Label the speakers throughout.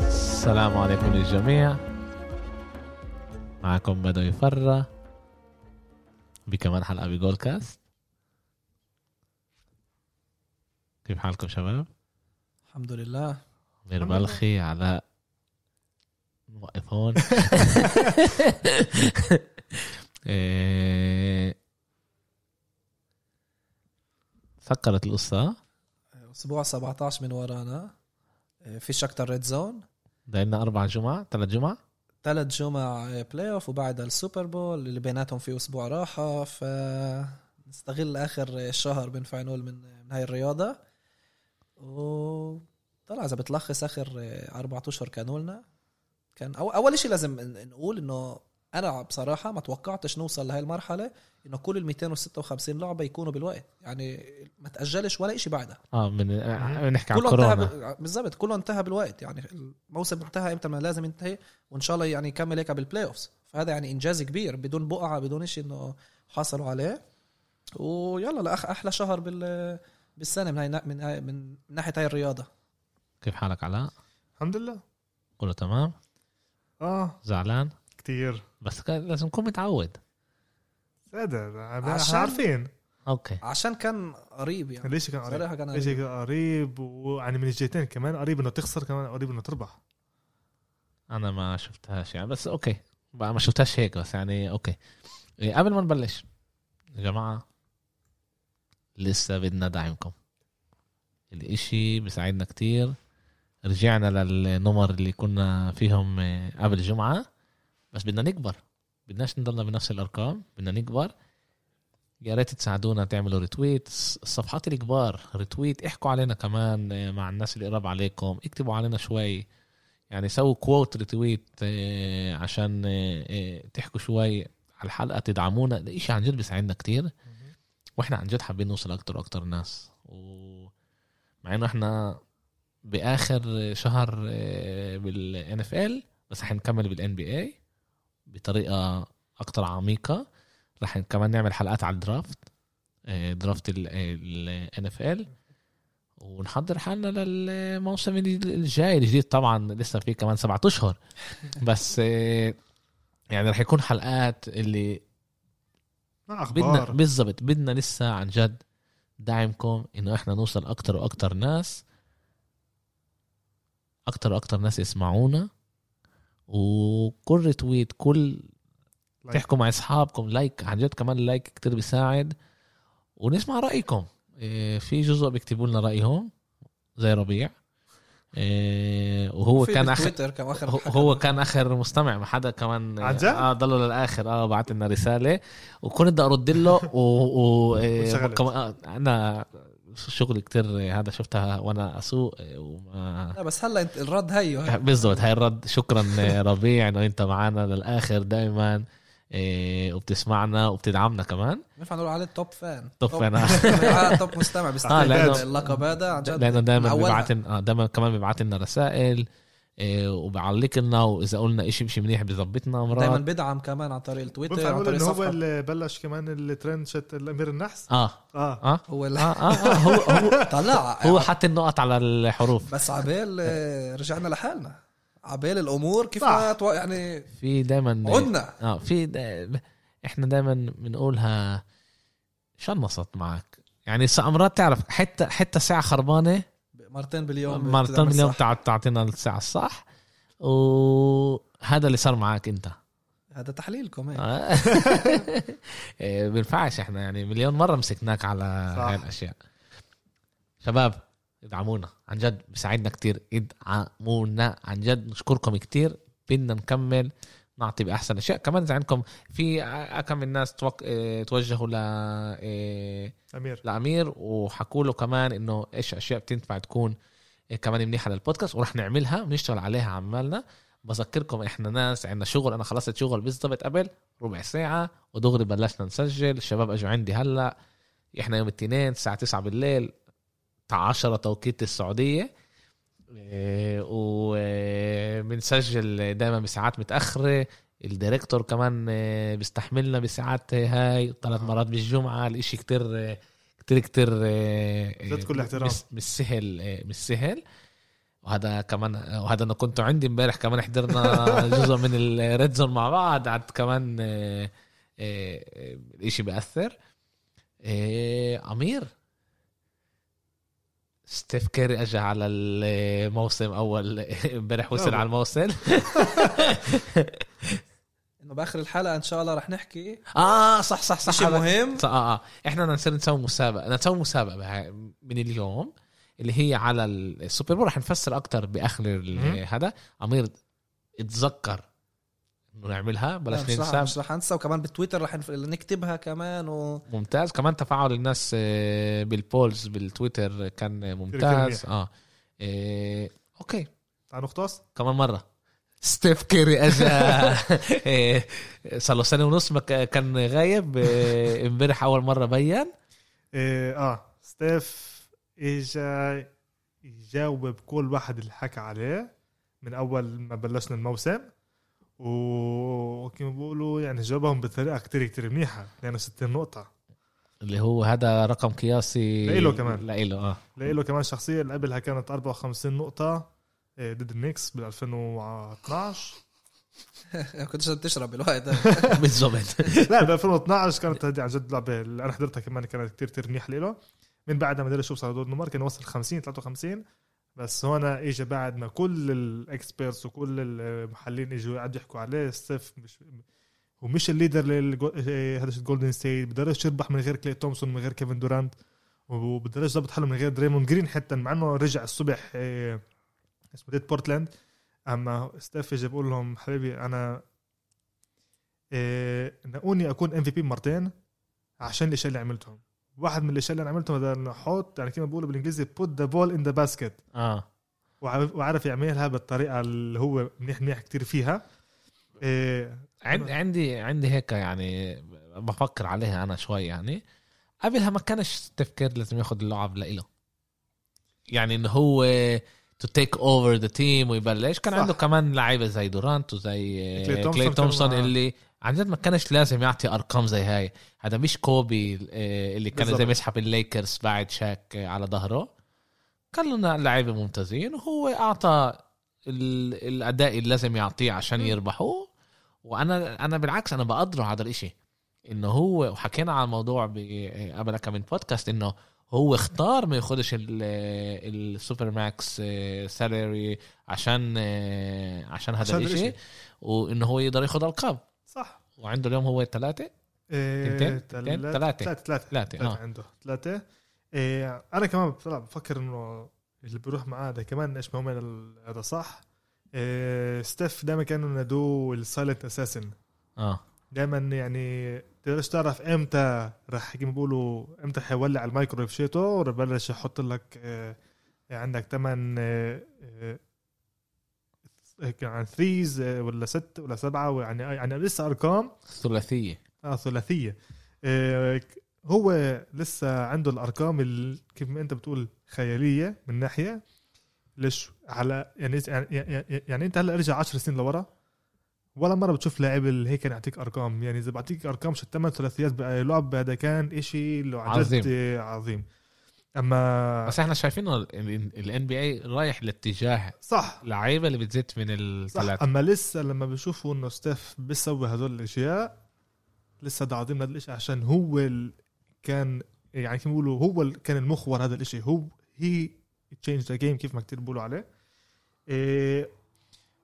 Speaker 1: السلام عليكم للجميع معكم بدو يفرى بكمان حلقة بجول كاست كيف حالكم شباب؟
Speaker 2: الحمد لله
Speaker 1: مير بلخي علاء نوقف هون إيه. سكرت القصة
Speaker 2: اسبوع 17 من ورانا آه، فيش اكتر ريد زون
Speaker 1: ضايلنا أربع جمعة ثلاث جمعة
Speaker 2: ثلاث جمع آه، بلاي اوف وبعدها السوبر بول اللي بيناتهم في اسبوع راحه ف نستغل اخر آه، شهر بنفع نقول من آه، من هاي الرياضه و طلع اذا بتلخص اخر آه، اربع اشهر كانوا لنا كان أو اول شيء لازم ن- نقول انه انا بصراحه ما توقعتش نوصل لهي المرحله انه كل ال 256 لعبه يكونوا بالوقت يعني ما تاجلش ولا شيء بعدها
Speaker 1: اه من آه، نحكي عن
Speaker 2: كله انتهى
Speaker 1: كورونا
Speaker 2: ب- بالضبط كله انتهى بالوقت يعني الموسم انتهى امتى ما لازم ينتهي وان شاء الله يعني يكمل هيك بالبلاي اوفز فهذا يعني انجاز كبير بدون بقعه بدون شيء انه حصلوا عليه ويلا لاخ احلى شهر بال بالسنه من هاي من هاي من ناحيه هاي الرياضه
Speaker 1: كيف حالك علاء؟
Speaker 3: الحمد لله
Speaker 1: كله تمام؟ آه.
Speaker 3: اه
Speaker 1: زعلان؟
Speaker 3: كتير
Speaker 1: بس كان لازم تكون متعود
Speaker 3: هذا
Speaker 2: عشان-
Speaker 3: احنا عارفين
Speaker 1: اوكي
Speaker 2: عشان كان قريب يعني
Speaker 3: ليش كان قريب
Speaker 2: صراحه كان
Speaker 3: ليش
Speaker 2: قريب.
Speaker 3: كان قريب ويعني من الجهتين كمان قريب انه تخسر كمان قريب انه تربح
Speaker 1: انا ما شفتهاش يعني بس اوكي بقى ما شفتهاش هيك بس يعني اوكي إيه، قبل ما نبلش يا جماعه لسه بدنا دعمكم الاشي بيساعدنا كتير رجعنا للنمر اللي كنا فيهم إيه، قبل الجمعه بس بدنا نكبر بدناش نضلنا بنفس الارقام بدنا نكبر يا ريت تساعدونا تعملوا ريتويت الص- الصفحات الكبار ريتويت احكوا علينا كمان إيه، مع الناس اللي قرب عليكم اكتبوا علينا شوي يعني سووا كوت ريتويت آه، عشان آه، آه، تحكوا شوي على الحلقه تدعمونا ده شيء عن جد بيساعدنا كتير واحنا عن جد حابين نوصل اكتر واكتر ناس ومع انه احنا باخر شهر بالان اف ال بس حنكمل بالان بي اي بطريقه اكتر عميقه رح كمان نعمل حلقات على الدرافت آه، درافت الان اف ال ونحضر حالنا للموسم الجاي الجديد طبعا لسه في كمان سبعة اشهر بس آه، يعني رح يكون حلقات اللي
Speaker 3: مع
Speaker 1: بدنا
Speaker 3: اخبار
Speaker 1: بالضبط بدنا لسه عن جد دعمكم انه احنا نوصل اكتر واكتر ناس اكتر واكتر ناس يسمعونا وكل ريتويت كل
Speaker 3: لايك.
Speaker 1: تحكوا مع اصحابكم لايك عن جد كمان لايك كتير بيساعد ونسمع رايكم إيه، في جزء بيكتبوا لنا رايهم زي ربيع إيه، وهو
Speaker 2: في
Speaker 1: كان اخر
Speaker 2: بالتويتر كان اخر
Speaker 1: هو- هو كان اخر مستمع ما حدا كمان
Speaker 3: عن جد؟
Speaker 1: اه ضلوا للاخر اه بعت لنا رساله وكنت بدي ارد له و, و... آه،
Speaker 3: وانشغلت.
Speaker 1: كمان- آه، انا شغلي كتير آه، هذا شفتها وانا اسوق آه، وما
Speaker 2: لا بس هلا انت الرد هيو هي.
Speaker 1: بالضبط هاي الرد شكرا آه، ربيع انه انت معنا للاخر دائما وبتسمعنا وبتدعمنا كمان
Speaker 2: بنفع نقول عليه توب فان
Speaker 1: توب فان.
Speaker 2: آه، توب مستمع بيستاهل
Speaker 1: لأنه-
Speaker 2: اللقب هذا عن جد
Speaker 1: لانه دائما
Speaker 2: من أولها.
Speaker 1: بيبعت لنا- آه، دائما كمان بيبعت لنا رسائل آه، وبعلق لنا واذا قلنا إشي مش منيح بيظبطنا
Speaker 2: دايما
Speaker 1: مرات
Speaker 2: بدعم كمان عن طريق التويتر
Speaker 3: بنفع
Speaker 2: عن
Speaker 3: نقول
Speaker 2: طريق
Speaker 3: انه هو
Speaker 2: صفحه
Speaker 3: اللي بلش كمان الترند شت الامير النحس
Speaker 1: اه
Speaker 3: اه
Speaker 1: اه
Speaker 2: هو
Speaker 1: اه
Speaker 2: اللي
Speaker 1: اه, آه هو هو
Speaker 2: طلع يعني
Speaker 1: هو حط النقط على الحروف
Speaker 2: بس عبال آه، رجعنا لحالنا عبال الامور كيف
Speaker 3: صح.
Speaker 2: ما تو- يعني
Speaker 1: في دائما
Speaker 2: عدنا
Speaker 1: اه في دا... احنا دائما بنقولها شنصت معك يعني س- مرات تعرف حتى حتى ساعه خربانه
Speaker 2: مرتين باليوم
Speaker 1: مرتين
Speaker 2: بتعمل
Speaker 1: اليوم
Speaker 2: صح.
Speaker 1: تع- تعطينا الساعه الصح وهذا اللي صار معك انت
Speaker 2: هذا تحليلكم هيك
Speaker 1: آه. إيه، بنفعش احنا يعني مليون مره مسكناك على
Speaker 3: صح.
Speaker 1: هاي الاشياء شباب ادعمونا عن جد بيساعدنا كتير ادعمونا عن جد نشكركم كتير بدنا نكمل نعطي باحسن اشياء كمان اذا عندكم في ع- كم من ناس توق... إيه، توجهوا ل إيه،
Speaker 3: امير
Speaker 1: لامير وحكوا له كمان انه ايش اشياء بتنفع تكون كمان منيحه للبودكاست ورح نعملها بنشتغل عليها عمالنا بذكركم احنا ناس عندنا شغل انا خلصت شغل بالضبط قبل ربع ساعه ودغري بلشنا نسجل الشباب اجوا عندي هلا احنا يوم الاثنين الساعه 9 بالليل 10 توقيت آه، السعوديه وبنسجل دائما آه، بساعات متاخره الديريكتور كمان آه، بيستحملنا بساعات آه، هاي ثلاث
Speaker 3: آه.
Speaker 1: مرات بالجمعه الاشي كتير آه، كتير كتير آه،
Speaker 3: زاد كل
Speaker 1: آه،
Speaker 3: احترام.
Speaker 1: مش مش سهل آه، مش سهل وهذا كمان وهذا انا كنت عندي امبارح كمان حضرنا جزء من الريد زون مع بعض عاد كمان آه، آه، آه، الاشي بيأثر آه، امير ستيف كيري اجى على الموسم اول امبارح وصل
Speaker 3: يلا.
Speaker 1: على الموسم
Speaker 2: انه باخر الحلقه ان شاء الله رح نحكي
Speaker 1: اه صح صح صح
Speaker 2: شيء
Speaker 1: هذا-
Speaker 2: مهم
Speaker 1: صح، اه اه احنا بدنا نصير نسوي مسابقه نسوي مسابقه بها- من اليوم اللي هي على السوبر بول رح نفسر اكتر باخر ال-
Speaker 3: مهم.
Speaker 1: هذا امير اتذكر انه نعملها
Speaker 2: لا،
Speaker 1: بلاش
Speaker 2: مش رح,
Speaker 1: ننسى
Speaker 2: مش رح انسى وكمان بتويتر رح نف- نكتبها كمان و...
Speaker 1: ممتاز كمان تفاعل الناس آه، بالبولز بالتويتر كان ممتاز اه آه، اوكي
Speaker 3: تعال نختص
Speaker 1: كمان مره ستيف كيري اجى آه، صار له سنه ونص ما ك- كان غايب آه، امبارح اول مره بين
Speaker 3: إيه، اه ستيف اجا يجاوب كل واحد اللي حكى عليه من اول ما بلشنا الموسم وكما بيقولوا يعني جاوبهم بطريقه كتير كتير منيحه 62 نقطه
Speaker 1: اللي هو هذا رقم قياسي
Speaker 3: لإله كمان.
Speaker 1: لإله اه
Speaker 3: له كمان شخصيه اللي قبلها كانت 54 نقطه إيه، ضد النكس بال 2012
Speaker 2: كنتش بتشرب
Speaker 1: آه.
Speaker 2: بالوقت ده.
Speaker 1: بالظبط
Speaker 3: لا ب 2012 كانت هذه عن جد لعبه اللي انا حضرتها كمان كانت كتير كثير منيحه له من بعدها ما ادري شو صار دور النمر كان وصل 50 53 بس هون اجى بعد ما كل الاكسبيرتس وكل المحللين اجوا قعدوا يحكوا عليه ستيف مش هو مش الليدر لهذا الجولدن ستيت بقدرش يربح من غير كلي تومسون من غير كيفن دورانت وبقدرش يظبط حاله من غير دريموند جرين حتى مع انه رجع الصبح إيه، اسمه ديت بورتلاند اما ستيف اجى بقول لهم حبيبي انا إيه، نقوني اكون ام في بي مرتين عشان الاشياء اللي عملتهم واحد من الاشياء اللي انا عملتهم هذا إنه احط يعني كما بقولوا بالانجليزي put the ball in the basket
Speaker 1: اه
Speaker 3: وعارف وعارف يعملها بالطريقه اللي هو منيح منيح كتير فيها إيه
Speaker 1: عند عندي عندي هيك يعني بفكر عليها انا شوي يعني قبلها ما كانش تفكير لازم ياخذ اللعب لإله يعني انه هو تو تيك اوفر ذا تيم ويبلش كان
Speaker 3: صح.
Speaker 1: عنده كمان لعيبه زي دورانت وزي
Speaker 3: كلي
Speaker 1: كلي
Speaker 3: تومسون آه.
Speaker 1: تومسون, تومسون
Speaker 3: كانوا معاه.
Speaker 1: اللي عن جد ما كانش لازم يعطي ارقام زي هاي هذا مش كوبي آه، اللي كان زي
Speaker 3: بالظبط.
Speaker 1: مسحب الليكرز بعد شاك آه، على ظهره كان لنا لعيبه ممتازين وهو اعطى ال- الاداء اللي لازم يعطيه عشان يربحوه وانا انا بالعكس انا بقدره على هذا الشيء انه هو وحكينا على الموضوع ب- قبل كم من بودكاست انه هو اختار ما ياخدش ال- السوبر ماكس سالري عشان آه، عشان هذا
Speaker 3: عشان هذا
Speaker 1: الشيء
Speaker 3: الإشي.
Speaker 1: وانه هو يقدر ياخد القاب
Speaker 3: صح
Speaker 1: وعنده اليوم هو ثلاثه
Speaker 3: إيه
Speaker 1: تنتين؟ تنتين؟ تلاتة.
Speaker 3: ثلاثة ثلاثة
Speaker 1: ثلاثه
Speaker 3: ثلاثة
Speaker 1: اه
Speaker 3: عنده ثلاثة إيه أنا كمان بطلع بفكر إنه اللي بروح معاه ده كمان إيش مهم ال- هذا صح إيه ستيف دائما كانوا ينادوه السايلنت أساسن آه.
Speaker 1: اه
Speaker 3: دائما يعني تقدرش تعرف امتى رح كيما بيقولوا امتى حيولع المايكرويف شيته وبلش يحط لك آه، عندك آه، ثمان عن ثريز يعني آه، ولا ست ولا سبعه يعني يعني لسه ارقام
Speaker 1: ثلاثيه
Speaker 3: اه ثلاثيه آه، ك- هو لسه عنده الارقام ال- كيف ما انت بتقول خياليه من ناحيه ليش على يعني يعني, يعني- يعني انت هلا ارجع 10 سنين لورا ولا مره بتشوف لاعب اللي هيك كان يعطيك ارقام يعني اذا بعطيك ارقام شو الثمان ثلاثيات بقى لعب هذا كان إشي لو عن
Speaker 1: عظيم.
Speaker 3: جد آه، عظيم اما
Speaker 1: بس احنا شايفين الان بي اي رايح لاتجاه
Speaker 3: صح
Speaker 1: لعيبه اللي بتزيد من
Speaker 3: صح
Speaker 1: الثلاثه
Speaker 3: اما لسه لما بشوفوا انه ستيف بيسوي هدول الاشياء لسه ده عظيم هذا الاشي عشان هو ال... كان يعني كيف بيقولوا هو ال... كان المخور هذا الاشي هو هي تشينج ذا جيم كيف ما كتير بيقولوا عليه إيه...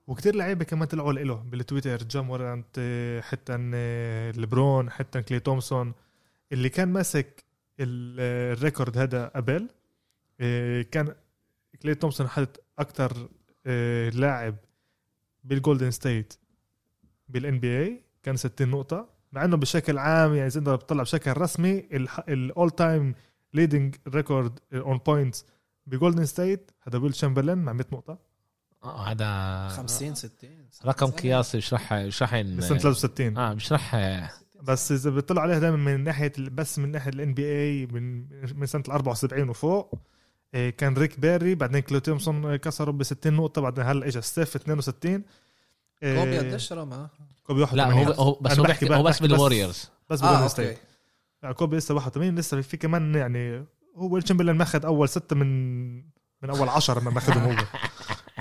Speaker 3: وكتير لعيبه كمان طلعوا له بالتويتر جامورانت إيه، حتى إيه، لبرون حتى كلي تومسون اللي كان ماسك ال- آه، الريكورد هذا قبل إيه، كان كلي تومسون حدث اكثر لاعب بالجولدن ستيت بالان بي اي كان 60 نقطه مع انه بشكل عام يعني اذا انت بتطلع بشكل رسمي الاول تايم ليدنج ريكورد اون بوينتس بجولدن ستيت هذا ويل تشامبرلين مع 100 نقطه
Speaker 1: آه، هذا
Speaker 2: 50 60
Speaker 1: رقم قياسي بشرح بشرحن
Speaker 3: بسنه 63
Speaker 2: آه.
Speaker 1: اه بشرح
Speaker 3: بس اذا بتطلع عليها دائما من ناحيه ال- بس من ناحيه الان بي اي من من سنه ال 74 وفوق إيه، كان ريك بيري بعدين كلو تومسون كسروا ب 60 نقطه بعدين هلا اجى ستيف 62 إيه،
Speaker 2: كوبي قديش رمى؟
Speaker 3: كوبي
Speaker 1: لا
Speaker 3: 81
Speaker 1: هو هو بس
Speaker 3: أنا
Speaker 1: هو
Speaker 3: بحكي-
Speaker 1: بيحكي هو
Speaker 3: بحكي
Speaker 1: بس بالوريورز
Speaker 3: بس
Speaker 2: اه
Speaker 3: بجولدن ستيت
Speaker 2: اوكي
Speaker 3: كوبي لسه 81 لسه في كمان يعني هو تشامبرلين ماخذ اول سته من من اول 10 ما ماخذهم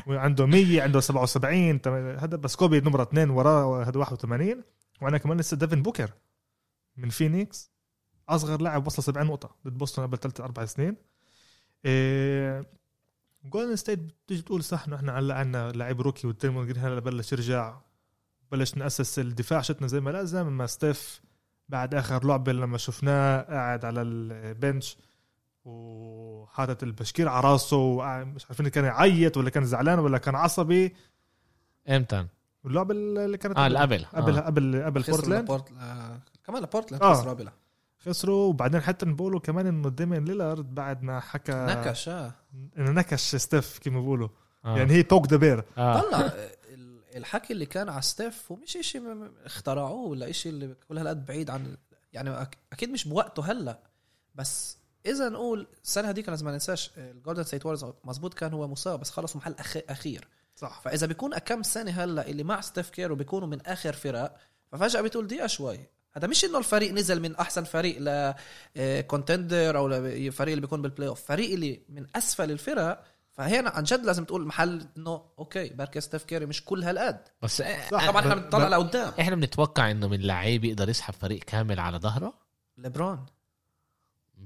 Speaker 3: هو عنده 100 عنده 77 تم- هذا بس كوبي نمرة اثنين وراه هذا 81 وعندنا كمان لسه ديفن بوكر من فينيكس اصغر لاعب وصل 70 نقطة ضد بوسطن قبل ثلاث اربع سنين إيه جولدن ستيت بتيجي تقول صح انه احنا هلا عندنا لعيب روكي والتيمون جرين هلا بلش يرجع بلش ناسس الدفاع شتنا زي ما لازم اما ستيف بعد اخر لعبه لما شفناه قاعد على البنش وحاطط البشكير على راسه وقاعد- مش عارفين كان يعيط ولا كان زعلان ولا كان عصبي
Speaker 1: امتى؟
Speaker 3: اللعبه اللي كانت
Speaker 1: اه القبل
Speaker 3: قبل
Speaker 1: آه.
Speaker 3: قبل قبل
Speaker 2: خسروا
Speaker 3: بورتلاند
Speaker 2: لبورت... آه، كمان لبورتلاند
Speaker 3: آه.
Speaker 2: خسروا قبلها
Speaker 3: خسروا وبعدين حتى بقولوا كمان انه ديمين ليلارد بعد ما حكى
Speaker 2: نكش آه.
Speaker 3: انه نكش ستيف كما بيقولوا
Speaker 1: آه.
Speaker 3: يعني هي بوك ذا بير
Speaker 1: آه.
Speaker 2: طلع آه، ال- الحكي اللي كان على ستيف هو مش اشي م- م- اخترعوه ولا اشي اللي كل هالقد بعيد عن يعني أك- اكيد مش بوقته هلا بس اذا نقول السنه هذيك لازم ما ننساش آه، الجولدن ستيت وارز مزبوط كان هو مصاب بس خلصوا محل أخ- اخير
Speaker 3: صح
Speaker 2: فاذا بيكون كم سنه هلا اللي مع ستيف كير وبيكونوا من اخر فرق ففجاه بتقول دقيقه شوي هذا مش انه الفريق نزل من احسن فريق آه، لكونتندر او الفريق اللي بيكون بالبلاي اوف فريق اللي من اسفل الفرق فهنا عن جد لازم تقول محل انه اوكي بركي ستيف كيري مش كل هالقد
Speaker 1: بس
Speaker 3: صح.
Speaker 2: طبعا احنا
Speaker 3: ب-
Speaker 2: بنطلع
Speaker 3: ب-
Speaker 2: لقدام
Speaker 1: احنا بنتوقع انه من لعيب يقدر يسحب فريق كامل على ظهره
Speaker 2: ليبرون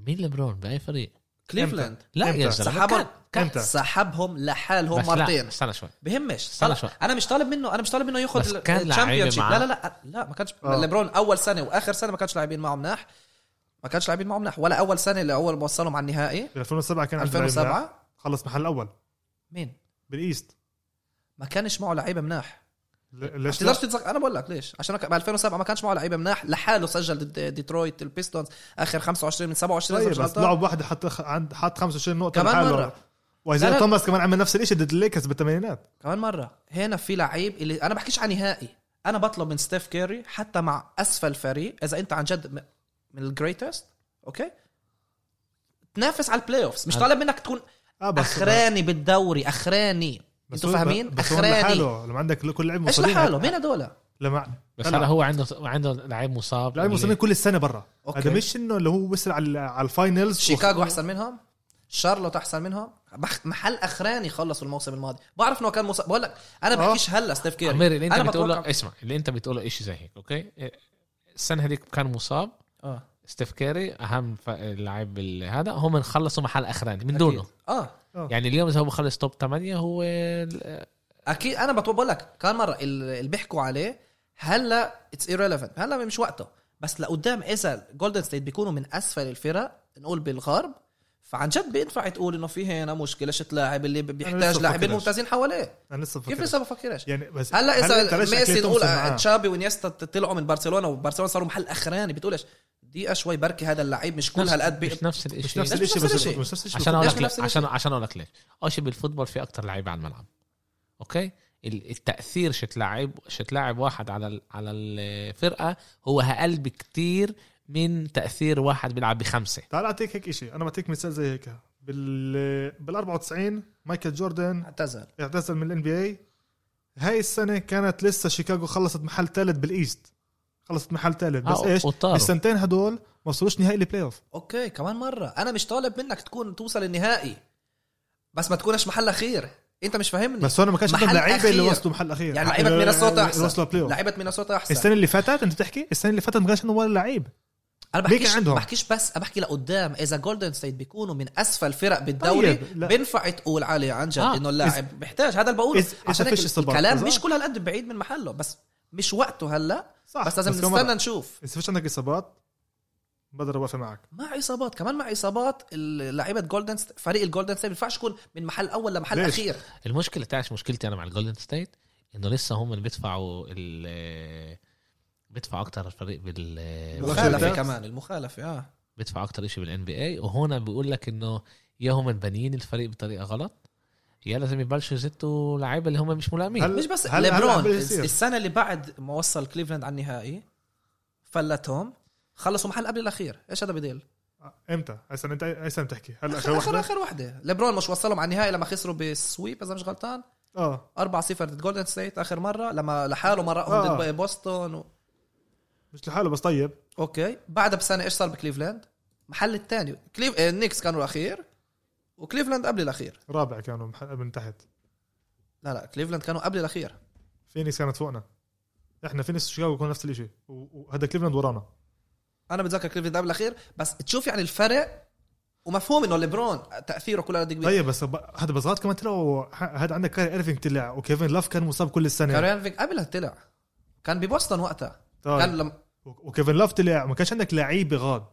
Speaker 1: مين ليبرون باي فريق؟
Speaker 2: كليفلاند
Speaker 1: لا
Speaker 3: إمتى؟
Speaker 1: يا زلمه
Speaker 2: سحبهم
Speaker 1: كان- كان-
Speaker 3: إمتى؟
Speaker 2: سحبهم لحالهم
Speaker 1: بس لا،
Speaker 2: مرتين
Speaker 1: استنى شوي
Speaker 2: بهمش
Speaker 1: استنى
Speaker 2: طلع.
Speaker 1: شوي.
Speaker 2: انا مش طالب منه انا مش طالب منه
Speaker 1: بس
Speaker 2: ياخذ
Speaker 1: كان لعيبة
Speaker 2: الشامبيونشيب
Speaker 1: معاه.
Speaker 2: لا لا لا لا ما كانش
Speaker 3: آه.
Speaker 2: ليبرون اول سنه واخر سنه ما كانش لاعبين معه مناح ما كانش لاعبين معه مناح ولا اول سنه اللي اول ما وصلهم على النهائي
Speaker 3: بال 2007 كان عندنا لعيب مناح.
Speaker 2: 2007
Speaker 3: خلص محل الاول
Speaker 2: مين
Speaker 3: بالايست
Speaker 2: ما كانش معه لعيبه مناح
Speaker 3: ل- ليش
Speaker 2: تقدرش
Speaker 3: لا؟
Speaker 2: تتذكر انا بقول لك ليش عشان ب 2007 ما كانش معه لعيبه مناح لحاله سجل ضد ديترويت البيستونز اخر 25 من 27 إذا
Speaker 3: طيب
Speaker 2: مش
Speaker 3: بس
Speaker 2: غلطان.
Speaker 3: لعب واحد حط عند حط 25 نقطه
Speaker 2: كمان
Speaker 3: لحاله.
Speaker 2: مرة. لا،
Speaker 3: وايزايا
Speaker 2: لا.
Speaker 3: توماس كمان عمل نفس الشيء ضد الليكرز بالثمانينات
Speaker 2: كمان مره هنا في لعيب اللي انا بحكيش عن نهائي انا بطلب من ستيف كيري حتى مع اسفل فريق اذا انت عن جد م- من الجريتست اوكي تنافس على البلاي اوفز مش
Speaker 1: أنا-
Speaker 2: طالب منك تكون
Speaker 3: اه
Speaker 2: اخراني بالدوري اخراني
Speaker 3: بس
Speaker 2: انتوا
Speaker 3: هو-
Speaker 2: فاهمين
Speaker 3: بس هو
Speaker 2: اخراني
Speaker 3: لحاله لما عندك كل لعيب
Speaker 2: ايش
Speaker 3: مصابين
Speaker 2: لحاله مين هدول
Speaker 3: لما
Speaker 1: بس
Speaker 3: طلع.
Speaker 1: هلا هو يعني عنده عنده لعيب مصاب
Speaker 3: لعيب مصابين
Speaker 1: اللي-
Speaker 3: كل السنه برا
Speaker 2: أوكي.
Speaker 3: هذا مش انه اللي هو وصل على على الفاينلز
Speaker 2: شيكاغو احسن منهم شارلوت احسن منهم بح- محل اخراني خلصوا الموسم الماضي بعرف انه كان مصاب بقول لك انا
Speaker 3: آه.
Speaker 2: بحكيش هلا ستيف كيري
Speaker 1: عمير اللي انت
Speaker 2: أنا
Speaker 1: بتقوله
Speaker 2: بتوقع-
Speaker 1: اسمع اللي انت بتقوله شيء زي هيك اوكي السنه هذيك كان مصاب
Speaker 2: اه
Speaker 1: ستيف كيري اهم ف- لاعب بال- هذا هم خلصوا محل اخراني من دونه
Speaker 2: أكيد. اه
Speaker 1: يعني اليوم اذا هو خلص توب 8 هو ال-
Speaker 2: اكيد انا بطو- بقول لك كان مره ال- اللي بيحكوا عليه هلا اتس ايرليفنت هلا مش وقته بس لقدام اذا جولدن ستيت بيكونوا من اسفل الفرق نقول بالغرب فعن جد بينفع تقول انه في هنا مشكله شت لاعب اللي بيحتاج
Speaker 3: لسه
Speaker 2: لاعبين
Speaker 3: بفكرش.
Speaker 2: ممتازين حواليه
Speaker 3: انا لسه
Speaker 2: كيف
Speaker 3: بفكر.
Speaker 2: لسه ما بفكرش
Speaker 3: يعني بس
Speaker 2: هلا
Speaker 3: أنت
Speaker 2: اذا
Speaker 3: ليش
Speaker 2: ميسي
Speaker 3: أكلت
Speaker 2: نقول
Speaker 3: تومسون معاه؟
Speaker 2: تشابي ونيستا طلعوا من برشلونه وبرشلونه صاروا محل اخراني بتقولش دقيقه شوي بركي هذا اللعيب مش كل
Speaker 1: نفس-
Speaker 2: هالقد بي-
Speaker 1: مش نفس الشيء
Speaker 3: مش نفس
Speaker 2: مش
Speaker 3: الشيء
Speaker 2: نفس
Speaker 3: بس
Speaker 2: الشيء.
Speaker 3: مش نفس الشيء
Speaker 1: عشان اقول لك
Speaker 2: مش نفس
Speaker 1: ليه- عشان عشان اقول لك ليش اول شيء بالفوتبول في اكتر لعيبه على الملعب اوكي ال- التاثير شتلاعب شتلاعب واحد على ال- على الفرقه هو اقل بكتير من تاثير واحد بيلعب بخمسه
Speaker 3: تعال اعطيك هيك شيء انا بعطيك مثال زي هيك بال بال 94 مايكل جوردن
Speaker 2: اعتزل
Speaker 3: اعتزل من الان بي اي هاي السنه كانت لسه شيكاغو خلصت محل ثالث بالايست خلصت محل ثالث بس
Speaker 1: آه،
Speaker 3: ايش
Speaker 1: وطاروا.
Speaker 3: السنتين هدول ما وصلوش نهائي البلاي اوف
Speaker 2: اوكي كمان مره انا مش طالب منك تكون توصل النهائي بس ما تكونش محل اخير انت مش فاهمني
Speaker 3: بس هون ما كانش
Speaker 2: محل
Speaker 3: عندهم لعيبه اللي
Speaker 2: أخير.
Speaker 3: وصلوا محل اخير
Speaker 2: يعني لعيبه
Speaker 3: اللي-
Speaker 2: مينيسوتا
Speaker 3: اللي وصلوا
Speaker 2: احسن
Speaker 3: بلاي اوف
Speaker 2: لعيبه مينيسوتا احسن
Speaker 3: السنه اللي فاتت انت بتحكي السنه اللي فاتت ما كانش عندهم ولا لعيب
Speaker 2: انا
Speaker 3: ليه كان
Speaker 2: بحكيش
Speaker 3: عندهم؟
Speaker 2: بحكيش بس أنا بحكي لقدام اذا جولدن ستيت بيكونوا من اسفل فرق بالدوري
Speaker 3: طيب، لا.
Speaker 2: بينفع تقول عليه عن جد
Speaker 1: آه،
Speaker 2: انه اللاعب محتاج هذا اللي بقوله
Speaker 3: إذا- إذا
Speaker 2: عشان هيك
Speaker 3: فيش آه. إصابات.
Speaker 2: الكلام
Speaker 3: بالظبط.
Speaker 2: مش كل هالقد بعيد من محله بس مش وقته هلا
Speaker 3: صح
Speaker 2: بس لازم
Speaker 3: كمان
Speaker 2: نستنى نشوف
Speaker 3: اذا فيش عندك اصابات بقدر اوافق معك
Speaker 2: مع اصابات كمان مع اصابات ال- لعيبه جولدن ست- فريق الجولدن ستيت ما ينفعش يكون من محل اول لمحل
Speaker 3: ليش؟
Speaker 2: اخير
Speaker 1: المشكله تعرف مشكلتي انا مع الجولدن ستيت انه لسه هم اللي بيدفعوا ال بيدفعوا اكتر فريق بال
Speaker 3: مخالفة.
Speaker 2: المخالفه كمان المخالفه اه
Speaker 1: بيدفعوا اكتر شيء بالان بي اي وهنا بيقول لك انه يا هم مبنيين الفريق بطريقه غلط يا لازم يبلشوا يزتوا لعيبه اللي هم مش ملائمين
Speaker 3: هل-
Speaker 2: مش بس
Speaker 3: هلا- هلا عم
Speaker 2: ليبرون
Speaker 3: بيصير.
Speaker 2: السنه اللي بعد ما وصل كليفلاند على النهائي فلتهم خلصوا محل قبل الاخير ايش هذا بديل
Speaker 3: آه، امتى؟ هسه انت هسه بتحكي هلا
Speaker 2: اخر
Speaker 3: اخر
Speaker 2: اخر,
Speaker 3: وحده
Speaker 2: آخر وحده ليبرون مش وصلهم على النهائي لما خسروا بالسويب اذا مش غلطان
Speaker 3: اه
Speaker 2: 4 0 ضد جولدن ستيت اخر مره لما لحاله مرقهم
Speaker 3: آه.
Speaker 2: ضد بوسطن و...
Speaker 3: مش لحاله بس طيب
Speaker 2: اوكي بعدها بسنه ايش صار بكليفلاند محل الثاني كليف آه، النكس كانوا الاخير وكليفلاند قبل الاخير
Speaker 3: رابع كانوا مح- من تحت
Speaker 2: لا لا كليفلاند كانوا قبل الاخير
Speaker 3: فينيكس كانت فوقنا احنا فينيكس وشيكاغو كانوا نفس الشيء وهذا كليفلاند ورانا
Speaker 2: انا بتذكر كليفلاند قبل الاخير بس تشوف يعني الفرق ومفهوم انه ليبرون تاثيره كل هذا كبير
Speaker 3: طيب بس ب- هذا بس غلط كمان طلعوا هذا عندك كاري ايرفينج طلع وكيفن لاف كان مصاب كل السنه
Speaker 2: كاريان فيك قبلها طلع كان ببوسطن وقتها كان
Speaker 3: طيب.
Speaker 2: لما
Speaker 3: و- وكيفن لاف طلع ما كانش عندك لعيبه غاد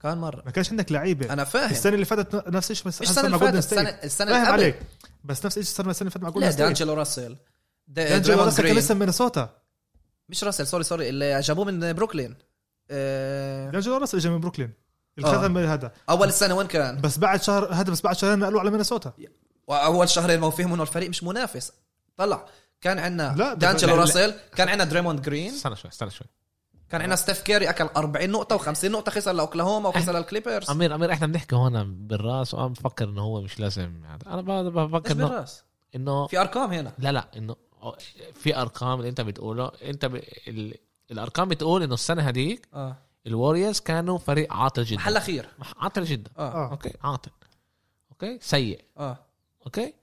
Speaker 2: كان مره
Speaker 3: ما كانش عندك لعيبه
Speaker 2: انا فاهم
Speaker 3: السنه اللي فاتت ن- نفس الشيء بس
Speaker 2: مش
Speaker 3: حسب
Speaker 2: السنه
Speaker 3: مع
Speaker 2: اللي
Speaker 3: جولدن
Speaker 2: فاتت
Speaker 3: ستيت
Speaker 2: السنه السنه
Speaker 3: فاهم
Speaker 2: اللي قبل
Speaker 3: عليك بس نفس الشيء صار السنه اللي فاتت مع
Speaker 2: لا
Speaker 3: جولدن ستيت
Speaker 2: دانجلو راسل
Speaker 3: دانجلو
Speaker 2: دانجلو
Speaker 3: راسل كان لسه
Speaker 2: راسل
Speaker 3: من مينيسوتا
Speaker 2: آه. مش راسل سوري سوري اللي جابوه من بروكلين آه،
Speaker 3: دانجلو راسل اجى من بروكلين اللي
Speaker 2: آه.
Speaker 3: خذها من هذا
Speaker 2: اول السنه وين كان؟
Speaker 3: بس بعد شهر هذا بس بعد شهرين نقلوا على مينيسوتا
Speaker 2: واول شهرين ما هو فهموا انه الفريق مش منافس طلع كان
Speaker 3: لا،
Speaker 2: عندنا
Speaker 3: ده-
Speaker 2: دانجلو
Speaker 1: لا، لا.
Speaker 2: راسل كان عندنا دريموند جرين
Speaker 1: استنى شوي استنى شوي
Speaker 2: كان عندنا ستيف كيري اكل 40 نقطه و50 نقطه خسر لاوكلاهوما وخسر للكليبرز
Speaker 1: امير امير احنا بنحكي هون بالراس وانا بفكر انه هو مش لازم هذا انا ب- بفكر
Speaker 2: ايش
Speaker 1: انه
Speaker 2: بالراس؟
Speaker 1: انه
Speaker 2: في ارقام هنا
Speaker 1: لا لا انه في ارقام اللي انت بتقوله انت ب... ال... الارقام بتقول انه السنه هذيك
Speaker 2: اه
Speaker 1: الوريوز كانوا فريق عاطل جدا
Speaker 2: محل اخير
Speaker 1: عاطل جدا
Speaker 2: اه
Speaker 3: آه.
Speaker 1: اوكي عاطل اوكي سيء
Speaker 2: اه
Speaker 1: اوكي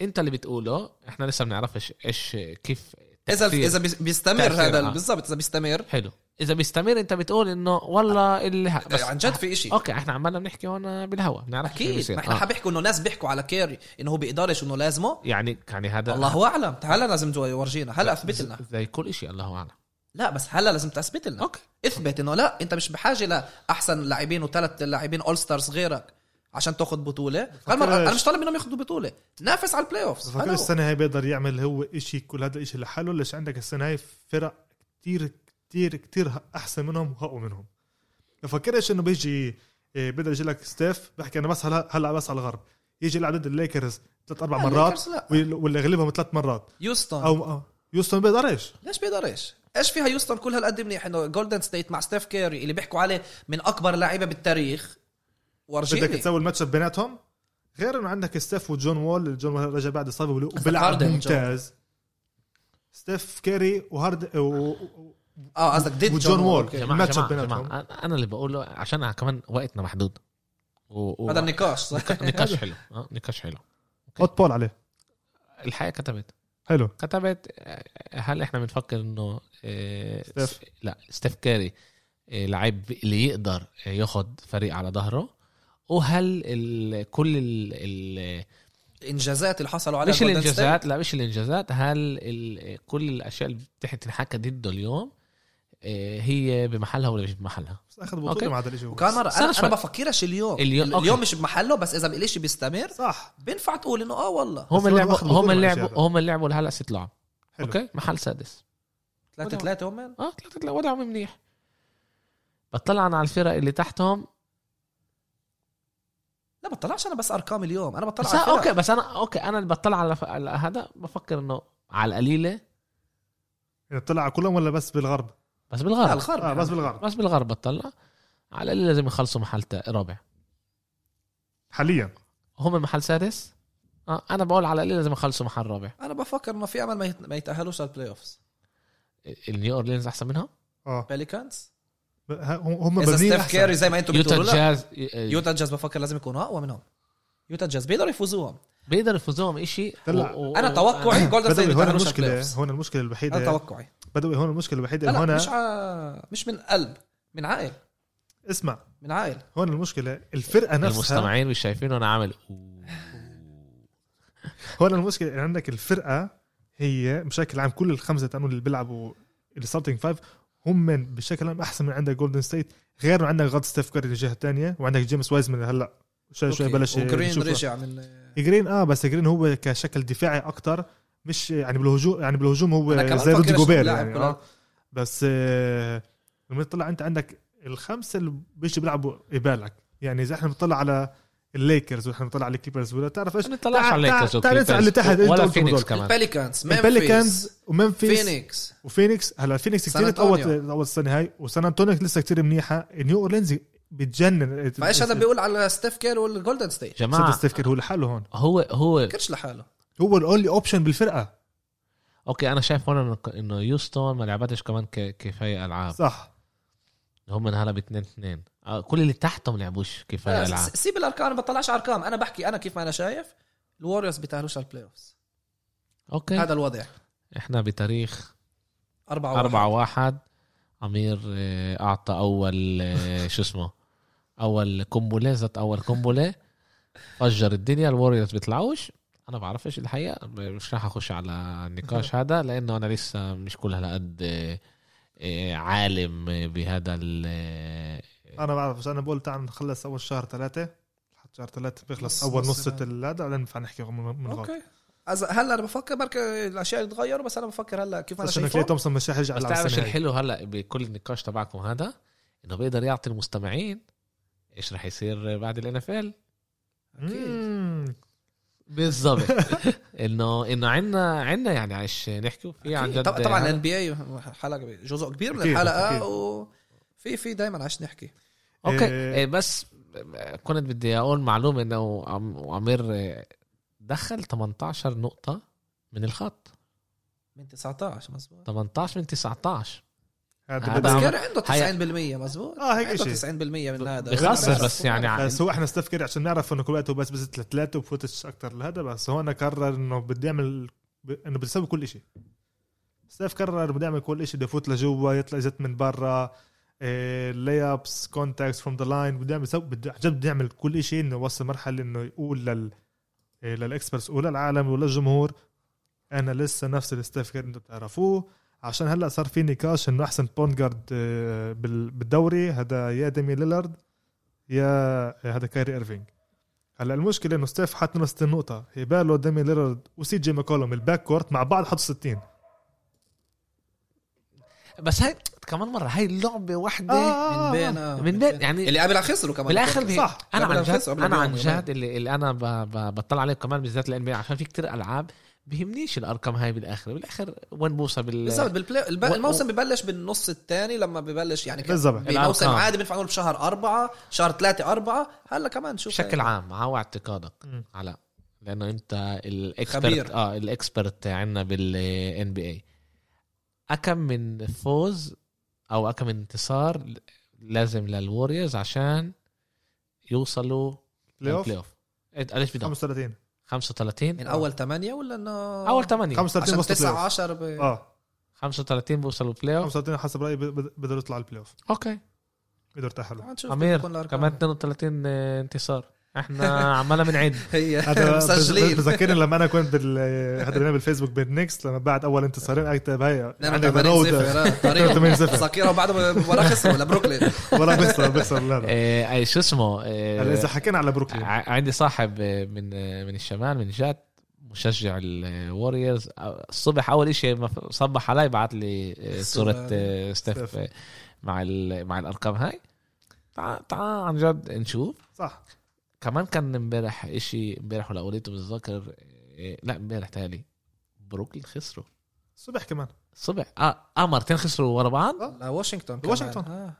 Speaker 1: انت اللي بتقوله احنا لسه بنعرفش ايش كيف
Speaker 2: اذا
Speaker 1: تأثير.
Speaker 2: اذا بيس- بيستمر
Speaker 1: تأثير،
Speaker 2: هذا
Speaker 1: آه.
Speaker 2: ال- بالضبط اذا بيستمر
Speaker 1: حلو اذا بيستمر انت بتقول انه والله اللي
Speaker 2: بس آه، عن جد في شيء
Speaker 1: اوكي احنا عمالنا بنحكي هون بالهوا بنعرف
Speaker 2: اكيد ما احنا
Speaker 1: آه.
Speaker 2: حبيحكوا انه ناس بيحكوا على كيري انه هو بيقدرش انه لازمه
Speaker 1: يعني يعني هذا
Speaker 2: الله اعلم هلا لازم تو- يورجينا هلا اثبت لنا
Speaker 1: زي كل شيء الله اعلم
Speaker 2: لا بس هلا لازم تثبت لنا
Speaker 1: اوكي
Speaker 2: اثبت انه لا انت مش بحاجه لاحسن لاعبين وثلاث لاعبين اول ستارز غيرك عشان تاخذ بطوله هالمرة انا مش طالب منهم ياخذوا بطوله نافس على البلاي اوف
Speaker 3: فكر السنه هاي بيقدر يعمل هو إشي كل هذا الإشي لحاله ليش عندك السنه هاي فرق كتير كتير كتير احسن منهم وأقوى منهم فكرش انه بيجي إيه، بيقدر يجي لك ستيف بحكي انا بس هلا هلا بس على الغرب يجي يلعب ضد الليكرز ثلاث اربع مرات وال- واللي غلبهم ثلاث مرات
Speaker 2: يوستون
Speaker 3: او أو- آه. يوستن بيقدرش
Speaker 2: ليش بيقدرش؟ ايش فيها يوستون كل هالقد منيح انه جولدن ستيت مع ستيف كيري اللي بيحكوا عليه من اكبر لعيبه بالتاريخ
Speaker 3: بدك
Speaker 2: وارجيلي
Speaker 3: تسوي الماتش اب بيناتهم غير انه عندك ستيف وجون وول جون وول رجع بعد اصابه وبيلعب
Speaker 2: قصدك هاردن وجون.
Speaker 3: ممتاز ستيف كيري وهارد و- و-
Speaker 2: اه قصدك ديد
Speaker 3: وجون وول.
Speaker 2: أوكي.
Speaker 1: جماعه
Speaker 3: الماتش
Speaker 1: جماعه,
Speaker 3: بيناتهم.
Speaker 1: جماعة. انا اللي بقوله عشان كمان وقتنا محدود و... و...
Speaker 2: هذا النقاش صح؟
Speaker 1: نقاش حلو آه، نقاش حلو
Speaker 3: هوت بول عليه
Speaker 1: الحقيقه كتبت
Speaker 3: حلو
Speaker 1: كتبت آه، هل احنا بنفكر انه آه،
Speaker 3: ستيف.
Speaker 1: لا ستيف كاري آه، لعيب اللي يقدر آه، ياخد فريق على ظهره وهل ال... كل ال... ال...
Speaker 2: الانجازات اللي حصلوا عليها
Speaker 1: مش
Speaker 2: Golden State.
Speaker 1: الانجازات لا مش الانجازات هل ال... كل الاشياء اللي بتحكي تنحكى ضده اليوم آه، هي بمحلها ولا مش بمحلها
Speaker 3: بس اخذ
Speaker 1: أوكي.
Speaker 3: بطوله مع هذا الشيء
Speaker 2: وكان مرة
Speaker 1: استنى
Speaker 2: انا,
Speaker 1: شوي.
Speaker 2: أنا بفكرش اليوم
Speaker 1: اليوم-
Speaker 2: اليوم,
Speaker 1: أوكي.
Speaker 2: اليوم مش بمحله بس اذا الاشي بيستمر
Speaker 3: صح
Speaker 2: بينفع تقول انه اه والله
Speaker 1: هم
Speaker 3: هو
Speaker 1: اللي لعبوا
Speaker 3: واخد بطولة
Speaker 1: هم اللي
Speaker 3: مع
Speaker 1: لعبوا
Speaker 3: الشباب.
Speaker 1: هم اللي لعبوا لهلا ست لعب
Speaker 3: حلو
Speaker 1: اوكي محل سادس
Speaker 2: ثلاثة
Speaker 1: وده-
Speaker 2: ثلاثة هم
Speaker 1: اه ثلاثة لا وضعهم منيح بطلع أنا على الفرق اللي تحتهم
Speaker 2: لا بطلعش انا بس ارقام اليوم انا بطلع
Speaker 1: بس
Speaker 2: على
Speaker 1: أنا
Speaker 2: الفرق.
Speaker 1: اوكي بس انا اوكي انا اللي بطلع على ف- على هذا بفكر انه على القليله
Speaker 3: يعني طلع على كلهم ولا بس بالغرب؟
Speaker 1: بس
Speaker 2: لا يعني.
Speaker 1: بالغرب
Speaker 2: الغرب
Speaker 3: اه بس بالغرب
Speaker 1: بس بالغرب بطلع على القليله لازم يخلصوا محل تا- رابع
Speaker 3: حاليا
Speaker 1: هم محل سادس اه انا بقول على القليله لازم يخلصوا محل رابع
Speaker 2: انا بفكر انه في امل ما يت- ما يتاهلوش على البلاي اوفز
Speaker 1: النيو اورلينز احسن منهم
Speaker 3: اه
Speaker 2: بيليكانز
Speaker 3: ب- ه- هم
Speaker 2: اذا
Speaker 3: مبنيين
Speaker 2: ستيف
Speaker 3: احسن
Speaker 2: كيري زي ما انتم
Speaker 1: يوتا
Speaker 2: بتقولوا لا
Speaker 1: جاز
Speaker 2: يوتا جاز بفكر لازم يكونوا اقوى منهم يوتا جاز بيقدروا يفوزوهم
Speaker 1: بيقدر يفوزوهم شيء
Speaker 3: طلع.
Speaker 2: انا توقعي جولدن ستيت
Speaker 3: بدوي
Speaker 2: بيتاهلوش
Speaker 3: هون
Speaker 2: على البلاي
Speaker 3: المشكله
Speaker 2: اوفز
Speaker 3: هون المشكله
Speaker 2: هذا
Speaker 3: الوحيده
Speaker 2: توقعي
Speaker 3: بدوي هون المشكله
Speaker 2: لا,
Speaker 3: الوحيده
Speaker 2: لا
Speaker 3: هون
Speaker 2: مش ع... مش من قلب من عقل
Speaker 3: اسمع
Speaker 2: من عقل
Speaker 3: هون المشكله الفرقه نفسها
Speaker 1: المستمعين مش شايفين وانا عامل
Speaker 3: هون المشكله إن عندك الفرقه هي بشكل عام كل الخمسه تانون اللي بيلعبوا الستارتنج فايف هم من- بشكل عام احسن من عندك جولدن ستيت غير إنه عندك غاد ستيف كاري الجهه الثانيه وعندك جيمس وايزمان هلا شوي شوي
Speaker 2: أوكي.
Speaker 3: بلش
Speaker 2: وجرين
Speaker 3: نشوفه.
Speaker 2: رجع من
Speaker 3: جرين اه بس جرين هو كشكل دفاعي اكتر مش يعني بالهجوم يعني بالهجوم
Speaker 2: أنا
Speaker 3: هو
Speaker 2: كمان
Speaker 3: زي رودي
Speaker 2: فكرش
Speaker 3: جوبير
Speaker 2: بلاعب
Speaker 3: يعني
Speaker 2: كل
Speaker 3: آه. بس آه، لما تطلع انت عندك الخمسه اللي بيجي بيلعبوا قبالك يعني اذا احنا بنطلع على الليكرز واحنا بنطلع على الكليبرز ولا تعرف ايش
Speaker 1: ما نطلعش على
Speaker 3: تعال-
Speaker 1: الليكرز
Speaker 3: تعال ننزل على اللي تحت
Speaker 1: والكليبرز
Speaker 3: انت
Speaker 1: ولا
Speaker 3: قلت
Speaker 1: فينيكس
Speaker 3: هدول.
Speaker 1: كمان
Speaker 2: البليكانز
Speaker 3: البليكانز
Speaker 2: ممفيس
Speaker 3: ومنفيس
Speaker 2: فينيكس
Speaker 3: وفينيكس هلا فينيكس
Speaker 2: سان
Speaker 3: كثير تقوت
Speaker 2: أنطونيو.
Speaker 3: اول السنه هاي وسان انطونيو لسه كثير منيحه نيو اورلينز بتجنن
Speaker 2: فايش هذا بيقول على ستيف كير والجولدن ستيت
Speaker 1: جماعه
Speaker 3: ستيف كير هو لحاله هون
Speaker 1: هو هو
Speaker 2: فكرش لحاله
Speaker 3: هو الاونلي اوبشن بالفرقه
Speaker 1: اوكي انا شايف هون إنه- انه يوستون ما لعبتش كمان ك- كفايه
Speaker 2: آه.
Speaker 1: العاب
Speaker 3: صح
Speaker 1: هم من هلا باتنين اثنين آه، كل اللي تحتهم لعبوش كفايه
Speaker 2: لا،
Speaker 1: العاب
Speaker 2: س- سيب الارقام انا بطلعش ارقام انا بحكي انا كيف ما انا شايف الوريوز بيتاهلوش على البلاي اوفز
Speaker 3: طيب.
Speaker 1: اوكي
Speaker 2: هذا الوضع
Speaker 1: احنا بتاريخ
Speaker 2: 4
Speaker 1: 4 1 عمير آه، اعطى اول آه، شو اسمه اول قنبله زت اول قنبله فجر الدنيا الوريوز بيطلعوش انا بعرفش الحقيقه مش راح اخش على النقاش هذا لانه انا لسه مش كل هالقد آه، آه، عالم بهذا ال آه،
Speaker 3: انا بعرف بس انا بقول تعال نخلص اول شهر ثلاثه لحد شهر ثلاثه بيخلص
Speaker 2: نص-
Speaker 3: اول
Speaker 2: نص
Speaker 3: نص
Speaker 1: يعني.
Speaker 2: العام.
Speaker 3: هذا بعدين بنفع نحكي من من غلط
Speaker 2: اوكي أز- هلا انا بفكر بركة الاشياء تتغير بس انا بفكر هلا كيف انا
Speaker 3: عشان كلي
Speaker 2: شايفه
Speaker 3: تومسون مش رح يرجع
Speaker 1: بس
Speaker 3: يلعب
Speaker 1: تعرف ايش
Speaker 3: السنة هاي.
Speaker 1: الحلو هلا بكل النقاش تبعكم هذا انه بيقدر يعطي المستمعين ايش رح يصير بعد الان اف ال
Speaker 3: مم.
Speaker 1: بالضبط انه انه عندنا عندنا يعني عش نحكي في عن يعني جد
Speaker 2: طبعا الان بي اي حلقه جزء كبير من
Speaker 3: أكيد، أكيد.
Speaker 2: الحلقه وفي في دائما عش نحكي
Speaker 1: اوكي
Speaker 2: آه.
Speaker 3: إيه.
Speaker 1: إيه، بس كنت بدي اقول معلومه انه عم- عمير إيه، دخل 18 نقطه من الخط
Speaker 2: من 19 مزبوط
Speaker 1: 18 من 19
Speaker 3: هذا
Speaker 1: هذا
Speaker 3: بدي-
Speaker 2: بس
Speaker 1: عم-
Speaker 2: كان عنده
Speaker 1: هي-
Speaker 2: 90% مزبوط
Speaker 3: اه هيك
Speaker 2: عنده
Speaker 3: شيء
Speaker 2: 90% من هذا
Speaker 1: بخسر بس يعني ع-
Speaker 3: بس هو احنا ستيف كيري عشان نعرف انه كل وقت هو بس بس ثلاثة وفوتش اكثر لهذا بس هو انا قرر انه بدي اعمل ب... انه بدي اسوي كل شيء ستيف قرر بدي اعمل كل شيء بدي افوت لجوا يطلع يزت من برا آه، لاي ابس كونتاكتس فروم ذا لاين بدي اعمل سو بدي عن جد بدي اعمل كل شيء انه وصل مرحله انه يقول لل إيه، للاكسبرتس وللعالم وللجمهور انا لسه نفس الستيف كيري انتم بتعرفوه عشان هلا صار في نقاش انه احسن بوند جارد آه، بال- بالدوري هذا يا ديمي ليلارد يا إيه، هذا كايري ايرفينج هلا المشكله انه ستيف حط منه 60 نقطه هيبالو ديمي ليلارد وسي جي ماكولوم الباك كورت مع بعض حطوا 60
Speaker 1: بس هاي كمان مره هاي اللعبه وحده
Speaker 3: آه،
Speaker 2: من بين آه،
Speaker 1: من بين يعني
Speaker 2: اللي قبل خسروا كمان
Speaker 1: بالاخر بي...
Speaker 3: صح.
Speaker 1: انا
Speaker 2: قبل
Speaker 1: عن جد
Speaker 2: الفيصل، قبل
Speaker 1: انا عن
Speaker 2: اليوم يومين.
Speaker 1: جد اللي, اللي انا ب... ب... بطلع عليه كمان بالذات الان بي عشان في كتير العاب بهمنيش الارقام هاي بالاخر بالاخر وين بوصل بال
Speaker 3: يعني.
Speaker 2: بالضبط بالبلاي الب...
Speaker 1: و-
Speaker 2: الموسم ببلش بالنص الثاني لما ببلش يعني كان
Speaker 3: بالضبط.
Speaker 2: بموسم
Speaker 1: الأرقام.
Speaker 2: عادي بنفع نقول بشهر أربعة شهر ثلاثة أربعة هلا كمان شوف يعني
Speaker 1: بشكل عام على اعتقادك
Speaker 3: مم.
Speaker 1: على لانه انت الاكسبرت
Speaker 2: خبير.
Speaker 1: اه الاكسبرت عندنا بالان بي اي اكم من فوز او اكم من انتصار لازم للوريوز عشان يوصلوا إيه،
Speaker 3: بلاي اوف
Speaker 1: للبلاي اوف إنت قديش بدهم
Speaker 3: 35
Speaker 1: 35
Speaker 2: من أول ثمانية ولا إنه
Speaker 1: اول 8
Speaker 3: 35
Speaker 2: عشان
Speaker 3: وصلوا بلاي
Speaker 2: 9
Speaker 3: اوف
Speaker 2: 10 ب...
Speaker 3: اه
Speaker 1: 35 بوصلوا بلاي اوف
Speaker 3: 35 حسب رايي بد- بد- بقدروا يطلعوا البلاي اوف
Speaker 1: اوكي
Speaker 3: بقدروا يتاهلوا
Speaker 2: عاد شوف كيف بتكون
Speaker 1: عمير
Speaker 2: الأرقام.
Speaker 1: كمان 32 انتصار احنا عمالنا بنعد
Speaker 2: هي
Speaker 3: هذا بز- بز-
Speaker 2: مسجلين
Speaker 3: بذكرني لما انا كنت بال هذا بنعمل بالفيسبوك بالنكست لما بعد اول انتصارين قلت هي
Speaker 2: نعمل
Speaker 3: عندك ذا رود
Speaker 2: 80
Speaker 3: 80
Speaker 2: نعم. صفر
Speaker 3: صفر.
Speaker 2: ذاكرة وبعد ورا خسروا لبروكلين
Speaker 3: ولا بيخسر بيخسر هذا
Speaker 1: إيه، اي شو اسمه إيه،
Speaker 3: هلا اذا حكينا على بروكلين
Speaker 1: ع- عندي صاحب آه، من آه، من الشمال من جات مشجع الوريورز الصبح اول إشي ما ف- صبح علي بعت لي آه،
Speaker 2: صورة.
Speaker 1: صوره آه، ستيف
Speaker 3: ستيف.
Speaker 1: آه، مع ال- مع الارقام هاي تعال تعال عن جد نشوف
Speaker 3: صح
Speaker 1: كمان كان امبارح إشي امبارح ولا قوليته بتذكر آه، لا امبارح تالي بروكلين خسروا
Speaker 3: الصبح كمان
Speaker 1: الصبح اه اه مرتين خسروا ورا بعض
Speaker 2: لواشنطن كمان.
Speaker 3: لواشنطن.
Speaker 2: آه.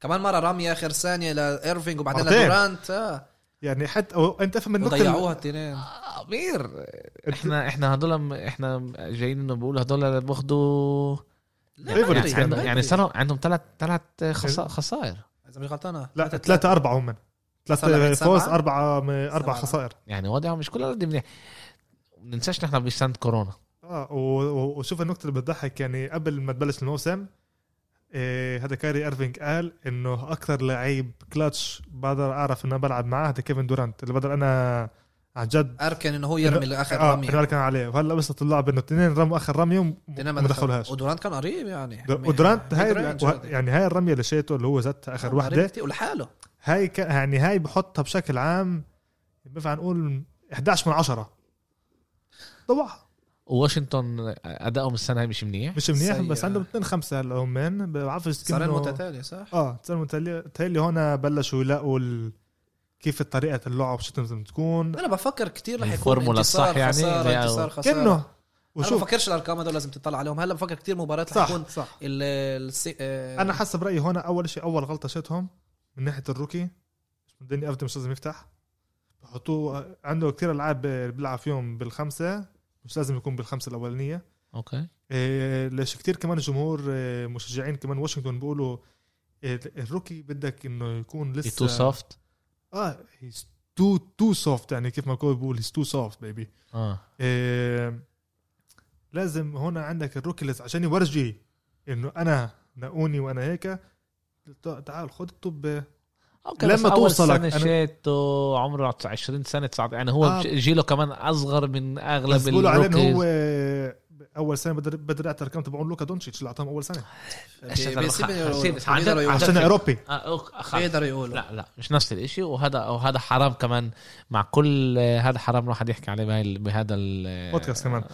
Speaker 2: كمان مرة رمية آخر ثانية لإيرفينج وبعدين
Speaker 3: مرتين.
Speaker 2: لدورانت آه.
Speaker 3: يعني حتى أو- انت افهم النقطه
Speaker 2: وضيعوها التنين
Speaker 1: آه، امير احنا احنا هدول احنا جايين انه بقول هدول بياخدوا
Speaker 3: Rivalry
Speaker 1: يعني, عندهم- يعني
Speaker 2: سنة
Speaker 1: صاروا عندهم ثلاث ثلاث خسائر
Speaker 2: إذا مش غلطان آه.
Speaker 3: لا ثلاثة أربعة هم
Speaker 2: سبعة.
Speaker 3: ثلاثة فوز
Speaker 2: سبعة.
Speaker 3: أربعة م- أربع
Speaker 2: سبعة.
Speaker 3: خسائر
Speaker 1: يعني وضعهم مش كل قد منيح ما ننساش نحن بسنه كورونا
Speaker 3: اه و- و- وشوف النقطة اللي بتضحك يعني قبل ما تبلش الموسم إيه هذا كاري ايرفينج قال انه اكثر لعيب كلاتش بقدر اعرف انه بلعب معاه هذا كيفن دورانت اللي بقدر انا عن جد
Speaker 2: أركن إنه هو يرمي لآخر
Speaker 3: اه
Speaker 2: رمية
Speaker 3: إنه كان عليه وهلا وصلت اللعبة انه اثنين رموا اخر رمية وم-
Speaker 2: التنين ما
Speaker 3: وما دخلوهاش
Speaker 2: ودورانت كان قريب يعني
Speaker 3: ودورانت هاي
Speaker 2: ميد-رينج
Speaker 3: وه-
Speaker 2: هذا.
Speaker 3: يعني هاي الرمية اللي شيته اللي هو زتها
Speaker 2: آه،
Speaker 3: اخر
Speaker 2: مرة
Speaker 3: وحدة
Speaker 2: كتير. ولحاله
Speaker 3: هاي ك... يعني هاي بحطها بشكل عام بينفع نقول 11 من 10 ضوعها
Speaker 1: وواشنطن ادائهم السنه هاي مش منيح
Speaker 3: مش منيح
Speaker 2: سيئة.
Speaker 3: بس عندهم 2 5 هلا هم من بعرفش
Speaker 2: صارين
Speaker 3: كأنه-
Speaker 2: متتالية صح؟
Speaker 3: اه صار متهيألي متهيألي هون بلشوا يلاقوا ال... كيف طريقة اللعب شو لازم تكون
Speaker 2: أنا بفكر كتير رح يكون
Speaker 1: الفورمولا
Speaker 2: انتصار
Speaker 1: الصح يعني،
Speaker 2: خسارة
Speaker 1: زي-
Speaker 2: انتصار خسارة
Speaker 3: كأنه
Speaker 2: أنا ما
Speaker 3: وشوف
Speaker 2: بفكرش الأرقام هدول لازم تطلع عليهم هلا بفكر كتير مباريات رح يكون
Speaker 3: صح صح
Speaker 2: ال السي... آه،
Speaker 3: انا حسب رايي هون اول شيء اول غلطه شتهم من ناحيه الروكي داني افدي مش لازم يفتح بحطوه عنده كثير العاب بيلعب فيهم بالخمسه مش لازم يكون بالخمسه الاولانيه
Speaker 1: اوكي
Speaker 3: إيه، ليش كتير كمان الجمهور إيه، مشجعين كمان واشنطن آه، بيقولوا إيه، الروكي بدك انه يكون لسه
Speaker 1: تو سوفت
Speaker 3: اه he's تو تو سوفت يعني كيف ما كوبي بيقول هيز تو سوفت بيبي
Speaker 1: اه
Speaker 3: إيه، لازم هون عندك الروكلز عشان يورجي انه انا نقوني وانا هيك تع- تعال خد الطب
Speaker 1: اوكي
Speaker 3: لما
Speaker 1: لما توصلك
Speaker 3: توصلك
Speaker 1: سنة
Speaker 3: أنا-
Speaker 1: شيتو عمره 20 سنه 19 يعني هو
Speaker 3: آه.
Speaker 1: ج- جيله كمان اصغر من اغلب
Speaker 3: بس بيقولوا عليه انه هو
Speaker 1: الروكيز.
Speaker 3: اول سنه بدر بدر الارقام تبعون لوكا دونتشيتش اللي اعطاهم اول سنه
Speaker 1: إيش هذا
Speaker 2: بيسيب-
Speaker 1: الخ- سيبس، عن جد؟
Speaker 2: بيقدروا يقولوا-
Speaker 1: عشان-
Speaker 3: عشان اوروبي
Speaker 1: آه، أوك- خ-
Speaker 3: إيه
Speaker 2: بيقدروا يقولوا
Speaker 1: لا لا مش نفس الاشي وهذا وهذا حرام كمان مع كل آه، هذا حرام الواحد يحكي عليه بهاي- بهذا ال
Speaker 3: بودكاست كمان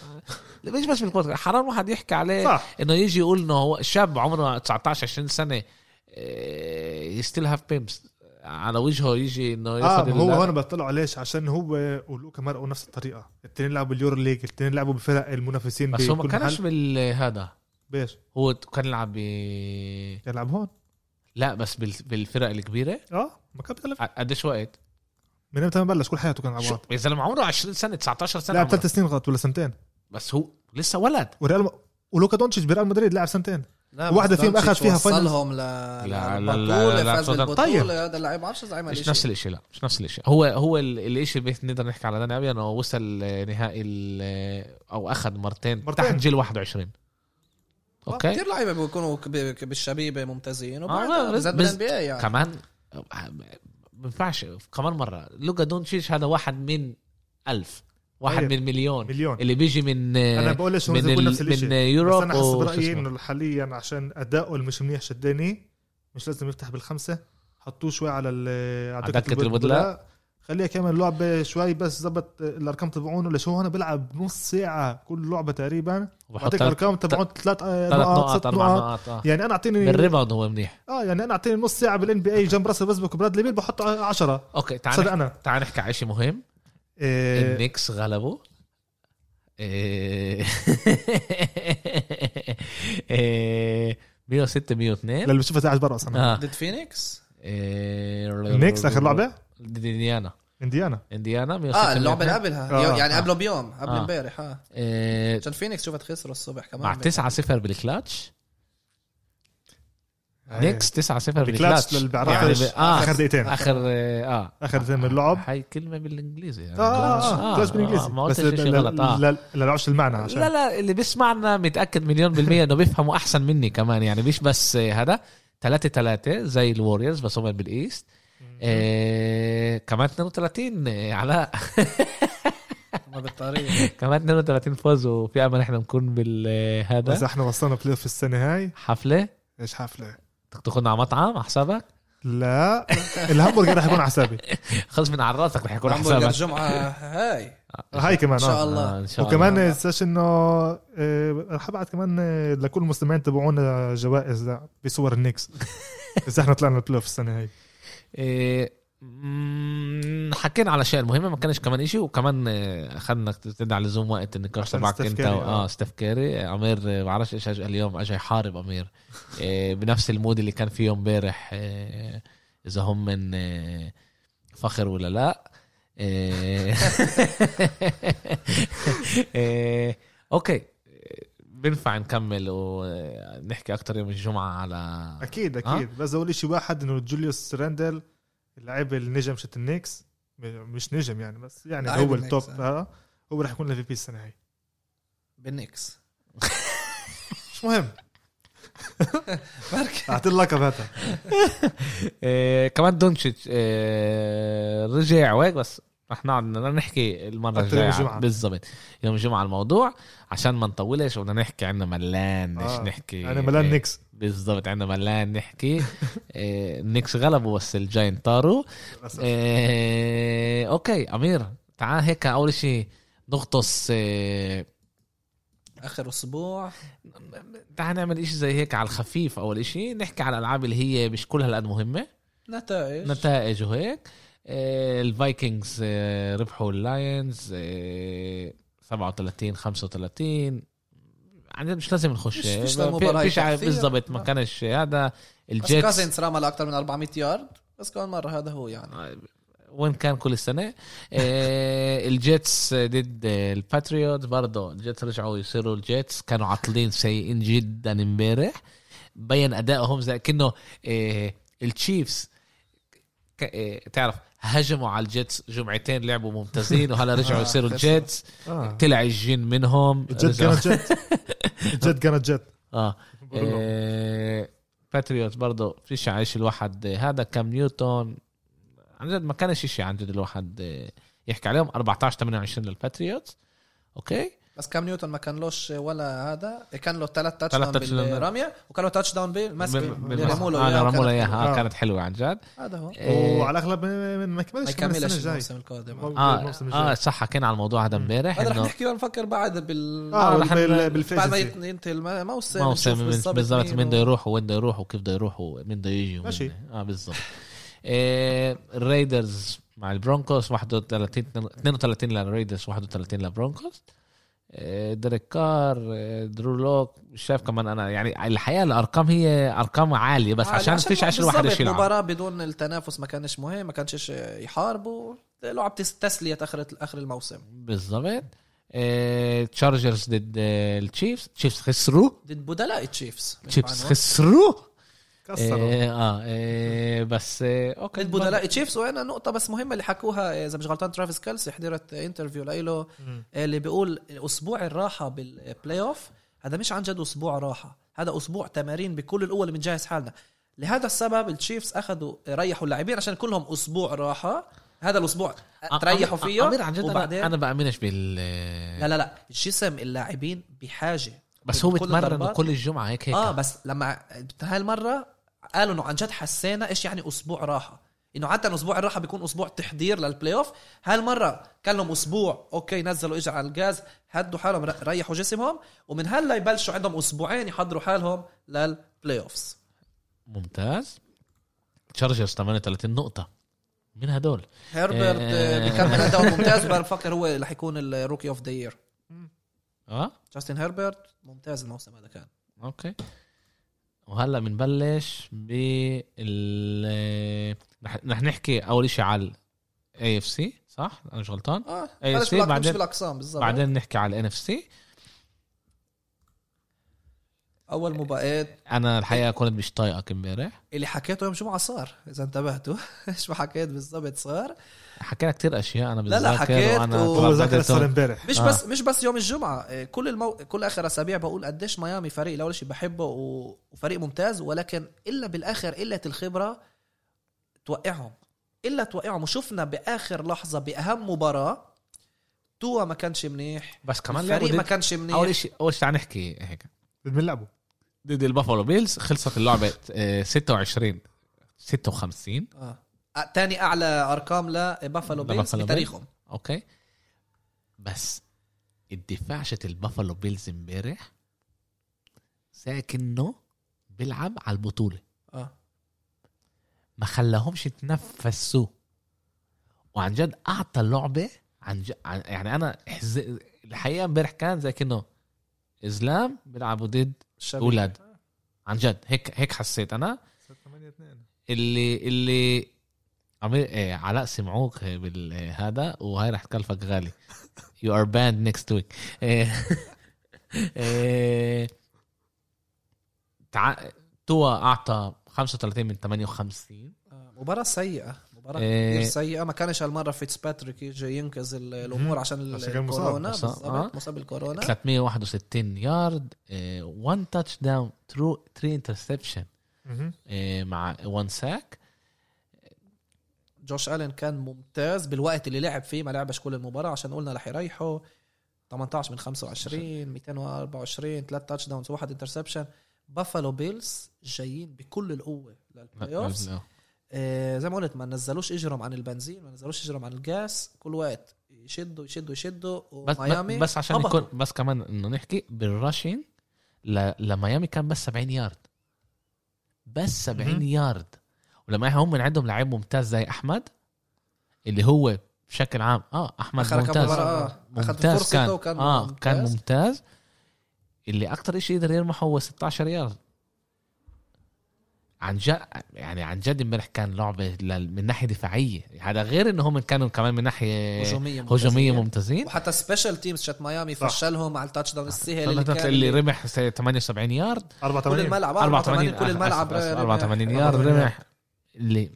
Speaker 1: مش بس بالبودكاست حرام الواحد يحكي عليه
Speaker 3: صح
Speaker 1: انه يجي يقول انه هو شاب عمره 19 20 سنه يستيل هاف بيمس على وجهه يجي انه
Speaker 3: اه
Speaker 1: ياخذ
Speaker 3: ما هو
Speaker 1: ال-
Speaker 3: هون بطلعوا ليش عشان هو ولوكا مرقوا نفس الطريقه الاثنين لعبوا اليورو ليج الاثنين لعبوا بفرق المنافسين
Speaker 1: بس هو ما
Speaker 3: بكل
Speaker 1: كانش
Speaker 3: محل.
Speaker 1: بالهذا
Speaker 3: بيش
Speaker 1: هو كان يلعب ب
Speaker 3: يلعب هون
Speaker 1: لا بس بال... بالفرق الكبيره
Speaker 3: اه ما كان بيلعب
Speaker 1: ع- قديش وقت؟
Speaker 3: من امتى ما بلش كل حياته كان
Speaker 1: شو-
Speaker 3: عباد
Speaker 1: يا زلمه عمره 20 سنه 19 سنه
Speaker 3: لعب
Speaker 1: عمره.
Speaker 3: ثلاث سنين غلط ولا سنتين
Speaker 1: بس هو لسه ولد
Speaker 3: وريال م- ولوكا دونتشيتش بريال مدريد لعب سنتين
Speaker 2: لا
Speaker 3: واحدة
Speaker 2: بس
Speaker 3: فيهم أخذ
Speaker 2: دونتش
Speaker 3: فيها فاينل.
Speaker 2: وصلهم ل
Speaker 1: لا، لا، لا،
Speaker 2: للبطولة،
Speaker 1: لا،
Speaker 2: فاز
Speaker 1: لا،
Speaker 2: بالبطولة.
Speaker 3: طيب.
Speaker 2: هذا اللاعب عارفش إذا عمل
Speaker 1: مش
Speaker 2: شيء
Speaker 1: نفس الشيء لا مش نفس الشيء هو هو ال- الاشي اللي نقدر نحكي على داني ابيض انه وصل نهائي ال- او اخذ مرتين,
Speaker 3: مرتين.
Speaker 1: تحت جيل 21 اوكي
Speaker 2: كثير لعيبه بيكونوا كب- ك- بالشبيبه ممتازين
Speaker 1: آه، لا،
Speaker 2: وبعدها بالذات
Speaker 1: بس-
Speaker 2: بالان بي اي يعني
Speaker 1: كمان ما ينفعش كمان مره لوكا دونتشيتش هذا واحد من ألف واحد
Speaker 3: طيب.
Speaker 1: من مليون
Speaker 3: مليون
Speaker 1: اللي بيجي من
Speaker 3: انا بقول ليش هو
Speaker 1: من,
Speaker 3: لازم يكون
Speaker 1: ال-
Speaker 3: نفس الشيء
Speaker 1: من
Speaker 3: بس
Speaker 1: يوروب
Speaker 3: انا حاسس
Speaker 1: وشو
Speaker 3: برايي
Speaker 1: اسمه.
Speaker 3: انه حاليا عشان اداؤه اللي مش منيح شدني مش لازم يفتح بالخمسه حطوه شوي على ال- على
Speaker 1: على دكة
Speaker 3: البد-
Speaker 1: البدلاء.
Speaker 3: البدلاء. خليها كمان لعبه شوي بس ظبط الارقام تبعونه ليش هو هنا بيلعب نص ساعه كل لعبه تقريبا
Speaker 1: وبحط
Speaker 3: بعطيك
Speaker 1: ثلاث
Speaker 3: ارقام تبعون ثلاث نقط
Speaker 1: نقط
Speaker 3: ست
Speaker 1: اربع
Speaker 3: نقط
Speaker 1: نقط آه.
Speaker 3: آه، يعني انا اعطيني
Speaker 1: بالريباوند هو منيح
Speaker 3: اه يعني انا اعطيني نص ساعه بالان بي اي جنب راسل بسبك وبرادلي بيل بحط 10
Speaker 1: اوكي تعال
Speaker 3: صدق
Speaker 1: نحكي-
Speaker 3: انا
Speaker 1: تعال نحكي على شيء مهم
Speaker 3: إيه،
Speaker 1: النكس غلبوا إيه. إيه. 106 102
Speaker 3: آه، للي بشوفها قاعد برقص انا
Speaker 1: اه
Speaker 2: ضد فينيكس
Speaker 1: إيه.
Speaker 3: النكس اخر لعبه
Speaker 1: انديانا
Speaker 3: انديانا
Speaker 1: انديانا 106
Speaker 2: اه اللعبه
Speaker 1: 102.
Speaker 2: اللي قبلها
Speaker 3: آه.
Speaker 2: يعني قبله بيوم قبل
Speaker 1: آه.
Speaker 2: امبارح اه
Speaker 1: إيه،
Speaker 2: عشان فينيكس شفت خسروا الصبح كمان
Speaker 1: مع 9 0 بالكلاتش نيكس 9 0
Speaker 3: الكلاتش
Speaker 1: بالكلاتش
Speaker 3: للي
Speaker 1: يعني
Speaker 3: بيعرفش
Speaker 1: ب- آه.
Speaker 3: اخر دقيقتين
Speaker 1: اخر اه
Speaker 3: آخر دقيقتين من اللعب.
Speaker 1: هاي كلمه بالانجليزي يعني.
Speaker 3: اه اه كلاس بالانجليزي
Speaker 1: ما
Speaker 3: بس
Speaker 1: قلتش
Speaker 3: لا-
Speaker 1: شيء غلط
Speaker 3: لا
Speaker 1: اه
Speaker 3: لا- لا نعرفش المعنى
Speaker 1: لا
Speaker 3: عشان
Speaker 1: لا اللي بيسمعنا متاكد مليون بالميه انه بيفهموا احسن مني كمان يعني مش بس آه، هذا 3 3 زي الوريورز بس هم بالايست آه كمان 32 آه، علاء
Speaker 2: ما بالطريقه
Speaker 1: كمان 32 فوز وفي امل احنا نكون
Speaker 3: بس
Speaker 1: بالهذا
Speaker 3: احنا وصلنا بلاي اوف السنه هاي
Speaker 1: حفله
Speaker 3: ايش حفله
Speaker 1: بدك تاخذنا على مطعم على حسابك
Speaker 3: لا الهمبرجر رح يكون على حسابي
Speaker 1: خلص من عراسك رح يكون على
Speaker 2: هامبورغ
Speaker 1: حسابك
Speaker 2: الجمعه هاي
Speaker 3: هاي كمان
Speaker 2: ان شاء
Speaker 3: اه
Speaker 1: آه،
Speaker 2: الله
Speaker 1: ان شاء الله
Speaker 3: وكمان انساش انه آه، رح ابعت كمان آه، لكل المستمعين تبعونا جوائز لا، بصور النكس اذا احنا طلعنا البلاي اوف السنه هاي
Speaker 1: إيه، مم، حكينا على شيء المهم ما كانش كمان شيء وكمان آه، اخذنا تدعي على زوم وقت النقاش
Speaker 3: عشان
Speaker 1: تبعك
Speaker 3: ستيف
Speaker 1: انت
Speaker 3: كاري،
Speaker 1: و- اه
Speaker 3: آه.
Speaker 1: ستيف كاري آه، امير آه، بعرفش ايش اجى اليوم اجى يحارب امير آه، بنفس المود اللي كان فيه امبارح آه، اذا هم من آه، فخر ولا لا آه، آه، اوكي بنفع نكمل ونحكي اكتر يوم الجمعه على
Speaker 3: اكيد
Speaker 1: آه.
Speaker 3: اكيد بس اول شيء واحد انه جوليوس راندل اللاعب اللي نجم شت النكس م- مش نجم يعني بس يعني
Speaker 2: لاعب
Speaker 3: هو
Speaker 2: النكس،
Speaker 3: التوب
Speaker 2: آه.
Speaker 3: آه، هو رح يكون الفي بي السنه هاي
Speaker 2: بالنكس
Speaker 3: مش مهم
Speaker 2: بركي
Speaker 3: اعطي اللقب هذا
Speaker 1: إيه كمان دونتشيتش إيه رجع وهيك بس رح نقعد بدنا نحكي المره
Speaker 3: أكتر يوم
Speaker 1: الجايه
Speaker 3: الجمعة.
Speaker 1: بالضبط يوم الجمعه الموضوع عشان ما نطولش وبدنا نحكي عندنا ملان مش
Speaker 3: آه،
Speaker 1: نحكي
Speaker 3: انا ملان
Speaker 1: إيه،
Speaker 3: نكس
Speaker 1: بالضبط عندنا ملان نحكي إيه نيكس غلبوا بس الجاين طاروا
Speaker 3: للأسف.
Speaker 1: إيه اوكي امير تعال هيك اول شيء نغطس إيه
Speaker 2: اخر اسبوع
Speaker 1: تعال نعمل إشي زي هيك على الخفيف اول إشي نحكي على الالعاب اللي هي مش كلها هالقد مهمه
Speaker 2: نتائج
Speaker 1: نتائج وهيك آه، الفايكنجز آه، ربحوا اللاينز آه، 37 35 عن جد يعني مش لازم نخش
Speaker 2: مش- مش
Speaker 1: ما- في-
Speaker 2: مباراة
Speaker 1: فيش ع-
Speaker 2: كثير.
Speaker 1: بالضبط ما
Speaker 2: لا.
Speaker 1: كانش هذا
Speaker 2: بس
Speaker 1: الجيتس
Speaker 2: كازنز رمى لاكثر من 400 يارد بس كمان مره هذا هو يعني
Speaker 1: آه، وين كان كل السنه آه، الجيتس ضد الباتريوت برضه الجيتس رجعوا يصيروا الجيتس كانوا عاطلين سيئين جدا امبارح بين ادائهم زي كانه آه، التشيفز ك- إيه، تعرف هجموا على الجيتس جمعتين لعبوا ممتازين وهلا رجعوا
Speaker 2: آه،
Speaker 1: يصيروا
Speaker 2: خسروا.
Speaker 1: الجيتس
Speaker 3: آه.
Speaker 1: طلع الجين منهم
Speaker 3: جد
Speaker 1: رجعوا-
Speaker 3: كانت جد جد كانت جد
Speaker 1: اه باتريوت برضه آه، فيش عايش الواحد آه، هذا كام نيوتن عن جد ما كانش شيء عن جد الواحد آه، يحكي عليهم 14 28 للباتريوت اوكي
Speaker 2: بس كام نيوتن ما كان لوش ولا هذا كان له ثلاث تاتش
Speaker 1: تلات
Speaker 2: داون
Speaker 1: touch down.
Speaker 2: بالرميه وكان له تاتش داون بالمسك رموا له
Speaker 1: انا
Speaker 2: إياه
Speaker 1: رموا له
Speaker 2: وكانت-
Speaker 1: اياها آه،
Speaker 3: آه.
Speaker 1: كانت حلوه عن جد
Speaker 2: هذا هو
Speaker 1: آه،
Speaker 3: وعلى الاغلب ما-
Speaker 2: إيه.
Speaker 3: ما- ما
Speaker 2: ما
Speaker 3: كملش كمان
Speaker 2: يكملش
Speaker 3: السنه الجايه
Speaker 2: الموسم آه. القادم
Speaker 1: اه
Speaker 3: الموسم
Speaker 1: اه
Speaker 3: الجاي
Speaker 1: صح حكينا على الموضوع هذا امبارح
Speaker 2: هذا رح
Speaker 1: انه
Speaker 2: نحكي ونفكر بعد بال
Speaker 1: آه،
Speaker 3: اه
Speaker 1: رح
Speaker 3: بال-
Speaker 2: بعد ما
Speaker 3: بالفيجنسي
Speaker 2: يت- ينتهي الموسم
Speaker 1: موسم
Speaker 2: نشوف
Speaker 1: من-
Speaker 2: بالضبط
Speaker 1: بالضبط مين بده
Speaker 2: هو.
Speaker 1: يروح وين بده يروح وكيف بده يروح ومين بده يجي ومين-
Speaker 3: ماشي.
Speaker 1: اه بالضبط آه، الريدرز مع البرونكوس 31 32 للريدرز 31 للبرونكوس آه، ديريك كار آه، درو لوك مش شايف كمان انا يعني الحقيقه الارقام هي ارقام عاليه بس
Speaker 2: آه،
Speaker 1: عشان فيش عشان
Speaker 2: بالضبط،
Speaker 1: الواحد يشيل يلعب
Speaker 2: مباراة بدون التنافس ما كانش مهم ما كانش يحاربوا لعب تس- تسلية اخر اخر الموسم
Speaker 1: بالضبط تشارجرز ضد آه، التشيفز تشيفز خسروا
Speaker 2: ضد بدلاء التشيفز مش
Speaker 1: تشيفز
Speaker 2: معنوه.
Speaker 1: خسروا
Speaker 3: كسروا
Speaker 2: إيه.
Speaker 1: اه, آه, آه بس آه اوكي
Speaker 2: ضد بدلاء التشيفز وهنا نقطة بس مهمة اللي حكوها اذا مش غلطان ترافيس كالسي حضرت انترفيو له
Speaker 3: مم.
Speaker 2: اللي بيقول اسبوع الراحه بالبلاي اوف هذا مش عن جد اسبوع راحه هذا اسبوع تمارين بكل القوه اللي بنجهز حالنا لهذا السبب التشيفز اخذوا ريحوا اللاعبين عشان كلهم اسبوع راحه هذا الاسبوع تريحوا
Speaker 1: أمير-
Speaker 2: فيه
Speaker 1: امير عن جد
Speaker 2: وبعدين
Speaker 1: انا انا بامنش بال
Speaker 2: لا لا لا جسم اللاعبين بحاجه
Speaker 1: بس هو
Speaker 2: بكل
Speaker 1: بتمرن
Speaker 2: الضربات.
Speaker 1: كل الجمعه هيك هيك
Speaker 2: اه بس لما هالمره قالوا انه عن جد حسينا ايش يعني اسبوع راحه انه عاده اسبوع الراحه بيكون اسبوع تحضير للبلاي اوف هالمره كان لهم اسبوع اوكي نزلوا اجى على الجاز هدوا حالهم ر- ريحوا جسمهم ومن هلا يبلشوا عندهم اسبوعين يحضروا حالهم للبلاي اوفز
Speaker 1: ممتاز تشارجرز 38 نقطه من هدول
Speaker 2: هربرت آه،
Speaker 1: آه.
Speaker 2: بيكمل اداء ممتاز بفكر هو اللي حيكون الروكي اوف ذا يير
Speaker 1: اه
Speaker 2: جاستن هربرت ممتاز الموسم هذا كان
Speaker 1: اوكي وهلا بنبلش بال رح رح نحكي اول شيء على الاي اف سي صح انا مش غلطان
Speaker 2: اه
Speaker 1: أي
Speaker 2: بلش
Speaker 1: شيء
Speaker 2: بالأق-
Speaker 1: إيه، بعدين-
Speaker 2: مش بالاقسام بالظبط
Speaker 1: بعدين نحكي على الان اف سي
Speaker 2: اول مباراه
Speaker 1: انا الحقيقه كنت مش طايقك امبارح
Speaker 2: اللي حكيته يوم جمعه صار اذا انتبهتوا شو حكيت بالضبط صار
Speaker 1: حكينا كتير اشياء انا
Speaker 2: لا،
Speaker 1: بتذكر
Speaker 2: لا، حكيت
Speaker 1: وانا
Speaker 2: و-
Speaker 3: هو
Speaker 1: طلعت
Speaker 3: ذاكر
Speaker 1: بديتهم-
Speaker 3: صار امبارح
Speaker 2: مش
Speaker 1: آه.
Speaker 2: آه. بس مش بس يوم الجمعه آه، كل المو... كل اخر اسابيع بقول قديش ميامي فريق الاول شيء بحبه و... وفريق ممتاز ولكن الا بالاخر قله الخبره توقعهم الا توقعهم وشفنا باخر لحظه باهم مباراه توا ما كانش منيح
Speaker 1: بس كمان لعبوا
Speaker 2: الفريق ما
Speaker 1: ضد
Speaker 2: كانش منيح
Speaker 1: اول شيء اول شيء تعال نحكي هيك
Speaker 3: بنلعبوا
Speaker 1: ضد البافالو بيلز خلصت اللعبه آه، 26 56
Speaker 2: آه. آه، تاني اعلى ارقام لبافالو بيلز
Speaker 1: لبافالو
Speaker 2: بتاريخهم
Speaker 1: اوكي بس الدفاع شت البافالو بيلز امبارح ساكنه بيلعب على البطوله
Speaker 2: اه
Speaker 1: ما خلاهمش يتنفسوا وعن جد اعطى اللعبه عن جد عن- يعني انا حز... الحقيقه امبارح كان زي كانه اسلام بيلعبوا ضد
Speaker 2: الشباب.
Speaker 1: اولاد عن جد هيك هيك حسيت انا اللي اللي عمير ايه علاء سمعوك بال- إيه، هذا وهاي رح تكلفك غالي يو ار باند نيكست ويك إيه، تع... توا اعطى 35 من 58
Speaker 2: آه، مباراة سيئة مباراة
Speaker 1: إيه.
Speaker 2: كثير سيئة ما كانش هالمرة فيتسباتريك يجي ينقذ ال- الأمور عشان ال-
Speaker 3: عشان كان مصاب.
Speaker 2: الكورونا
Speaker 1: مصاب، آه.
Speaker 2: بالضبط مصاب الكورونا
Speaker 1: 361 يارد 1 تاتش داون ثرو 3 انترسبشن إيه، مع 1 ساك
Speaker 2: جوش ألين كان ممتاز بالوقت اللي لعب فيه ما لعبش كل المباراة عشان قلنا رح يريحه 18 من 25 224 3 تاتش داونز واحد انترسبشن بافالو بيلز جايين بكل القوة للبلاي اوفز آه، زي ما قلت ما نزلوش اجرهم عن البنزين ما نزلوش اجرهم عن الجاس كل وقت يشدوا يشدوا يشدوا
Speaker 1: بس
Speaker 2: وميامي
Speaker 1: بس عشان
Speaker 2: هبطوا.
Speaker 1: يكون بس كمان انه نحكي بالراشين ل... لميامي كان بس 70 يارد بس 70
Speaker 3: مهم.
Speaker 1: يارد ولما هم من عندهم لعيب ممتاز زي احمد اللي هو بشكل عام اه احمد
Speaker 2: آخر كم
Speaker 1: ممتاز
Speaker 2: مباراة، آه. أخذ
Speaker 1: ممتاز
Speaker 2: فرصته
Speaker 1: كان
Speaker 2: وكان
Speaker 1: اه كان
Speaker 2: ممتاز.
Speaker 1: ممتاز اللي اكثر شيء يقدر يرمحه هو 16 يارد عن جد يعني عن جد امبارح كان لعبه لل... من ناحيه دفاعيه هذا غير ان هم كانوا كمان من ناحيه
Speaker 2: هجومية
Speaker 1: هجوميه
Speaker 2: ممتازين.
Speaker 1: ممتازين
Speaker 2: وحتى سبيشال تيمز شت ميامي
Speaker 3: صح.
Speaker 2: فشلهم على التاتش
Speaker 1: آه.
Speaker 2: داون السهل
Speaker 1: اللي,
Speaker 2: اللي كان
Speaker 1: اللي رمح 78 يارد
Speaker 2: كل
Speaker 3: 84
Speaker 2: الملعب
Speaker 1: 84
Speaker 2: كل الملعب
Speaker 1: آسف، آسف،
Speaker 2: رمح.
Speaker 1: 84 يارد
Speaker 2: 84
Speaker 1: رمح اللي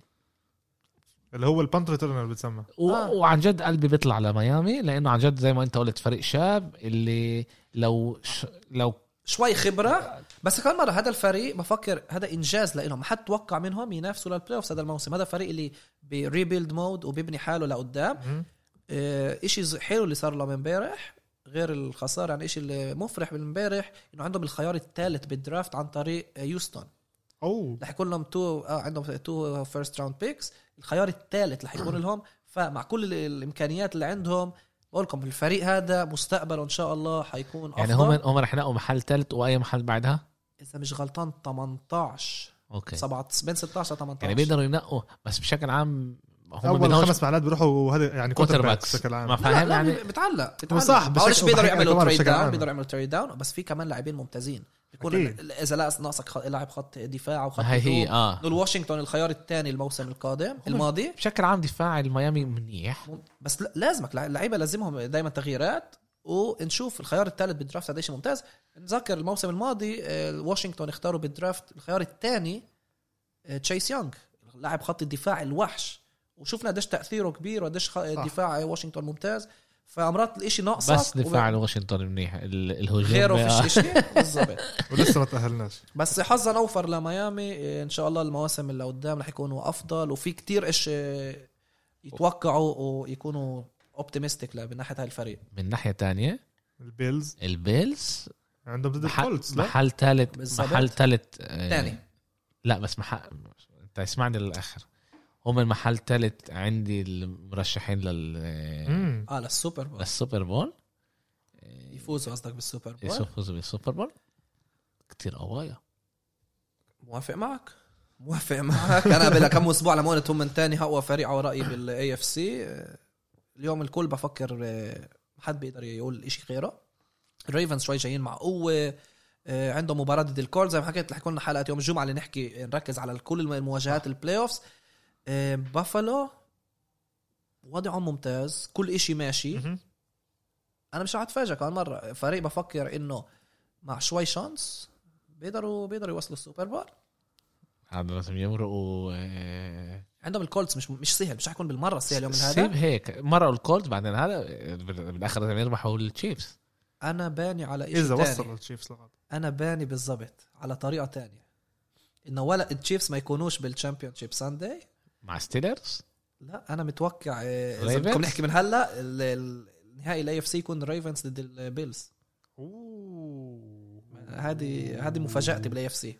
Speaker 3: اللي هو البانت ريتيرنر بتسمى
Speaker 1: و...
Speaker 2: آه.
Speaker 1: وعن جد قلبي بيطلع لميامي لانه عن جد زي ما انت قلت فريق شاب اللي لو ش... لو
Speaker 2: شوي خبره بس كمان مره هذا الفريق بفكر هذا انجاز لهم ما حد توقع منهم ينافسوا للبلاي اوف هذا الموسم هذا الفريق اللي بريبيلد مود وبيبني حاله لقدام
Speaker 3: مم.
Speaker 2: آه، اشي ز- حلو اللي صار لهم امبارح غير الخساره يعني اشي اللي مفرح من امبارح انه عندهم الخيار الثالث بالدرافت عن طريق آه، يوستن
Speaker 3: اوه
Speaker 2: رح يكون لهم تو آه عندهم تو فيرست راوند بيكس الخيار الثالث رح يكون لهم فمع كل ال- الامكانيات اللي عندهم بقول لكم الفريق هذا مستقبله ان شاء الله حيكون افضل
Speaker 1: يعني هم هم رح يلاقوا محل ثالث واي محل بعدها
Speaker 2: اذا مش غلطان 18
Speaker 1: اوكي
Speaker 2: 7 بين 16 ل 18
Speaker 1: يعني بيقدروا ينقوا بس بشكل عام هم
Speaker 3: اول
Speaker 1: بدهم
Speaker 3: خمس معلات بيروحوا هذا يعني
Speaker 1: كوتر
Speaker 3: كوتر
Speaker 1: باكس
Speaker 3: باكس بشكل
Speaker 1: ما
Speaker 3: عام
Speaker 2: لا،
Speaker 1: فاهم
Speaker 2: لا،
Speaker 1: يعني
Speaker 2: بتعلق بتعلق
Speaker 3: صح، بس
Speaker 2: بقولش
Speaker 3: هيك-
Speaker 2: بيقدروا يعملوا
Speaker 3: بحكي
Speaker 2: تريد
Speaker 3: كمان بشكل
Speaker 2: داون
Speaker 3: عام.
Speaker 2: بيقدروا يعملوا تريد داون بس في كمان لاعبين ممتازين بيكون
Speaker 3: أكيد.
Speaker 2: اذا لا ناقصك خط- لاعب خط دفاع او خط
Speaker 1: هاي هي
Speaker 2: هجوم
Speaker 1: اه
Speaker 2: دول واشنطن الخيار الثاني الموسم القادم الماضي
Speaker 1: بشكل عام دفاع الميامي منيح
Speaker 2: مم- بس لا- لازمك لع- لعيبه لازمهم دائما تغييرات ونشوف الخيار الثالث بالدرافت قديش ممتاز نذكر الموسم الماضي آه، واشنطن اختاروا بالدرافت الخيار الثاني آه، تشيس يونغ لاعب خط الدفاع الوحش وشفنا قديش تاثيره كبير وقديش خ- دفاع واشنطن ممتاز فامرات الاشي ناقصك
Speaker 1: بس دفاع
Speaker 2: وب-
Speaker 1: الواشنطن منيح ال- الهجوم
Speaker 2: غيره
Speaker 1: بقى-
Speaker 2: فيش اشي بالضبط
Speaker 3: ولسه ما تاهلناش
Speaker 2: بس حظا اوفر لميامي إيه، ان شاء الله المواسم اللي قدام رح يكونوا افضل وفي كتير ايش إيه، يتوقعوا ويكونوا اوبتيمستيك من ناحيه هاي الفريق
Speaker 1: من ناحيه تانية
Speaker 3: البيلز
Speaker 1: البيلز
Speaker 3: عندهم ضد
Speaker 1: محل
Speaker 3: الكولتس لا
Speaker 1: محل ثالث
Speaker 2: بالظبط.
Speaker 1: محل ثالث آه،
Speaker 2: تاني
Speaker 1: لا بس محل انت اسمعني للاخر هم المحل الثالث عندي المرشحين لل
Speaker 3: مم.
Speaker 2: اه للسوبر بول
Speaker 1: للسوبر بول إيه،
Speaker 2: يفوزوا قصدك بالسوبر بول
Speaker 1: يفوزوا بالسوبر بول كتير قوايا
Speaker 2: موافق معك موافق معك انا قبل كم اسبوع لما قلت هم من تاني اقوى فريق على رايي بالاي اف سي اليوم الكل بفكر آه، حد بيقدر يقول شيء غيره الريفنز شوي جايين مع قوه آه، عندهم مباراه ضد الكول زي ما حكيت رح يكون لنا حلقه يوم الجمعه اللي نحكي آه، نركز على كل الم- المواجهات البلاي اوفز بافالو وضعهم ممتاز كل إشي ماشي
Speaker 3: مهم.
Speaker 2: انا مش رح اتفاجئ كمان مره فريق بفكر انه مع شوي شانس بيقدروا بيقدروا يوصلوا السوبر بول
Speaker 1: هذا لازم يمرقوا آه،
Speaker 2: عندهم الكولتس مش مش سهل مش رح يكون بالمره سهل يوم من
Speaker 1: سيب
Speaker 2: هذا
Speaker 1: هيك مرقوا الكولت بعدين هذا آه، بال- بالاخر لازم يربحوا التشيفز
Speaker 2: انا باني على شيء
Speaker 3: اذا
Speaker 2: تاني
Speaker 3: وصلوا التشيفز لغايه
Speaker 2: انا باني بالضبط على طريقه تانية انه ولا التشيفز ما يكونوش بالتشامبيون شيب سانداي
Speaker 1: مع ستيلرز
Speaker 2: لا انا متوقع آه، اذا
Speaker 1: Ravens؟
Speaker 2: بدكم نحكي من هلا ال- ال- نهائي الاي اف سي يكون ريفنز ضد البيلز
Speaker 3: اوه
Speaker 2: هذه هذه مفاجاتي بالاي اف سي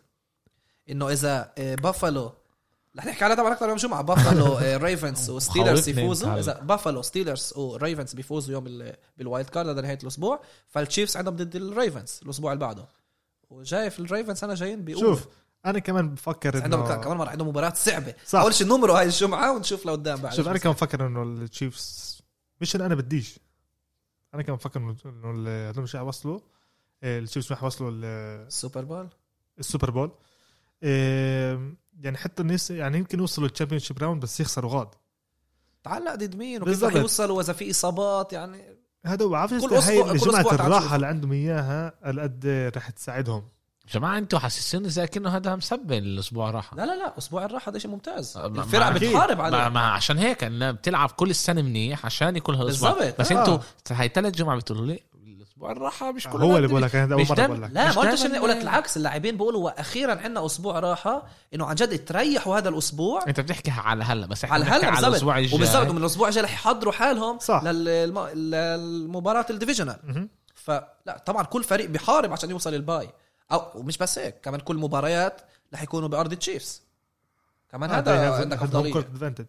Speaker 2: انه اذا بافالو آه، رح نحكي عليها طبعا اكثر يوم آه، الجمعه بافالو ريفنز وستيلرز
Speaker 1: خوفني
Speaker 2: يفوزوا
Speaker 1: انت
Speaker 2: اذا بافالو ستيلرز وريفنز بيفوزوا يوم ال- بالوايلد كارد هذا نهايه الاسبوع فالتشيفز عندهم ضد الريفنز الاسبوع اللي بعده وشايف الريفنز انا جايين بيقولوا
Speaker 3: شوف انا كمان بفكر
Speaker 2: عندهم
Speaker 3: إنه-
Speaker 2: كمان مره عندهم مباراه صعبه
Speaker 3: صح.
Speaker 2: اول شيء نمره هاي الجمعه ونشوف لقدام بعد
Speaker 3: شوف انا كان مفكر انه التشيفز مش اللي انا بديش انا كان مفكر انه إنه ال- هدول مش حيوصلوا آه، التشيفز مش حيوصلوا ال-
Speaker 2: السوبر بول
Speaker 3: السوبر بول آه، يعني حتى الناس يعني يمكن يوصلوا الشامبيون شيب راوند بس يخسروا غاد
Speaker 2: تعلق ضد مين وكيف
Speaker 3: بالضبط.
Speaker 2: رح يوصلوا واذا في اصابات يعني
Speaker 3: هذا بعرفش
Speaker 2: كل
Speaker 3: هاي
Speaker 2: أسبوع- كل
Speaker 3: جماعة
Speaker 2: أسبوع
Speaker 3: الراحة
Speaker 2: تعال
Speaker 3: اللي عندهم اياها قد إيه رح تساعدهم
Speaker 1: جماعه انتوا حاسسين زي كأنه هذا مسبل الاسبوع راحه
Speaker 2: لا لا لا اسبوع الراحه ده شيء ممتاز
Speaker 1: ما-
Speaker 2: الفرقه
Speaker 1: ما-
Speaker 2: بتحارب عليه
Speaker 1: ما, ما عشان هيك انها بتلعب كل السنه منيح عشان يكون هالاسبوع
Speaker 2: بالظبط،
Speaker 1: بس
Speaker 3: آه.
Speaker 1: انتوا هاي ثلاث جمعه بتقولوا لي الاسبوع الراحه مش كل
Speaker 3: هو اللي
Speaker 1: الأندية.
Speaker 3: بقول لك انا هذا اول
Speaker 1: مش
Speaker 3: مرة
Speaker 1: دايماً-
Speaker 3: بقول لك
Speaker 2: لا
Speaker 1: مش
Speaker 2: ما قلتش
Speaker 1: دايماً- يعني.
Speaker 2: إني- قلت العكس اللاعبين بيقولوا واخيرا عندنا اسبوع راحه انه عن جد تريحوا هذا الاسبوع
Speaker 1: انت بتحكي على هلا بس احنا
Speaker 2: على
Speaker 1: بنحكي
Speaker 2: هلا
Speaker 1: إيه، على الاسبوع
Speaker 2: بالظبط
Speaker 1: الجاي
Speaker 2: وبالظبط من الاسبوع الجاي رح يحضروا حالهم
Speaker 3: صح.
Speaker 2: للم- للمباراه الديفيجنال
Speaker 3: مهم.
Speaker 2: فلا طبعا كل فريق بيحارب عشان يوصل الباي او ومش بس هيك كمان كل مباريات رح يكونوا بارض التشيفز كمان
Speaker 1: آه،
Speaker 2: هذا
Speaker 3: هذا
Speaker 2: عندك
Speaker 3: عندهم
Speaker 2: افضليه
Speaker 3: كورت ادفانتج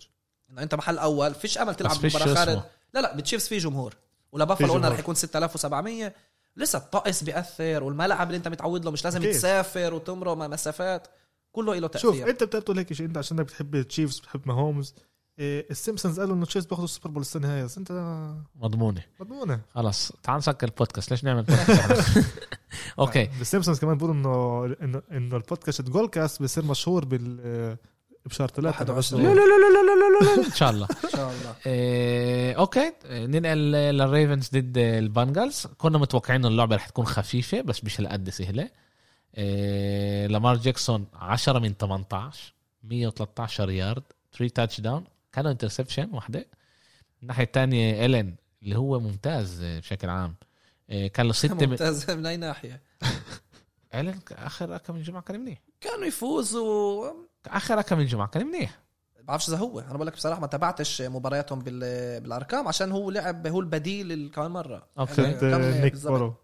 Speaker 2: انه انت محل اول فيش امل تلعب
Speaker 1: بس فيش
Speaker 2: مباراه
Speaker 1: شو
Speaker 2: خارج
Speaker 1: اسمه.
Speaker 2: لا لا بالتشيفز في جمهور ولبافلو
Speaker 3: في
Speaker 2: قلنا
Speaker 3: جمهور.
Speaker 2: رح يكون 6700 لسه الطقس بياثر والملعب اللي انت متعود له مش لازم
Speaker 3: أكيد.
Speaker 2: تسافر وتمرق مع مسافات كله له
Speaker 3: شوف
Speaker 2: تاثير
Speaker 3: انت بتقول هيك شيء انت عشانك بتحب التشيفز بتحب ماهومز إيه، السيمبسونز قالوا انه التشيفز بياخذوا السوبر بول السنه هاي بس انت
Speaker 1: مضمونه
Speaker 3: مضمونه
Speaker 1: خلاص تعال نسكر البودكاست ليش نعمل بودكاست اوكي
Speaker 3: السيمبسونز كمان بيقولوا انه انه انه البودكاست جول كاست بصير مشهور بال آه، بشهر ثلاثة
Speaker 2: 21.
Speaker 1: لا لا لا لا لا لا لا لا ان شاء الله
Speaker 2: ان شاء الله
Speaker 1: إيه، اوكي ننقل للريفنز ضد البنجلز كنا متوقعين إن اللعبه رح تكون خفيفه بس مش هالقد آه، سهله إيه، لامار جاكسون 10 من 18 113 يارد 3 تاتش داون كانوا انترسبشن واحده الناحيه الثانيه الين اللي هو ممتاز آه، بشكل عام آه، كان له سته من...
Speaker 2: ممتاز من اي ناحيه
Speaker 1: الين اخر رقم من جمعه كان منيح
Speaker 2: كانوا يفوزوا
Speaker 1: اخر رقم من جمعه كان منيح
Speaker 2: بعرفش اذا هو انا بقول لك بصراحه ما تابعتش مبارياتهم بال... بالارقام عشان هو لعب هو البديل ال- كمان مره
Speaker 1: أوكي.
Speaker 2: يعني
Speaker 3: ضد
Speaker 2: كم
Speaker 3: نيك
Speaker 2: بالظبط؟
Speaker 3: بارو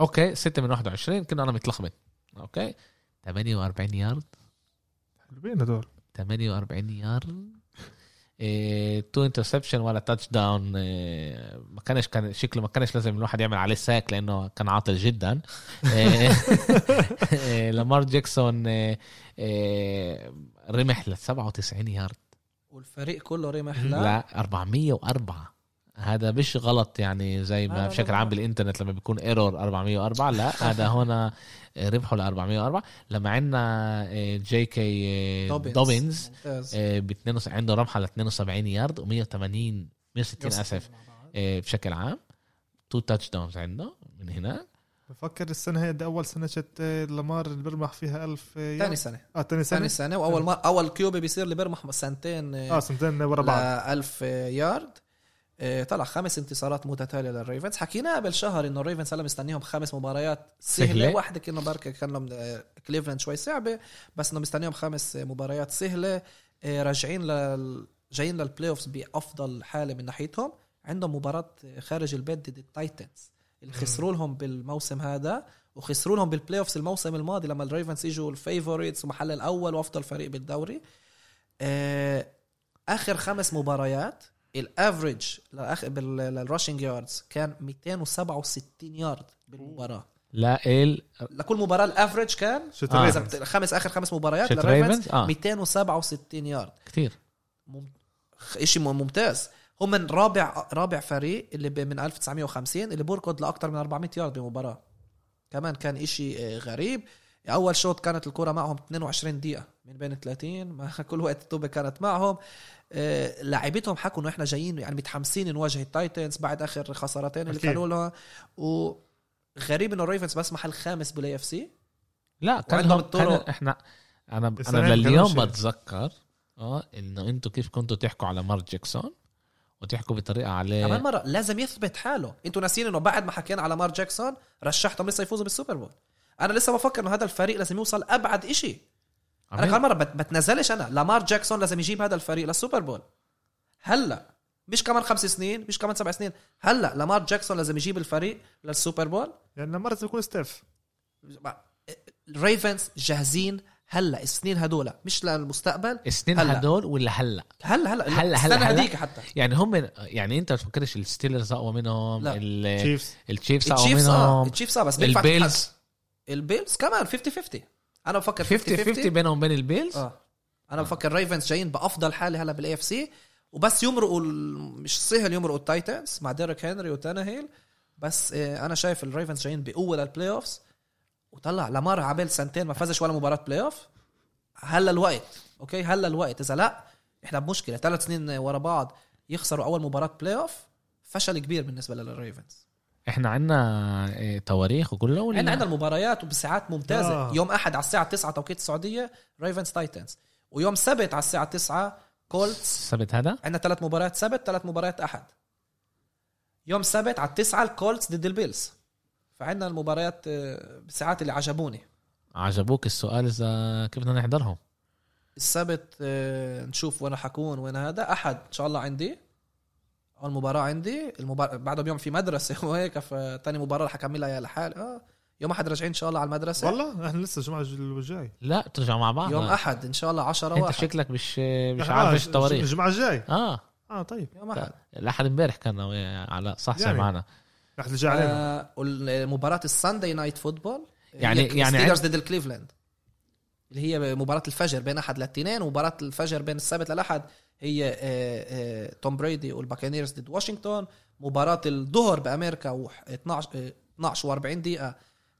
Speaker 1: اوكي 6 من 21 كنا انا متلخبط اوكي 48 يارد
Speaker 3: حلوين هدول
Speaker 1: 48 يارد إيه، تو انترسبشن ولا تاتش داون إيه، ما كانش كان شكله ما كانش لازم الواحد يعمل عليه ساك لانه كان عاطل جدا إيه، إيه، لامار جاكسون إيه، إيه، رمح ل 97 يارد
Speaker 2: والفريق كله رمح لا
Speaker 1: لا 404 هذا مش غلط يعني زي
Speaker 2: لا،
Speaker 1: ما
Speaker 2: لا،
Speaker 1: بشكل
Speaker 2: لا.
Speaker 1: عام بالانترنت لما بيكون ايرور 404 لا هذا هنا ربحوا ل 404 لما عندنا إيه، جي كي إيه، دوبينز
Speaker 2: ممتاز.
Speaker 1: ب 72 آه، عنده رمحه ل 72 يارد و180 160
Speaker 2: يوصل
Speaker 1: اسف
Speaker 2: مع بعض.
Speaker 1: إيه، بشكل عام تو تاتش داونز عنده من هنا
Speaker 3: بفكر السنه هي دي اول سنه شت آه، لامار اللي بيرمح فيها 1000
Speaker 2: تاني سنه
Speaker 3: اه تاني سنه
Speaker 2: ثاني سنه واول ما اول كيوبي بيصير لبرمح سنتين آه،
Speaker 3: اه سنتين ورا بعض
Speaker 2: ل 1000 يارد آه، طلع خمس انتصارات متتاليه للريفنز حكيناها قبل شهر انه الريفنز هلا مستنيهم خمس مباريات سهله
Speaker 1: سهلة.
Speaker 2: واحده كانه بركة كان لهم آه، كليفلاند شوي صعبه بس انه مستنيهم خمس آه، مباريات سهله آه، راجعين لل جايين للبلاي اوفز بافضل حاله من ناحيتهم عندهم مباراه آه، خارج البيت ضد التايتنز اللي خسروا لهم بالموسم هذا وخسروا لهم بالبلاي اوفز الموسم الماضي لما الريفنز اجوا الفيفوريتس ومحل الاول وافضل فريق بالدوري آه، اخر خمس مباريات الافريج لأخ... بال... للراشنج ياردز كان 267 يارد بالمباراه
Speaker 1: لا ال
Speaker 2: لكل مباراه الافريج كان
Speaker 3: شت
Speaker 1: آه.
Speaker 2: إذا
Speaker 3: ريفنز.
Speaker 2: بت- خمس اخر خمس مباريات
Speaker 1: شت
Speaker 2: للريفنز
Speaker 1: Ravens؟ آه.
Speaker 2: 267 يارد
Speaker 1: كثير
Speaker 2: مم... شيء ممتاز هم من رابع رابع فريق اللي ب... من 1950 اللي بيركض لاكثر من 400 يارد بمباراه كمان كان إشي آه، غريب اول شوط كانت الكره معهم 22 دقيقه من بين 30 ما كل وقت الطوبه كانت معهم آه، لاعبتهم حكوا انه احنا جايين يعني متحمسين نواجه التايتنز بعد اخر خسارتين اللي
Speaker 3: أكيد.
Speaker 2: كانوا لها وغريب انه الريفنز بس محل خامس بالاي اف سي
Speaker 1: لا كان
Speaker 2: وعندهم
Speaker 1: هم كان
Speaker 2: الطرق.
Speaker 1: احنا انا
Speaker 3: السنة
Speaker 1: انا
Speaker 3: اللي
Speaker 1: لليوم
Speaker 3: كانوا
Speaker 1: بتذكر اه انه انتوا كيف كنتوا تحكوا على مارك جاكسون وتحكوا بطريقه
Speaker 2: كمان
Speaker 1: عليه
Speaker 2: مره لازم يثبت حاله انتوا ناسيين انه بعد ما حكينا على مار جاكسون رشحتهم لسه يفوزوا بالسوبر بول انا لسه بفكر انه هذا الفريق لازم يوصل ابعد إشي انا
Speaker 1: عميل.
Speaker 2: كمان مره بت- بتنزلش انا لامار جاكسون لازم يجيب هذا الفريق للسوبر بول هلا مش كمان خمس سنين مش كمان سبع سنين هلا لامار جاكسون لازم يجيب الفريق للسوبر بول
Speaker 3: يعني لامار لازم يكون ستيف
Speaker 2: الريفنز جاهزين هلا السنين هدول مش للمستقبل
Speaker 1: السنين
Speaker 2: هلا.
Speaker 1: هدول ولا هلا
Speaker 2: هلا هلا
Speaker 1: هلا- هلا-
Speaker 2: السنه
Speaker 1: هلا.
Speaker 2: هذيك حتى
Speaker 1: يعني هم يعني انت ما تفكرش الستيلرز اقوى منهم
Speaker 2: لا.
Speaker 1: ال-
Speaker 3: تشيفز
Speaker 1: التشيفس اقوى
Speaker 2: التشيفز اه
Speaker 1: منهم
Speaker 2: التشيفز اه بس بينفع تتحدى.
Speaker 1: البيلز
Speaker 2: البيلز كمان 50 50 انا بفكر
Speaker 1: 50 50 بينهم وبين البيلز
Speaker 2: اه انا بفكر ريفنز جايين بافضل حاله هلا بالاي اف سي وبس يمرقوا ال- مش سهل يمرقوا التايتنز مع ديريك هنري وتانهيل بس آه، انا شايف الريفنز جايين بقوه للبلاي اوفز وطلع لامار عبال سنتين ما فازش ولا مباراه بلاي اوف هلا الوقت اوكي هلا الوقت اذا لا احنا بمشكله ثلاث سنين ورا بعض يخسروا اول مباراه بلاي اوف فشل كبير بالنسبه للريفنز
Speaker 1: احنا عندنا إيه، تواريخ وكله ولا
Speaker 2: عندنا عندنا المباريات وبساعات ممتازه آه.
Speaker 3: نعم. آه.
Speaker 2: يوم احد على الساعه 9 توقيت السعوديه ريفنز تايتنز ويوم سبت على الساعه 9 كولتس
Speaker 1: السبت هذا
Speaker 2: عندنا ثلاث مباريات سبت ثلاث مباريات احد يوم سبت على 9 الكولتس ضد البيلز فعندنا المباريات آه، بساعات اللي عجبوني
Speaker 1: عجبوك السؤال اذا كيف بدنا نحضرهم
Speaker 2: السبت آه، نشوف وين حكون وين هذا احد ان شاء الله عندي اول مباراه عندي المبار... بعده بيوم في مدرسه وهيك فتاني مباراه رح اكملها يا لحالي اه يوم احد راجعين ان شاء الله على المدرسه
Speaker 3: والله احنا لسه الجمعه الجاي
Speaker 1: لا بترجعوا مع بعض
Speaker 2: يوم احد ان شاء الله 10
Speaker 1: انت
Speaker 2: واحد
Speaker 1: شكلك مش مش
Speaker 3: آه،
Speaker 1: عارف ايش التواريخ
Speaker 3: الجمعه الجاي
Speaker 1: اه
Speaker 3: اه طيب
Speaker 2: يوم احد
Speaker 1: الاحد امبارح كان ويا- على صح
Speaker 3: يعني.
Speaker 1: معنا
Speaker 3: رح تجي علينا
Speaker 2: آه، والمباراة الساندي نايت فوتبول
Speaker 1: يعني- يعني
Speaker 2: ستيلرز ضد الكليفلاند اللي هي مباراة الفجر بين احد للاثنين ومباراة الفجر بين السبت للاحد هي آه، آه، توم بريدي والباكانيرز ضد واشنطن مباراة الظهر بامريكا و 12 آه، 12 و40 دقيقة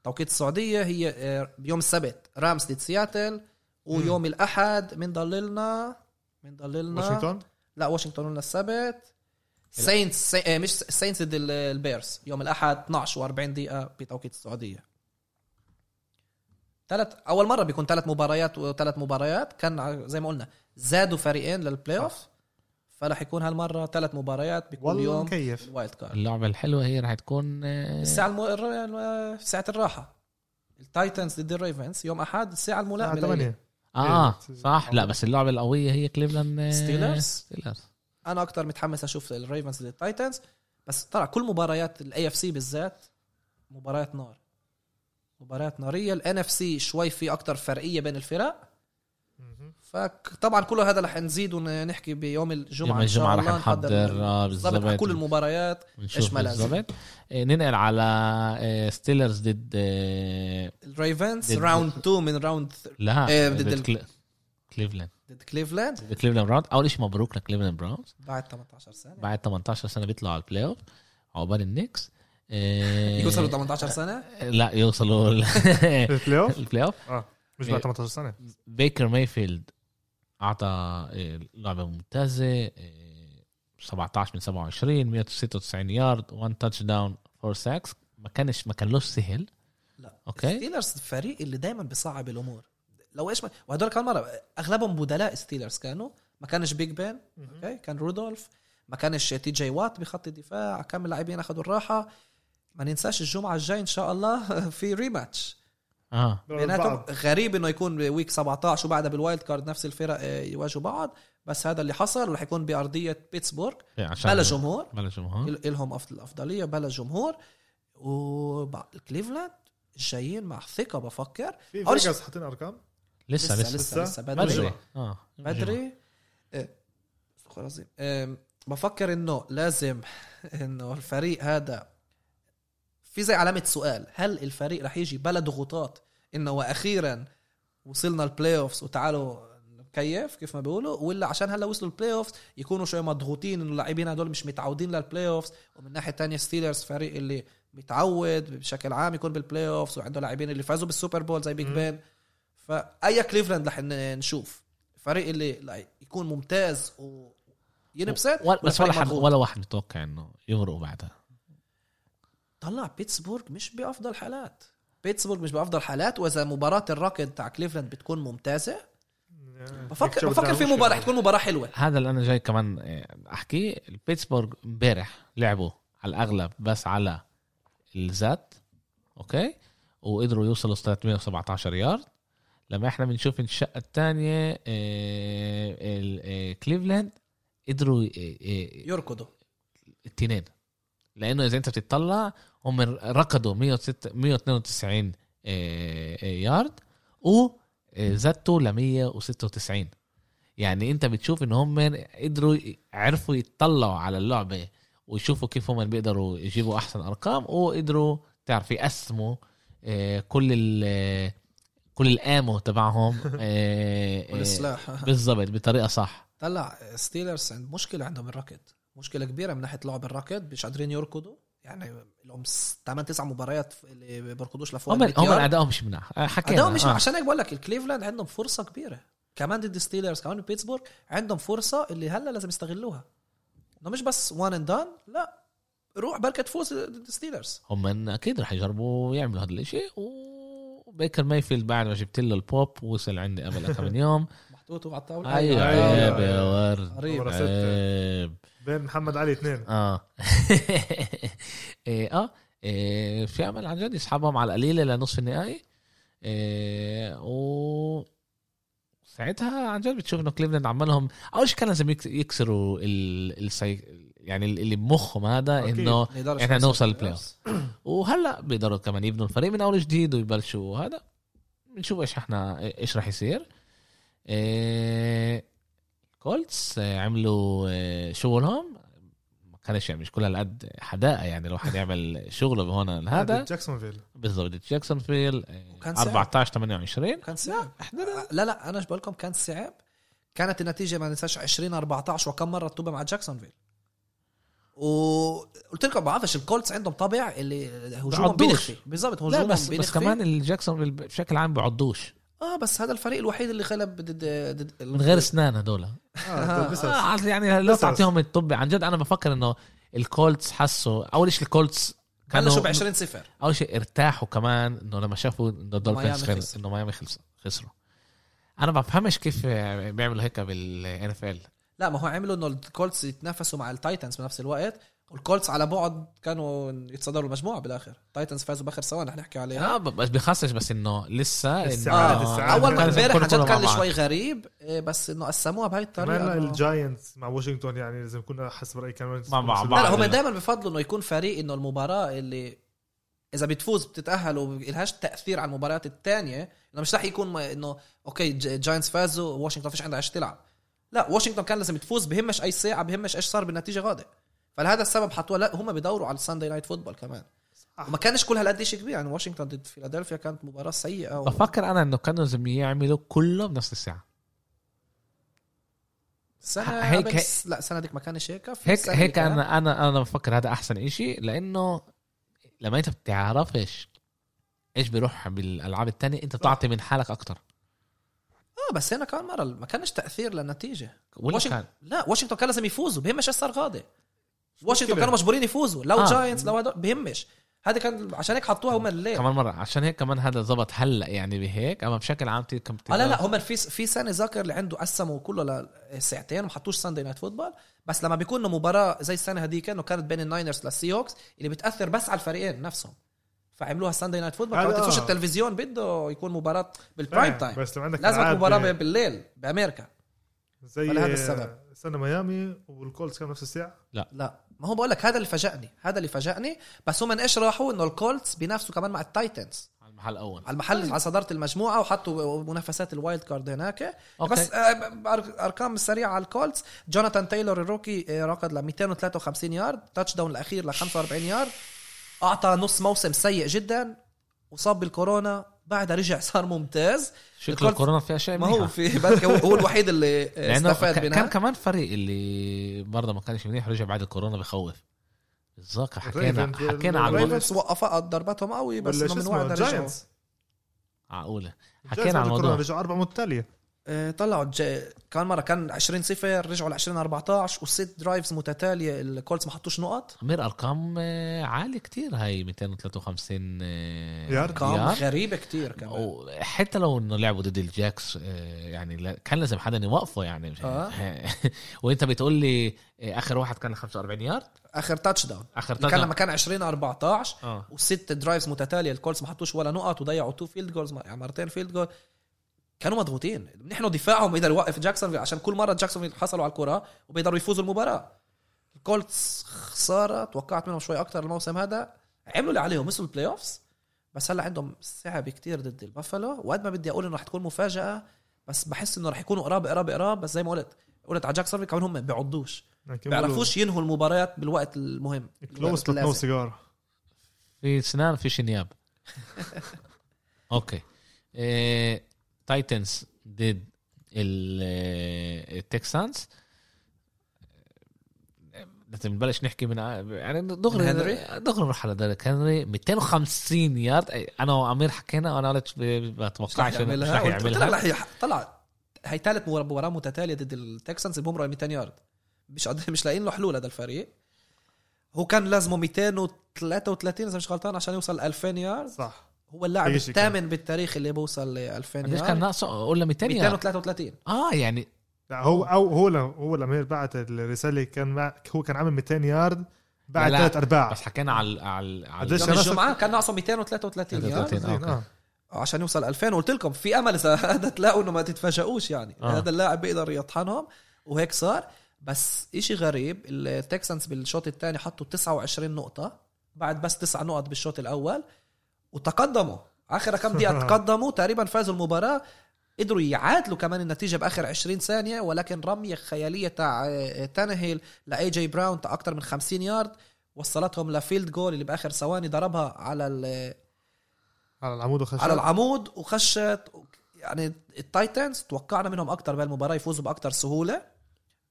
Speaker 2: توقيت السعودية هي آه، يوم السبت رامز ضد سياتل ويوم الاحد من ضللنا من ضللنا
Speaker 3: واشنطن
Speaker 2: لا واشنطن قلنا السبت ساينتس سي... آه، مش ساينتس ضد ال- البيرز يوم الاحد 12 و40 دقيقه بتوقيت السعوديه ثلاث اول مره بيكون ثلاث مباريات وثلاث مباريات كان ع- زي ما قلنا زادوا فريقين للبلاي اوف فراح يكون هالمره ثلاث مباريات بكل
Speaker 3: والله
Speaker 2: يوم
Speaker 3: مكيف
Speaker 2: وايلد كارد
Speaker 1: اللعبه الحلوه هي رح تكون آه،
Speaker 2: الساعه المو... الر- الر- ساعه الراحه التايتنز ضد الريفنز يوم احد الساعه
Speaker 3: الساعة
Speaker 2: الملائمه لإلي.
Speaker 3: 8
Speaker 1: اه
Speaker 3: إيه.
Speaker 1: صح لا بس اللعبه القويه هي كليفلاند آه،
Speaker 2: ستيلرز
Speaker 1: ستيلرز
Speaker 2: انا اكثر متحمس اشوف الريفنز ضد التايتنز بس طلع كل مباريات الاي اف سي بالذات مباريات نار مباريات ناريه الان اف سي شوي في اكثر فرقيه بين الفرق فطبعا كل هذا رح نزيد ونحكي بيوم الجمعه
Speaker 1: يوم
Speaker 2: إن شاء
Speaker 1: الجمعه رح
Speaker 2: الله
Speaker 1: نحضر آه،
Speaker 2: بالضبط على كل
Speaker 1: بالظبط
Speaker 2: المباريات إيش
Speaker 1: ونشوف
Speaker 2: ما لازم.
Speaker 1: بالظبط آه، ننقل على آه، ستيلرز ضد آه،
Speaker 2: الريفنز
Speaker 1: ضد-
Speaker 2: راوند 2 من راوند
Speaker 1: لا
Speaker 2: آه،
Speaker 1: ضد
Speaker 2: ضد ال-
Speaker 1: كل- كليفلاند
Speaker 2: ضد كليفلاند
Speaker 1: ضد كليفلاند براونز اول شيء مبروك لكليفلاند براونز
Speaker 2: بعد 18 سنه
Speaker 1: بعد 18 سنه بيطلعوا على البلاي اوف عقبال النكس
Speaker 2: يوصلوا 18 سنه
Speaker 1: لا يوصلوا ال-
Speaker 3: البلاي اوف
Speaker 1: البلاي اوف
Speaker 3: اه مش
Speaker 1: إيه.
Speaker 3: بعد 18 سنه
Speaker 1: بيكر مايفيلد اعطى آه، لعبه ممتازه آه، 17 من 27 196 يارد 1 تاتش داون 4 ساكس ما كانش ما كانلوش سهل
Speaker 2: لا
Speaker 1: اوكي
Speaker 2: ستيلرز الفريق اللي دائما بيصعب الامور لو ايش ما وهدول كان مره اغلبهم بدلاء ستيلرز كانوا ما كانش بيج بان اوكي كان رودولف ما كانش تي جي وات بخط الدفاع كم لاعبين اخذوا الراحه ما ننساش الجمعه الجاي ان شاء الله في ريماتش
Speaker 1: اه
Speaker 2: بيناتهم غريب انه يكون بويك 17 وبعدها بالوايلد كارد نفس الفرق آه، يواجهوا بعض بس هذا اللي حصل ورح يكون بارضيه بيتسبورغ
Speaker 1: إيه، عشان
Speaker 2: بلا جمهور
Speaker 1: بلا جمهور
Speaker 2: ال- الهم أفضل- الافضليه بلا جمهور وكليفلاند جايين مع ثقه بفكر
Speaker 3: في
Speaker 2: أول شي-
Speaker 3: فيجاس حاطين ارقام
Speaker 1: لسه لسه,
Speaker 2: لسه, لسه بدري
Speaker 1: بدري
Speaker 3: مجمع.
Speaker 1: اه
Speaker 2: بدري آه، استغفر الله العظيم. آم، بفكر انه لازم انه الفريق هذا في زي علامه سؤال هل الفريق رح يجي بلا ضغوطات انه واخيرا وصلنا البلاي اوفز وتعالوا نكيف كيف ما بيقولوا ولا عشان هلا وصلوا البلاي اوفز يكونوا شوي مضغوطين انه اللاعبين هدول مش متعودين للبلاي اوفز ومن ناحيه تانية ستيلرز فريق اللي متعود بشكل عام يكون بالبلاي اوفز وعنده لاعبين اللي فازوا بالسوبر بول زي بيج
Speaker 3: مم.
Speaker 2: بان فاي كليفلاند رح ن- نشوف فريق اللي لا يكون ممتاز وينبسط
Speaker 1: ولا بس
Speaker 2: والفريق
Speaker 1: ولا حد
Speaker 2: مضغوط.
Speaker 1: ولا واحد متوقع انه يغرقوا بعدها
Speaker 2: طلع بيتسبورغ مش بافضل حالات بيتسبورغ مش بافضل حالات واذا مباراه الركض تاع كليفلاند بتكون ممتازه بفكر بفكر في
Speaker 3: يعني.
Speaker 2: مباراه تكون مباراه حلوه
Speaker 1: هذا اللي انا جاي كمان آه، احكيه بيتسبورغ امبارح لعبوا على الاغلب بس على الذات اوكي وقدروا يوصلوا 317 يارد لما احنا بنشوف الشقه الثانيه إيه، كليفلاند قدروا آه، آه،
Speaker 2: يركضوا
Speaker 1: التنين لانه اذا انت بتطلع هم ركضوا 106 192 آه، آه، يارد وزتوا ل 196 يعني انت بتشوف ان هم قدروا عرفوا يتطلعوا على اللعبه ويشوفوا كيف هم بيقدروا يجيبوا احسن ارقام وقدروا تعرف يقسموا آه، كل ال آه، كل الامو تبعهم آه، آه،
Speaker 2: والسلاح
Speaker 1: بالضبط بطريقه صح
Speaker 2: طلع ستيلرز عند مشكله عندهم الركض مشكله كبيره من ناحيه لعب الركض مش قادرين يركضوا يعني لهم 8 9 مباريات اللي بيركضوش لفوق
Speaker 1: هم
Speaker 2: ال 100
Speaker 1: هم
Speaker 2: طيب، يارد.
Speaker 1: ادائهم مش منيح آه، حكينا
Speaker 2: اداؤهم مش
Speaker 1: آه.
Speaker 2: عشان هيك بقول لك الكليفلاند عندهم فرصه كبيره كمان ضد ستيلرز كمان بيتسبورغ عندهم فرصه اللي هلا لازم يستغلوها انه مش بس وان اند دان لا روح بركة تفوز ضد ستيلرز
Speaker 1: هم اكيد رح يجربوا يعملوا هذا الاشي وبيكر مايفيلد بعد ما جبت له البوب وصل عندي قبل كم من يوم
Speaker 2: محطوطه على الطاوله
Speaker 1: اي
Speaker 3: أيوة.
Speaker 1: عيب
Speaker 3: أيوة.
Speaker 1: يا ورد
Speaker 2: قريب
Speaker 3: ورا ستة.
Speaker 1: عيب
Speaker 3: بين محمد علي اثنين
Speaker 1: اه إيه، اه إيه، في امل عن جد يسحبهم على القليله لنصف النهائي إيه، و ساعتها عن جد بتشوف انه كليفلاند عمالهم اول شيء كان لازم يكس- يكسروا ال... السي... يعني اللي بمخهم هذا
Speaker 3: أكيد.
Speaker 1: انه
Speaker 2: ما يقدرش
Speaker 1: إحنا
Speaker 2: يوصل
Speaker 1: نوصل
Speaker 2: للبلاي
Speaker 1: البلاي
Speaker 2: أوفز.
Speaker 1: وهلا بيقدروا كمان يبنوا الفريق من اول جديد ويبلشوا هذا بنشوف ايش احنا ايش راح يصير إيه كولتس آه، عملوا آه، شغلهم ما كانش يعني مش كل هالقد حدائق يعني الواحد يعمل شغله هون هذا
Speaker 3: جاكسون فيل
Speaker 1: بالضبط آه، جاكسون فيل
Speaker 2: وكان صعب.
Speaker 1: 14 28
Speaker 2: كان صعب آه،
Speaker 1: احنا
Speaker 2: لا لا انا بقول لكم كان صعب كانت النتيجه ما ننساش 20 14 وكم مره رتوبه مع جاكسونفيل وقلت لكم بعرفش الكولتس عندهم طابع اللي هجومهم
Speaker 1: بعضوش.
Speaker 2: بينخفي بالظبط
Speaker 1: لا
Speaker 2: هجومهم
Speaker 1: بس بس
Speaker 2: بينخفي.
Speaker 1: كمان الجاكسون فيل بشكل عام بيعضوش
Speaker 2: اه بس هذا الفريق الوحيد اللي غلب ضد ضد
Speaker 1: من غير اسنان هدول
Speaker 3: اه
Speaker 1: آه، عاد يعني لو
Speaker 3: بس-
Speaker 1: تعطيهم الطب عن جد انا بفكر انه الكولتس حسوا اول شيء الكولتس
Speaker 2: بلشوا ب 20 0
Speaker 1: اول شيء ارتاحوا كمان انه لما شافوا انه
Speaker 2: ميامي
Speaker 1: الدولفينز خلص
Speaker 2: خسر.
Speaker 1: انه ميامي خلص خسروا انا ما بفهمش كيف بيعملوا هيك بالان اف ال
Speaker 2: لا ما هو عملوا انه الكولتس يتنافسوا مع التايتنز بنفس الوقت والكولتس على بعد كانوا يتصدروا المجموعه بالاخر التايتنز فازوا باخر ثواني رح نحكي عليها
Speaker 1: اه بس بخصش بس انه لسه إنه-
Speaker 3: السعادة، السعادة.
Speaker 2: اول
Speaker 3: كان
Speaker 2: آه. ما
Speaker 1: لازم
Speaker 2: امبارح
Speaker 1: يكونوا
Speaker 2: عن جد
Speaker 1: كلهم
Speaker 2: كان
Speaker 1: مع
Speaker 2: لي
Speaker 1: بعض.
Speaker 2: شوي غريب إيه، بس انه قسموها بهاي الطريقه
Speaker 3: كمان
Speaker 2: إنه-
Speaker 3: الجاينتس مع واشنطن يعني لازم كنا حسب رايي كمان
Speaker 1: مع- مع
Speaker 2: لا
Speaker 1: بعض.
Speaker 2: لا هم
Speaker 1: لا.
Speaker 2: دائما بفضلوا انه يكون فريق انه المباراه اللي اذا بتفوز بتتاهل وبلهاش تاثير على المباريات الثانيه انه مش رح يكون ما- انه اوكي ج- جاينتس فازوا واشنطن فيش عندها ايش تلعب لا واشنطن كان لازم تفوز بهمش اي ساعه بهمش ايش صار بالنتيجه غادي فلهذا السبب حطوها لا هم بدوروا على الساندي نايت فوتبول كمان
Speaker 3: صح.
Speaker 2: وما كانش كل هالقد شيء كبير يعني واشنطن ضد فيلادلفيا كانت مباراه سيئه و...
Speaker 1: بفكر انا انه كانوا لازم يعملوا كله بنفس الساعه
Speaker 2: سنه
Speaker 1: هيك-
Speaker 2: هيك
Speaker 1: هيك-
Speaker 2: لا سنه ديك ما كانش هيك في
Speaker 1: هيك
Speaker 2: سنة
Speaker 1: هيك
Speaker 2: كان.
Speaker 1: انا انا انا بفكر هذا احسن إشي لانه لما انت بتعرفش ايش بيروح بالالعاب التانية انت بتعطي من حالك اكتر
Speaker 2: اه بس هنا كمان مره ما كانش تاثير للنتيجه
Speaker 1: ولا
Speaker 2: واشنطن-
Speaker 1: كان
Speaker 2: لا واشنطن كان لازم يفوزوا بهمش ايش صار غادي واشنطن
Speaker 3: مشكلة.
Speaker 2: كانوا مجبورين يفوزوا لو
Speaker 1: آه.
Speaker 2: آه. جاينتس لو هدول بهمش هذا كان عشان هيك حطوها هم الليل
Speaker 1: كمان مره عشان هيك كمان هذا زبط هلا يعني بهيك اما بشكل عام تي- كم
Speaker 2: آه لا لا هم في في سنه ذاكر اللي عنده قسموا كله لساعتين وما حطوش ساندي نايت فوتبول بس لما بيكون إنه مباراه زي السنه هذيك انه كانت بين الناينرز للسي هوكس اللي بتاثر بس على الفريقين نفسهم فعملوها ساندي نايت فوتبول
Speaker 3: آه،
Speaker 2: ما
Speaker 3: لا.
Speaker 2: تنسوش التلفزيون بده يكون مباراه بالبرايم
Speaker 3: فاهم.
Speaker 2: تايم
Speaker 3: بس يعني. لو عندك
Speaker 2: لازم تكون
Speaker 3: ألعاب
Speaker 2: مباراه بالليل بامريكا
Speaker 3: زي
Speaker 2: فلهذا السبب.
Speaker 3: سنه ميامي والكولتس كانوا نفس الساعه
Speaker 2: لا ما هو بقول لك هذا اللي فاجئني هذا اللي فاجئني بس هم من ايش راحوا انه الكولتس بينافسوا كمان مع التايتنز
Speaker 1: على المحل الاول
Speaker 2: على المحل على صداره المجموعه وحطوا منافسات الوايلد كارد هناك
Speaker 1: أوكي.
Speaker 2: أوكي. بس آه، ب- أر- ارقام سريعه على الكولتس جوناثان تايلور الروكي آه، ركض ل 253 يارد تاتش داون الاخير ل 45 يارد اعطى نص موسم سيء جدا وصاب بالكورونا بعدها رجع صار ممتاز
Speaker 1: شكل
Speaker 2: الكولتس-
Speaker 1: الكورونا فيها شيء
Speaker 2: ما
Speaker 1: منيحة.
Speaker 2: هو في بلكي هو- هو الوحيد اللي آه،
Speaker 1: لانه
Speaker 2: استفاد
Speaker 1: ك- كان
Speaker 2: منها
Speaker 1: كمان فريق اللي برضه ما كانش منيح رجع بعد الكورونا بخوف بالظبط حكينا
Speaker 3: الريفنز-
Speaker 1: حكينا على
Speaker 2: الريفنس وقفها ضربتهم قوي إيه، بس
Speaker 3: ولا شو
Speaker 2: إنه من
Speaker 3: اسمه
Speaker 2: وعدها رجعوا
Speaker 3: الجاينتس
Speaker 1: معقوله
Speaker 3: الجاينتس
Speaker 1: حكينا على
Speaker 3: بعد الكورونا
Speaker 1: الموضوع
Speaker 3: رجعوا اربع متتاليه
Speaker 2: آه، طلعوا الج... كان مره كان 20 صفر رجعوا ل 20 14 والست درايفز متتاليه الكولتس ما حطوش نقط
Speaker 1: أمير ارقام آه، عالي كتير هاي 253 آه،
Speaker 3: يارد.
Speaker 2: ارقام
Speaker 1: يارد.
Speaker 2: غريبه كتير كمان
Speaker 1: وحتى لو انه لعبوا ضد الجاكس آه، يعني لا- كان لازم حدا يوقفه يعني مش
Speaker 2: آه.
Speaker 1: وانت بتقول لي آه، اخر واحد كان 45 يارد
Speaker 2: اخر تاتش داون
Speaker 1: اخر
Speaker 2: كان لما
Speaker 1: touchdown.
Speaker 2: كان 20 14
Speaker 1: اه
Speaker 2: وست درايفز متتاليه الكولتس ما حطوش ولا نقط وضيعوا تو فيلد جولز يعني مرتين فيلد جول كانوا مضغوطين نحن دفاعهم بيقدر يوقف جاكسون عشان كل مره جاكسون حصلوا على الكره وبيقدروا يفوزوا المباراه الكولتس خساره توقعت منهم شوي اكثر الموسم هذا عملوا اللي عليهم وصلوا البلاي اوفز بس هلا عندهم صعب كتير ضد البافالو وقد ما بدي اقول انه رح تكون مفاجاه بس بحس انه رح يكونوا قراب قراب قراب بس زي ما قلت قلت على جاكسون كمان هم بيعضوش
Speaker 3: يعني كانوا
Speaker 2: بيعرفوش ينهوا المباريات بالوقت المهم
Speaker 3: بيقولوا كلوز بس نو
Speaker 2: اللازم.
Speaker 3: سيجار
Speaker 1: في سنان في شنياب اوكي تايتنز آه، ضد ال- آه، التكسانز آه، لازم نبلش نحكي من ع- يعني دغري
Speaker 2: هنري؟
Speaker 1: دغري نروح على ديريك هنري 250 يارد أي، انا وامير حكينا وانا قلت ب-
Speaker 2: مش رح
Speaker 1: بتوقعش إنه- مش
Speaker 2: يعملها
Speaker 1: رح
Speaker 2: قلت- قلت لها
Speaker 1: يعملها
Speaker 2: رح يح- طلع هي ثالث مباراه متتاليه ضد التكسانز بومرا 200 يارد مش قادر- مش لاقيين له حلول هذا الفريق هو كان لازمه 233 اذا مش غلطان عشان يوصل 2000 يارد
Speaker 3: صح
Speaker 2: هو اللاعب
Speaker 3: أي شيء كان.
Speaker 2: الثامن بالتاريخ اللي بوصل ل 2000
Speaker 1: قديش كان
Speaker 2: يارد
Speaker 1: ناقصه قلنا 200 يارد
Speaker 2: 233
Speaker 1: اه يعني
Speaker 3: لا هو او هو ل- هو لما بعت الرساله كان مع هو كان عامل 200 يارد بعد
Speaker 1: لا،
Speaker 3: ثلاث ارباع
Speaker 1: بس حكينا على على على
Speaker 3: قديش
Speaker 2: يوم
Speaker 3: أنا صرت-
Speaker 2: الجمعه كان ناقصه 233 يارد
Speaker 1: 233. أوكي.
Speaker 3: آه.
Speaker 2: عشان يوصل 2000 قلت لكم في امل اذا هذا تلاقوا انه ما تتفاجئوش يعني
Speaker 1: آه.
Speaker 2: آه. هذا اللاعب بيقدر يطحنهم وهيك صار بس إشي غريب التكسانس بالشوط الثاني حطوا 29 نقطة بعد بس تسع نقط بالشوط الأول وتقدموا آخر كم دقيقة تقدموا تقريبا فازوا المباراة قدروا يعادلوا كمان النتيجة بآخر 20 ثانية ولكن رمية خيالية تاع آه، تانهيل لأي جي براون تاع أكتر من 50 يارد وصلتهم لفيلد جول اللي بآخر ثواني ضربها على ال-
Speaker 3: على العمود وخش
Speaker 2: على العمود وخشت يعني التايتنز توقعنا منهم اكثر بهالمباراه يفوزوا باكثر سهوله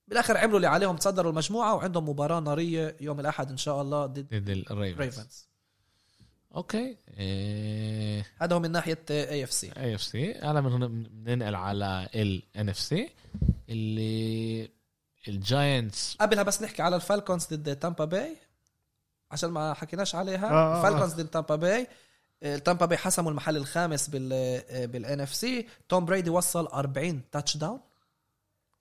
Speaker 2: بالاخر عملوا اللي عليهم تصدروا المجموعه وعندهم مباراه ناريه يوم الاحد ان شاء الله ضد
Speaker 1: ضد الريفنز
Speaker 2: ريفنز
Speaker 1: اوكي آه،
Speaker 2: هذا هو من ناحيه اي اف سي
Speaker 1: اي اف سي انا من هنا بننقل على الان اف سي اللي الجاينتس
Speaker 2: قبلها بس نحكي على الفالكونز ضد تامبا باي عشان ما حكيناش عليها
Speaker 3: آه، آه،
Speaker 2: آه الفالكونز ضد تامبا باي آه، تامبا باي حسموا المحل آه، الخامس بال بالان اف سي توم بريدي وصل 40 تاتش داون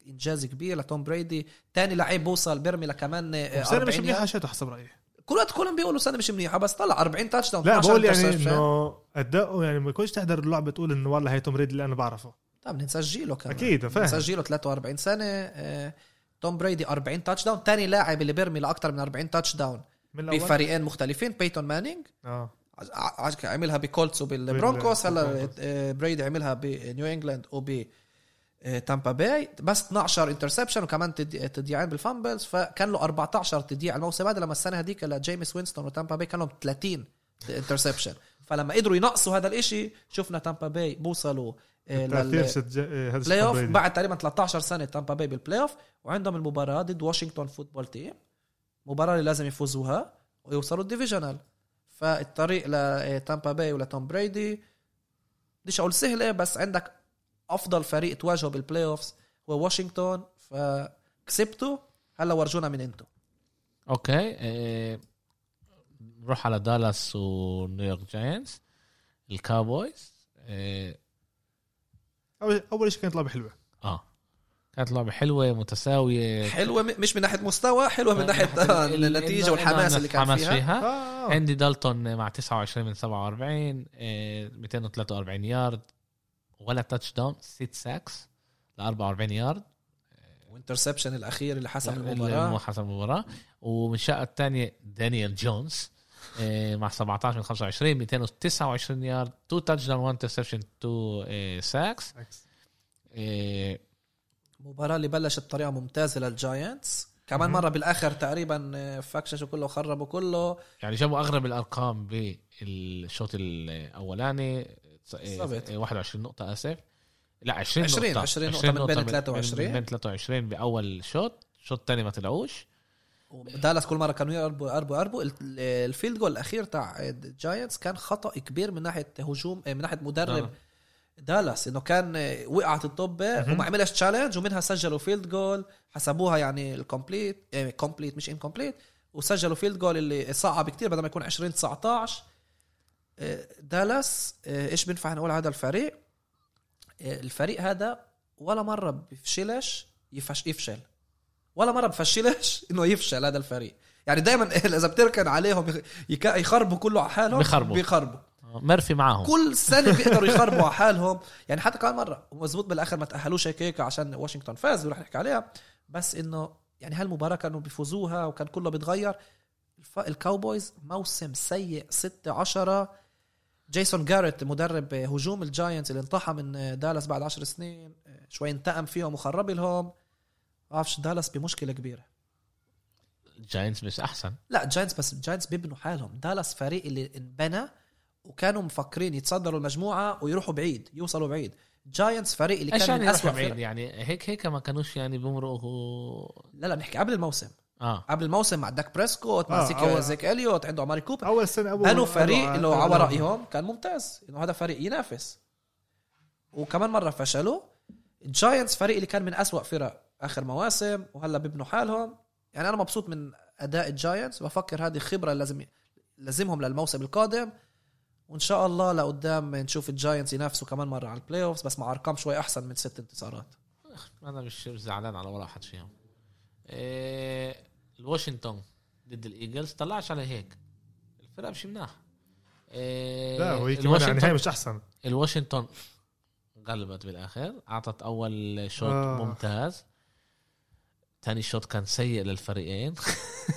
Speaker 2: انجاز كبير لتوم بريدي تاني لعيب بوصل بيرمي لكمان آه،
Speaker 3: بس انا مش
Speaker 2: 40
Speaker 3: منيح
Speaker 2: يارد.
Speaker 3: حشيته حسب رايي
Speaker 2: كلهم كلهم بيقولوا سنه مش منيحه بس طلع 40 تاتش داون
Speaker 3: لا
Speaker 2: 12
Speaker 3: بقول يعني
Speaker 2: interception.
Speaker 3: انه اداؤه يعني ما يكونش تحضر اللعبه تقول انه والله هي توم ريدلي اللي انا بعرفه
Speaker 2: طب بدنا نسجله كمان
Speaker 3: اكيد فاهم
Speaker 2: مسجله 43 سنه آه، توم بريدي 40 تاتش داون تاني لاعب اللي بيرمي لاكثر من 40 تاتش داون
Speaker 3: من الأول.
Speaker 2: بفريقين مختلفين بيتون مانينج
Speaker 3: اه
Speaker 2: ع- ع- ع- عملها بكولتس وبالبرونكوس هلا
Speaker 3: بالبرونكوس.
Speaker 2: آه، بريدي عملها بنيو انجلاند وب آه، تامبا باي بس 12 انترسبشن وكمان تد- تضييعين بالفامبلز فكان له 14 تضييع الموسم هذا لما السنه هذيك لجيمس وينستون وتامبا باي كان لهم 30 انترسبشن فلما قدروا ينقصوا هذا الاشي شفنا تامبا باي بوصلوا آه،
Speaker 3: تاثير
Speaker 2: لل-
Speaker 3: شت جا- إيه، هذا
Speaker 2: بلاي
Speaker 3: شت
Speaker 2: اوف
Speaker 3: بريدي.
Speaker 2: بعد تقريبا 13 سنه تامبا باي بالبلاي اوف وعندهم المباراه ضد واشنطن فوتبول تيم مباراه اللي لازم يفوزوها ويوصلوا الديفيجنال فالطريق إيه، لتامبا باي ولتوم بريدي بديش اقول سهله بس عندك افضل فريق تواجهه بالبلاي اوف هو واشنطن فكسبته هلا ورجونا من انتو
Speaker 1: اوكي آه، نروح على دالاس ونيويورك جاينتس الكاوبويز اه
Speaker 3: اول اول شيء كانت لعبه حلوه
Speaker 1: آه. كانت لعبه حلوه متساويه
Speaker 2: حلوه م- مش من ناحيه مستوى حلوه من ناحيه آه،
Speaker 1: ال- ال-
Speaker 2: النتيجه
Speaker 1: إنه-
Speaker 2: والحماس
Speaker 1: إنه
Speaker 2: اللي كان
Speaker 1: الحماس
Speaker 2: فيها آه.
Speaker 1: فيها.
Speaker 3: اه
Speaker 1: اندي دالتون مع 29 من 47 آه، 243 يارد ولا تاتش داون 6 ساكس ل 44 يارد
Speaker 2: وانترسبشن الاخير اللي حسم
Speaker 1: يعني اللي
Speaker 2: المباراه
Speaker 1: مو حسب المباراه ومن الشقه الثانيه دانيال جونز آه، مع 17 من 25 229 يارد 2 تاتش داون 1 انترسبشن 2 ساكس آه،
Speaker 2: مباراة اللي بلشت بطريقة ممتازة للجاينتس كمان
Speaker 3: مهم.
Speaker 2: مرة بالآخر تقريبا آه، فكششوا كله وخربوا كله
Speaker 1: يعني جابوا اغلب الارقام بالشوط الاولاني تس- آه،
Speaker 2: بالضبط.
Speaker 1: آه، 21 نقطة اسف لا 20
Speaker 2: 20
Speaker 1: نقطة
Speaker 2: 20 نقطة من بين 23.
Speaker 1: من بين 23 باول شوط الشوط الثاني ما طلعوش
Speaker 2: دالاس كل مرة كانوا يقربوا يقربوا يقربوا ال- ال- الفيلد جول الأخير تاع آه، الجاينتس كان خطأ كبير من ناحية هجوم آه، من ناحية مدرب
Speaker 1: آه.
Speaker 2: دالاس انه كان آه، وقعت الطبة
Speaker 3: نعم. مهم.
Speaker 2: وما عملش تشالنج ومنها سجلوا فيلد جول حسبوها يعني الكومبليت آه، كومبليت مش انكومبليت وسجلوا فيلد جول اللي صعب كتير بدل ما يكون 20 19 آه، دالاس آه، ايش بينفع نقول على هذا الفريق آه، الفريق هذا ولا مره بفشلش يفش يفشل ولا مره بفشلش انه يفشل هذا الفريق يعني دائما اذا بتركن عليهم يخ- يك- يخربوا كله على حالهم
Speaker 1: بيخربوا.
Speaker 2: بيخربوا
Speaker 1: ميرفي معاهم
Speaker 2: كل سنه بيقدروا يخربوا على حالهم يعني حتى كمان مره مزبوط بالاخر ما تاهلوش هيك هيك عشان واشنطن فاز ورح نحكي عليها بس انه يعني هالمباراه كانوا بيفوزوها وكان كله بيتغير الف- الكاوبويز موسم سيء 6 10 جيسون جاريت مدرب هجوم الجاينتس اللي انطحى من دالاس بعد 10 سنين شوي انتقم فيهم وخرب لهم بعرفش دالاس بمشكله كبيره
Speaker 1: الجاينتس مش احسن
Speaker 2: لا جاينتس بس الجاينتس بيبنوا حالهم دالاس فريق اللي انبنى وكانوا مفكرين يتصدروا المجموعه ويروحوا بعيد يوصلوا بعيد جاينتس فريق اللي
Speaker 1: ايش
Speaker 2: كان
Speaker 1: يعني
Speaker 2: من اسوء
Speaker 1: يروحوا
Speaker 2: فريق
Speaker 1: بعيد يعني هيك هيك ما كانوش يعني بمرقوا
Speaker 2: لا لا بنحكي قبل الموسم
Speaker 1: اه
Speaker 2: قبل الموسم مع داك بريسكوت مع
Speaker 3: آه،
Speaker 2: آه
Speaker 3: أول-
Speaker 2: زيك اليوت عنده ماري كوبر
Speaker 3: اول سنه اول
Speaker 2: بنوا فريق
Speaker 3: أول- آه،
Speaker 2: اللي
Speaker 3: أول-
Speaker 2: على رايهم كان ممتاز انه هذا فريق ينافس وكمان مره فشلوا جاينتس فريق اللي كان من أسوأ فرق اخر مواسم وهلا بيبنوا حالهم يعني انا مبسوط من اداء الجاينتس بفكر هذه خبره لازم لازمهم للموسم القادم وان شاء الله لقدام نشوف الجاينتس ينافسوا كمان مره على البلاي اوفز بس مع ارقام شوي احسن من ست انتصارات
Speaker 1: انا مش مش زعلان على ولا حد فيهم آه، الواشنطن ضد الايجلز طلعش على هيك الفرقه مش مناح آه،
Speaker 3: لا وهي كمان يعني
Speaker 1: الواشنطن
Speaker 3: هي مش احسن
Speaker 1: الواشنطن غلبت بالاخر اعطت اول شوط
Speaker 3: آه.
Speaker 1: آه. ممتاز تاني شوط كان سيء للفريقين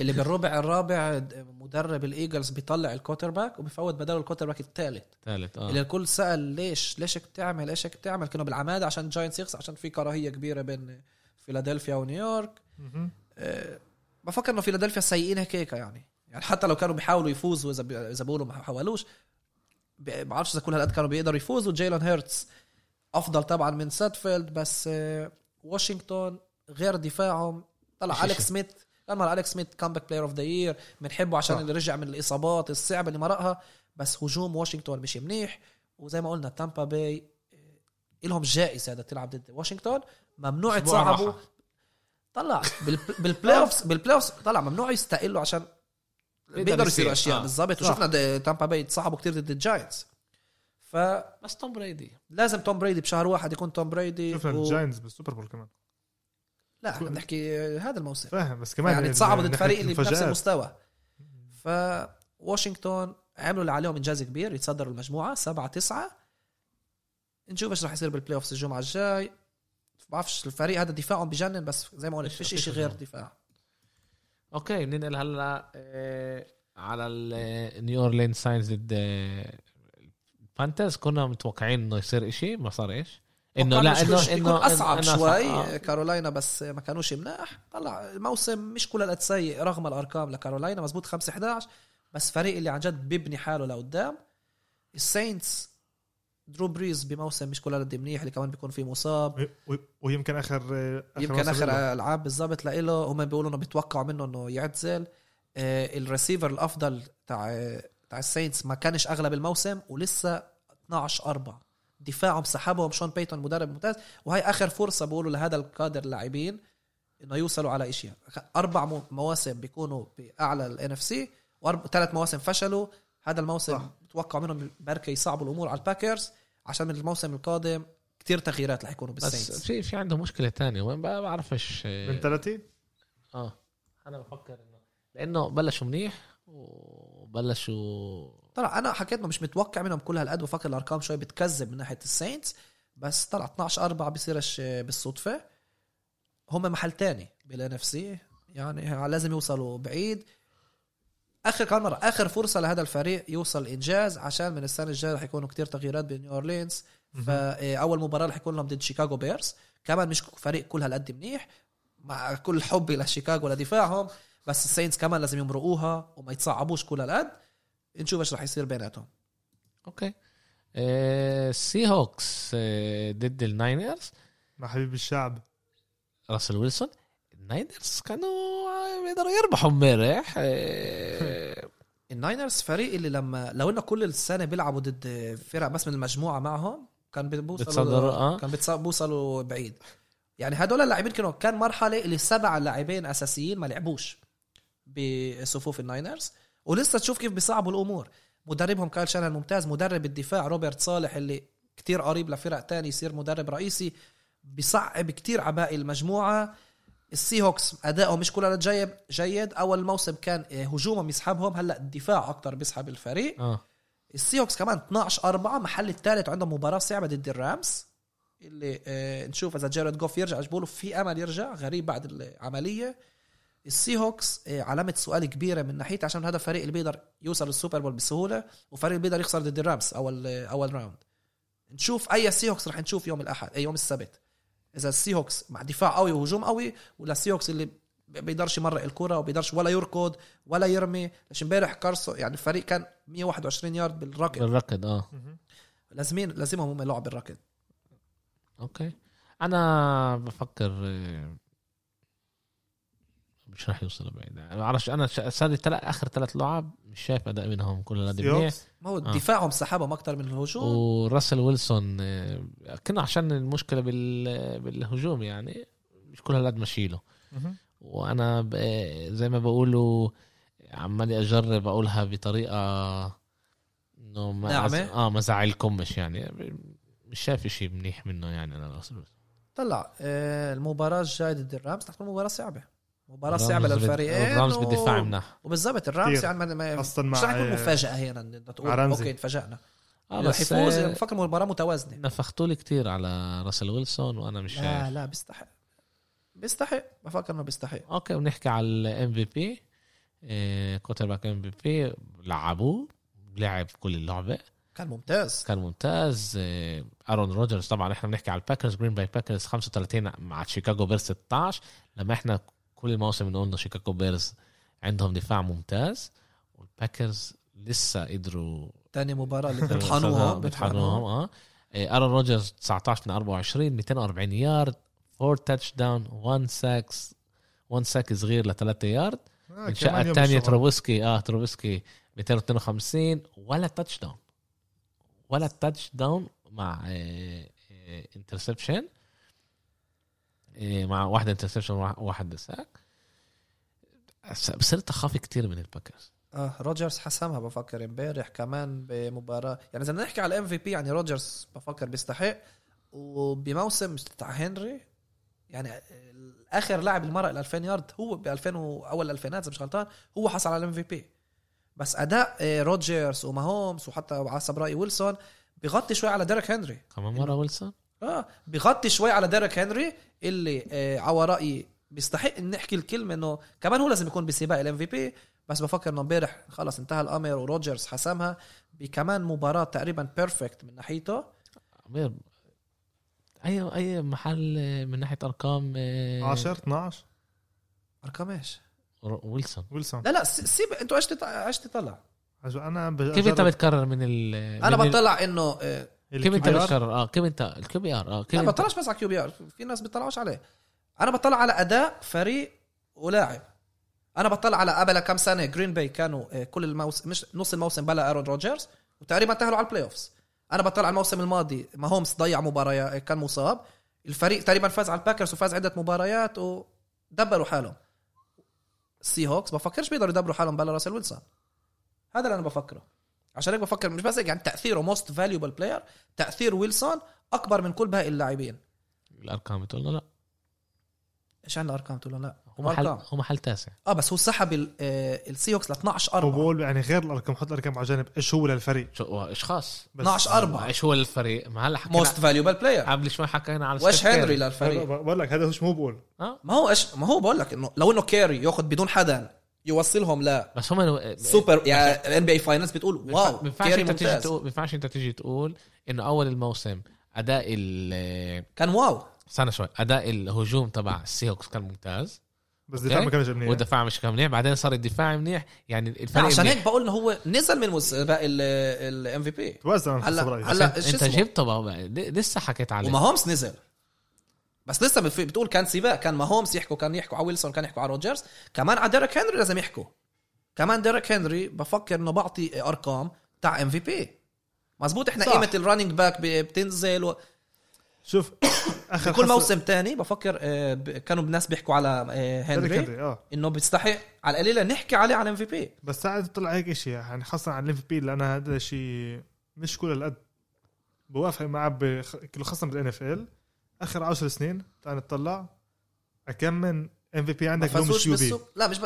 Speaker 2: اللي بالربع الرابع مدرب الايجلز بيطلع الكوتر باك وبيفوت بداله الكوتر باك الثالث
Speaker 1: ثالث
Speaker 2: اللي
Speaker 1: اه
Speaker 2: الكل سال ليش ليش هيك بتعمل ايش هيك بتعمل كانوا بالعماده عشان جاينتس يخسر عشان في كراهيه كبيره بين فيلادلفيا ونيويورك
Speaker 3: مهم.
Speaker 2: أه بفكر انه فيلادلفيا سيئين هيك هيك يعني يعني حتى لو كانوا بيحاولوا يفوزوا اذا بي- اذا بيقولوا ما حاولوش ب- بعرفش اذا كل هالقد كانوا بيقدروا يفوزوا جايلون هيرتس افضل طبعا من ساتفيلد بس أه واشنطن غير دفاعهم طلع
Speaker 1: مش
Speaker 2: اليكس
Speaker 1: شيء.
Speaker 2: سميث كان مع اليكس سميث كامباك بلاير اوف ذا يير بنحبه عشان
Speaker 3: صح.
Speaker 2: اللي رجع من الاصابات الصعبه اللي مرقها بس هجوم واشنطن مش منيح وزي ما قلنا تامبا باي إلهم جائزه اذا تلعب ضد واشنطن ممنوع
Speaker 1: أسبوع
Speaker 2: تصعبوا
Speaker 1: راحة. آه.
Speaker 2: طلع بالب- بالبلاي اوف بالبلاي اوف طلع ممنوع يستقلوا عشان بيقدروا
Speaker 1: يصير.
Speaker 2: يصيروا اشياء
Speaker 1: إيه آه.
Speaker 2: بالظبط
Speaker 3: صح.
Speaker 2: وشفنا د- تامبا باي تصعبوا كتير ضد الجاينتس ف فلازم
Speaker 1: بس توم بريدي
Speaker 2: توم بريدي بشهر واحد يكون توم بريدي
Speaker 3: شفنا الجاينز بالسوبر بول كمان
Speaker 2: لا احنا بنحكي هذا الموسم
Speaker 3: فاهم بس كمان
Speaker 2: يعني تصعب ضد
Speaker 3: ناحية
Speaker 2: فريق اللي بنفس
Speaker 3: المفاجآت.
Speaker 2: المستوى فواشنطن عملوا اللي عليهم انجاز كبير يتصدروا المجموعه 7 9 نشوف ايش رح يصير بالبلاي اوفز الجمعه الجاي بعرفش الفريق هذا دفاعهم بجنن بس زي ما قلت
Speaker 1: فيش-
Speaker 2: فيش
Speaker 1: فيش
Speaker 2: شيء غير
Speaker 1: هجوم.
Speaker 2: دفاع
Speaker 1: اوكي بننقل هلا آه، على نيو اورلين ساينز ضد آه، البانترز كنا متوقعين انه يصير إشي ما صار ايش انه
Speaker 2: وكان
Speaker 1: لا
Speaker 2: مش- مش-
Speaker 1: انه
Speaker 2: يكون
Speaker 1: انه
Speaker 2: اصعب
Speaker 1: إنه- إنه
Speaker 2: شوي
Speaker 1: آه.
Speaker 2: كارولاينا بس ما كانوش مناح طلع الموسم مش كل القد سيء رغم الارقام لكارولاينا مزبوط 5 11 بس فريق اللي عن جد بيبني حاله لقدام الساينتس درو بريز بموسم مش كل القد منيح اللي كمان بيكون فيه مصاب
Speaker 3: و- و- ويمكن اخر اخر
Speaker 2: يمكن
Speaker 3: موسم له.
Speaker 2: اخر العاب بالضبط لإله هم بيقولوا انه بيتوقعوا منه انه يعتزل آه، الريسيفر الافضل تاع تاع الساينتس ما كانش اغلب الموسم ولسه 12 4 دفاعهم سحبهم شون بيتون مدرب ممتاز وهي اخر فرصه بيقولوا لهذا الكادر لاعبين انه يوصلوا على اشياء اربع مو- مواسم بيكونوا باعلى الان اف سي وثلاث مواسم فشلوا هذا الموسم
Speaker 3: صح.
Speaker 2: بتوقع منهم بركه يصعبوا الامور على الباكرز عشان من الموسم القادم كتير تغييرات رح يكونوا
Speaker 1: بس
Speaker 2: بالساينتس
Speaker 1: في في عنده مشكله تانية وين بقى بعرفش آه،
Speaker 3: من 30
Speaker 1: اه انا بفكر انه لانه بلشوا منيح وبلشوا
Speaker 2: طلع انا حكيت ما مش متوقع منهم كل هالقد وفاكر الارقام شوي بتكذب من ناحيه الساينتس بس طلع 12 4 بصيرش بالصدفه هم محل تاني بالان اف سي يعني لازم يوصلوا بعيد اخر كمان مره اخر فرصه لهذا الفريق يوصل انجاز عشان من السنه الجايه رح يكونوا كتير تغييرات بنيو اورلينز فاول مباراه رح يكون لهم ضد شيكاغو بيرز كمان مش فريق كل هالقد منيح مع كل حبي لشيكاغو لدفاعهم بس الساينتس كمان لازم يمرقوها وما يتصعبوش كل هالقد نشوف ايش رح يصير بيناتهم
Speaker 1: اوكي آه، السي هوكس آه، ضد الناينرز
Speaker 3: مع حبيب الشعب
Speaker 1: راسل ويلسون الناينرز كانوا آه، بيقدروا يربحوا امبارح آه،
Speaker 2: الناينرز فريق اللي لما لو انه كل السنه بيلعبوا ضد فرق بس من المجموعه معهم كان بيوصلوا
Speaker 1: بتصدروا، آه.
Speaker 2: كان بتص- بيوصلوا بعيد يعني هدول اللاعبين كانوا كان مرحله اللي سبع لاعبين اساسيين ما لعبوش بصفوف الناينرز ولسه تشوف كيف بيصعبوا الامور مدربهم كايل شانهان ممتاز مدرب الدفاع روبرت صالح اللي كتير قريب لفرق تاني يصير مدرب رئيسي بيصعب كتير عباقي المجموعة السي هوكس أدائهم مش كلها جيد جيد أول موسم كان آه، هجومهم يسحبهم هلا الدفاع أكتر بيسحب الفريق
Speaker 1: اه
Speaker 2: السي هوكس كمان 12 4 محل الثالث وعندهم مباراة صعبة ضد الرامز اللي آه نشوف إذا جيرد جوف يرجع إيش بقولوا في أمل يرجع غريب بعد العملية السي هوكس آه، علامة سؤال كبيرة من ناحيته عشان هذا فريق اللي بيقدر يوصل للسوبر بول بسهولة وفريق اللي بيقدر يخسر ضد الرامز أول آه، أول راوند نشوف أي سي هوكس رح نشوف يوم الأحد أي يوم السبت إذا السي هوكس مع دفاع قوي وهجوم قوي ولا السي هوكس اللي بيقدرش يمرق الكرة وبيقدرش ولا يركض ولا يرمي ليش امبارح كارسو يعني الفريق كان 121 يارد بالركض
Speaker 1: بالركض اه
Speaker 2: لازمين لازمهم هم يلعبوا بالركض
Speaker 1: اوكي انا بفكر آه، مش راح يوصل بعيد انا بعرفش انا ش- صار لي تلات- اخر ثلاث لعب مش شايف اداء منهم كل هذا منيح
Speaker 3: سيوكس.
Speaker 2: ما هو
Speaker 1: آه.
Speaker 2: دفاعهم سحبهم اكثر من الهجوم
Speaker 1: وراسل ويلسون آه، كنا عشان المشكله بال... بالهجوم يعني مش كل هالقد مشيله
Speaker 3: مهم.
Speaker 1: وانا ب... زي ما بقولوا عمالي اجرب اقولها بطريقه انه ما
Speaker 2: ناعمة؟
Speaker 1: اه ما زعلكمش يعني مش شايف شيء منيح منه يعني انا راسل ويلسون
Speaker 2: طلع آه، المباراة الجاية ضد الرامز رح تكون مباراة صعبة مباراة
Speaker 1: الرامز
Speaker 2: صعبة
Speaker 1: بد-
Speaker 2: للفريقين
Speaker 1: الرامز
Speaker 2: و-
Speaker 1: بالدفاع منح
Speaker 2: وبالضبط الرامز
Speaker 3: كتير.
Speaker 2: يعني ما- ما-
Speaker 3: خاصة
Speaker 2: مش
Speaker 3: مع
Speaker 2: رح يكون
Speaker 3: آه،
Speaker 2: مفاجأة هي إن بدك تقول
Speaker 3: مع رمزي.
Speaker 2: اوكي تفاجأنا
Speaker 1: اه
Speaker 2: رح
Speaker 1: بس
Speaker 2: يفوز
Speaker 1: آه،
Speaker 2: بفكر مباراة متوازنة
Speaker 1: نفختوا لي كتير على راسل ويلسون وانا مش
Speaker 2: لا
Speaker 1: شايف
Speaker 2: لا بيستحق بيستحق بفكر انه بيستحق
Speaker 1: اوكي بنحكي على الام في بي كوتر باك ام في بي لعبوه لعب كل اللعبه
Speaker 2: كان ممتاز
Speaker 1: كان ممتاز آه، ارون روجرز طبعا احنا بنحكي على الباكرز جرين باي باكرز 35 مع شيكاغو بيرز 16 لما احنا كل الموسم بنقول انه شيكاغو بيرز عندهم دفاع ممتاز والباكرز لسه قدروا
Speaker 2: تاني مباراة اللي بيطحنوهم
Speaker 1: بيطحنوهم اه آه، ارون روجرز 19 من 24 240 يارد 4 تاتش داون 1 ساكس 1 ساك صغير ل 3 يارد
Speaker 3: آه،
Speaker 1: الشقه
Speaker 3: كمان يوم
Speaker 1: الثانيه
Speaker 3: الشغل.
Speaker 1: تروبسكي اه تروبسكي 252 ولا تاتش داون ولا تاتش داون مع آه، انترسبشن آه، مع واحد انترسبشن وواحد ساك صرت اخاف كتير من الباكرز
Speaker 2: اه روجرز حسمها بفكر امبارح كمان بمباراه يعني اذا بدنا نحكي على الام في بي يعني روجرز بفكر بيستحق وبموسم تاع هنري يعني اخر لاعب المرة ال 2000 يارد هو ب 2000 واول الالفينات اذا مش غلطان هو حصل على الام في بي بس اداء آه، روجرز وماهومز وحتى حسب رايي ويلسون بغطي شوي على ديريك هنري
Speaker 1: كمان
Speaker 3: إيه؟
Speaker 1: مره ويلسون
Speaker 2: اه بغطي شوي على ديريك هنري اللي آه على رايي بيستحق إن نحكي الكلمه انه كمان هو لازم يكون بسباق الام في بي بس بفكر انه امبارح خلص انتهى الامر وروجرز حسمها بكمان مباراه تقريبا بيرفكت من ناحيته
Speaker 1: عمير، اي اي محل آه، من ناحيه ارقام آه،
Speaker 3: 10 12
Speaker 2: ارقام ايش؟
Speaker 1: ر- ويلسون
Speaker 3: ويلسون
Speaker 2: لا لا س- سيب انتوا ايش تط- ايش تطلع؟
Speaker 3: عشان انا
Speaker 1: كيف انت بتكرر من ال
Speaker 2: انا
Speaker 1: من ال-
Speaker 2: بطلع انه آه،
Speaker 1: كيف انت بتكرر اه كيف انت الكيو بي ار اه كيف
Speaker 2: لا
Speaker 1: انت-
Speaker 2: بطلعش بس على كيو بي ار في ناس بيطلعوش عليه انا بطلع على اداء فريق ولاعب انا بطلع على قبل كم سنه جرين باي كانوا آه، كل الموسم مش نص الموسم بلا ارون روجرز وتقريبا تاهلوا على البلاي اوفز انا بطلع على الموسم الماضي ما هومس ضيع مباراه كان مصاب الفريق تقريبا فاز على الباكرز وفاز عده مباريات ودبروا حالهم السي هوكس بفكرش بيقدروا يدبروا حالهم بلا راسل ويلسون هذا اللي انا بفكره عشان هيك بفكر مش بس هيك يعني تاثيره موست فاليوبل بلاير تاثير ويلسون اكبر من كل باقي اللاعبين
Speaker 1: الارقام بتقول له لا
Speaker 2: ايش عن الارقام تقول لا
Speaker 1: هو
Speaker 2: هم
Speaker 1: محل
Speaker 2: ارقام
Speaker 1: هو محل تاسع
Speaker 2: اه بس هو سحب ال- آه، السي هوكس ل 12 4
Speaker 3: بقول يعني غير الارقام حط الارقام على جنب ايش هو للفريق
Speaker 1: شو هو اشخاص
Speaker 3: بس
Speaker 2: 12 4
Speaker 1: ايش هو الفريق ما هلا حكينا
Speaker 2: موست فاليوبل بلاير
Speaker 1: قبل شوي حكينا على
Speaker 2: وايش
Speaker 1: ستيف كيري.
Speaker 2: هنري للفريق
Speaker 3: بقول لك هذا مش مو بقول
Speaker 1: اه
Speaker 2: ما هو ايش ما هو بقول لك انه لو انه كاري ياخذ بدون حدا يوصلهم ل
Speaker 1: بس هم إيه، الو-
Speaker 2: سوبر يعني ان بي اي فاينلز بتقول
Speaker 1: بينفع-
Speaker 2: واو
Speaker 1: بينفعش
Speaker 2: كاري
Speaker 1: انت تيجي
Speaker 2: ممتاز
Speaker 1: تقول بينفعش انت تيجي تقول انه اول الموسم اداء ال
Speaker 2: كان واو
Speaker 1: استنى شوي اداء الهجوم تبع السي هوكس كان ممتاز
Speaker 3: بس
Speaker 1: أوكي.
Speaker 3: دفاع ما كانش منيح
Speaker 1: والدفاع مش كان منيح بعدين صار الدفاع منيح يعني الفريق
Speaker 2: عشان
Speaker 1: منيح.
Speaker 2: هيك بقول انه هو نزل من مس- باقي الام في بي
Speaker 3: توازن على
Speaker 2: هلا-
Speaker 3: حسب رايي
Speaker 2: هلا-
Speaker 1: انت-
Speaker 2: شو
Speaker 1: انت
Speaker 2: اسمه؟
Speaker 1: جبته بقى- بقى- ل- لسه حكيت عليه
Speaker 2: وما هومس نزل بس لسه بتف- بتقول كان سباق كان ما هومس يحكوا كان يحكوا على ويلسون كان يحكوا على روجرز كمان على ديريك هنري لازم يحكوا كمان ديريك هنري بفكر انه بعطي ارقام تاع ام في بي مزبوط احنا
Speaker 3: صح.
Speaker 2: قيمه الرننج باك ب- بتنزل و...
Speaker 3: شوف اخر
Speaker 2: كل
Speaker 3: حصة-
Speaker 2: موسم تاني بفكر آه، ب- كانوا الناس بيحكوا على آه،
Speaker 3: إيريك
Speaker 2: هنري
Speaker 3: هنري، اه
Speaker 2: انه بيستحق على القليله نحكي عليه على ام في بي
Speaker 3: بس ساعات طلع هيك شيء يعني خاصة على الام بي لأن هذا شيء مش كل القد بوافق معاه بخ... خاصة بالان اف ال آخر 10 سنين تعال نطلع كم من ام في بي
Speaker 2: ما
Speaker 3: عندك لو مش
Speaker 2: فازوش
Speaker 3: يو بي
Speaker 2: بالسوبر لا مش ب...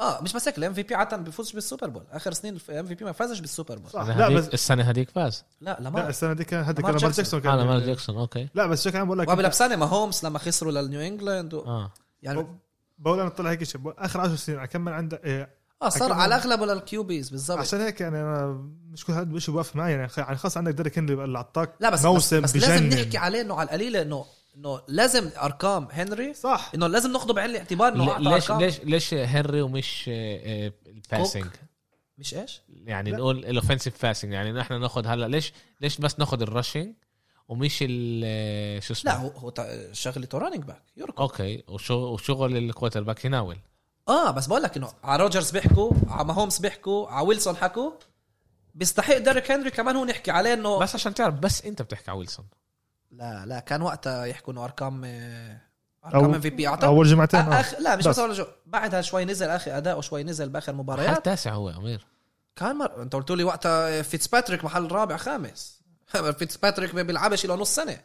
Speaker 2: اه مش بس هيك الام في بي عاده بيفوزش بالسوبر بول اخر سنين الام في بي ما فازش بالسوبر بول
Speaker 3: صح
Speaker 1: لا
Speaker 3: لا
Speaker 1: بس
Speaker 3: بس
Speaker 1: السنه هذيك فاز
Speaker 2: لا
Speaker 3: لا
Speaker 2: لما
Speaker 3: السنة دي كان هذا
Speaker 2: لامار
Speaker 3: كان لامار
Speaker 2: جاكسون.
Speaker 3: جاكسون
Speaker 1: على مال
Speaker 3: كان
Speaker 1: جاكسون اوكي
Speaker 3: لا بس شو كان بقول لك
Speaker 2: وقبل بسنه ما هومس لما خسروا للنيو انجلاند
Speaker 3: آه.
Speaker 2: و...
Speaker 1: اه
Speaker 2: يعني
Speaker 3: بقول انا طلع هيك شيء بقول اخر 10 سنين على كم من عندك إيه
Speaker 2: اه صار
Speaker 3: أكيد.
Speaker 2: على الاغلب للكيوبيز بالضبط
Speaker 3: عشان هيك يعني انا مش كل هذا الشيء بوافق معي يعني خ- يعني خاص عندك ديريك هنري اللي عطاك
Speaker 2: لا بس
Speaker 3: موسم
Speaker 2: بس, بس لازم
Speaker 3: بجنن.
Speaker 2: نحكي عليه انه على القليله انه انه لازم ارقام هنري
Speaker 3: صح
Speaker 2: انه لازم ناخده بعين الاعتبار انه
Speaker 1: ل-
Speaker 2: اعطى
Speaker 1: ليش
Speaker 2: ارقام
Speaker 1: ليش ليش هنري ومش آه، آه، الباسنج
Speaker 2: مش ايش؟
Speaker 1: يعني
Speaker 3: لا.
Speaker 1: نقول الاوفنسيف باسنج يعني نحن ناخذ هلا ليش ليش بس ناخذ الرشنج ومش ال آه، شو اسمه
Speaker 2: لا هو هو تع- شغلته رانينج باك يركض
Speaker 1: اوكي وشغل وشغل الكوتر باك يناول
Speaker 2: اه بس بقول لك انه على روجرز بيحكوا على هومس بيحكوا على ويلسون حكوا بيستحق ديريك هنري كمان هو نحكي عليه انه
Speaker 1: بس عشان تعرف بس انت بتحكي على ويلسون
Speaker 2: لا لا كان وقتها يحكوا انه ارقام آه،
Speaker 3: أو-
Speaker 2: ارقام ام في بي اعطى
Speaker 3: اول جمعتين آه.
Speaker 2: أخ... لا مش
Speaker 3: بس.
Speaker 2: بس أول جو- بعدها شوي نزل اخي اداؤه شوي نزل باخر مباريات
Speaker 1: محل تاسع هو يا امير
Speaker 2: كان مر... انت قلت لي وقتها فيتسباتريك محل رابع خامس فيتسباتريك ما بيلعبش له نص سنه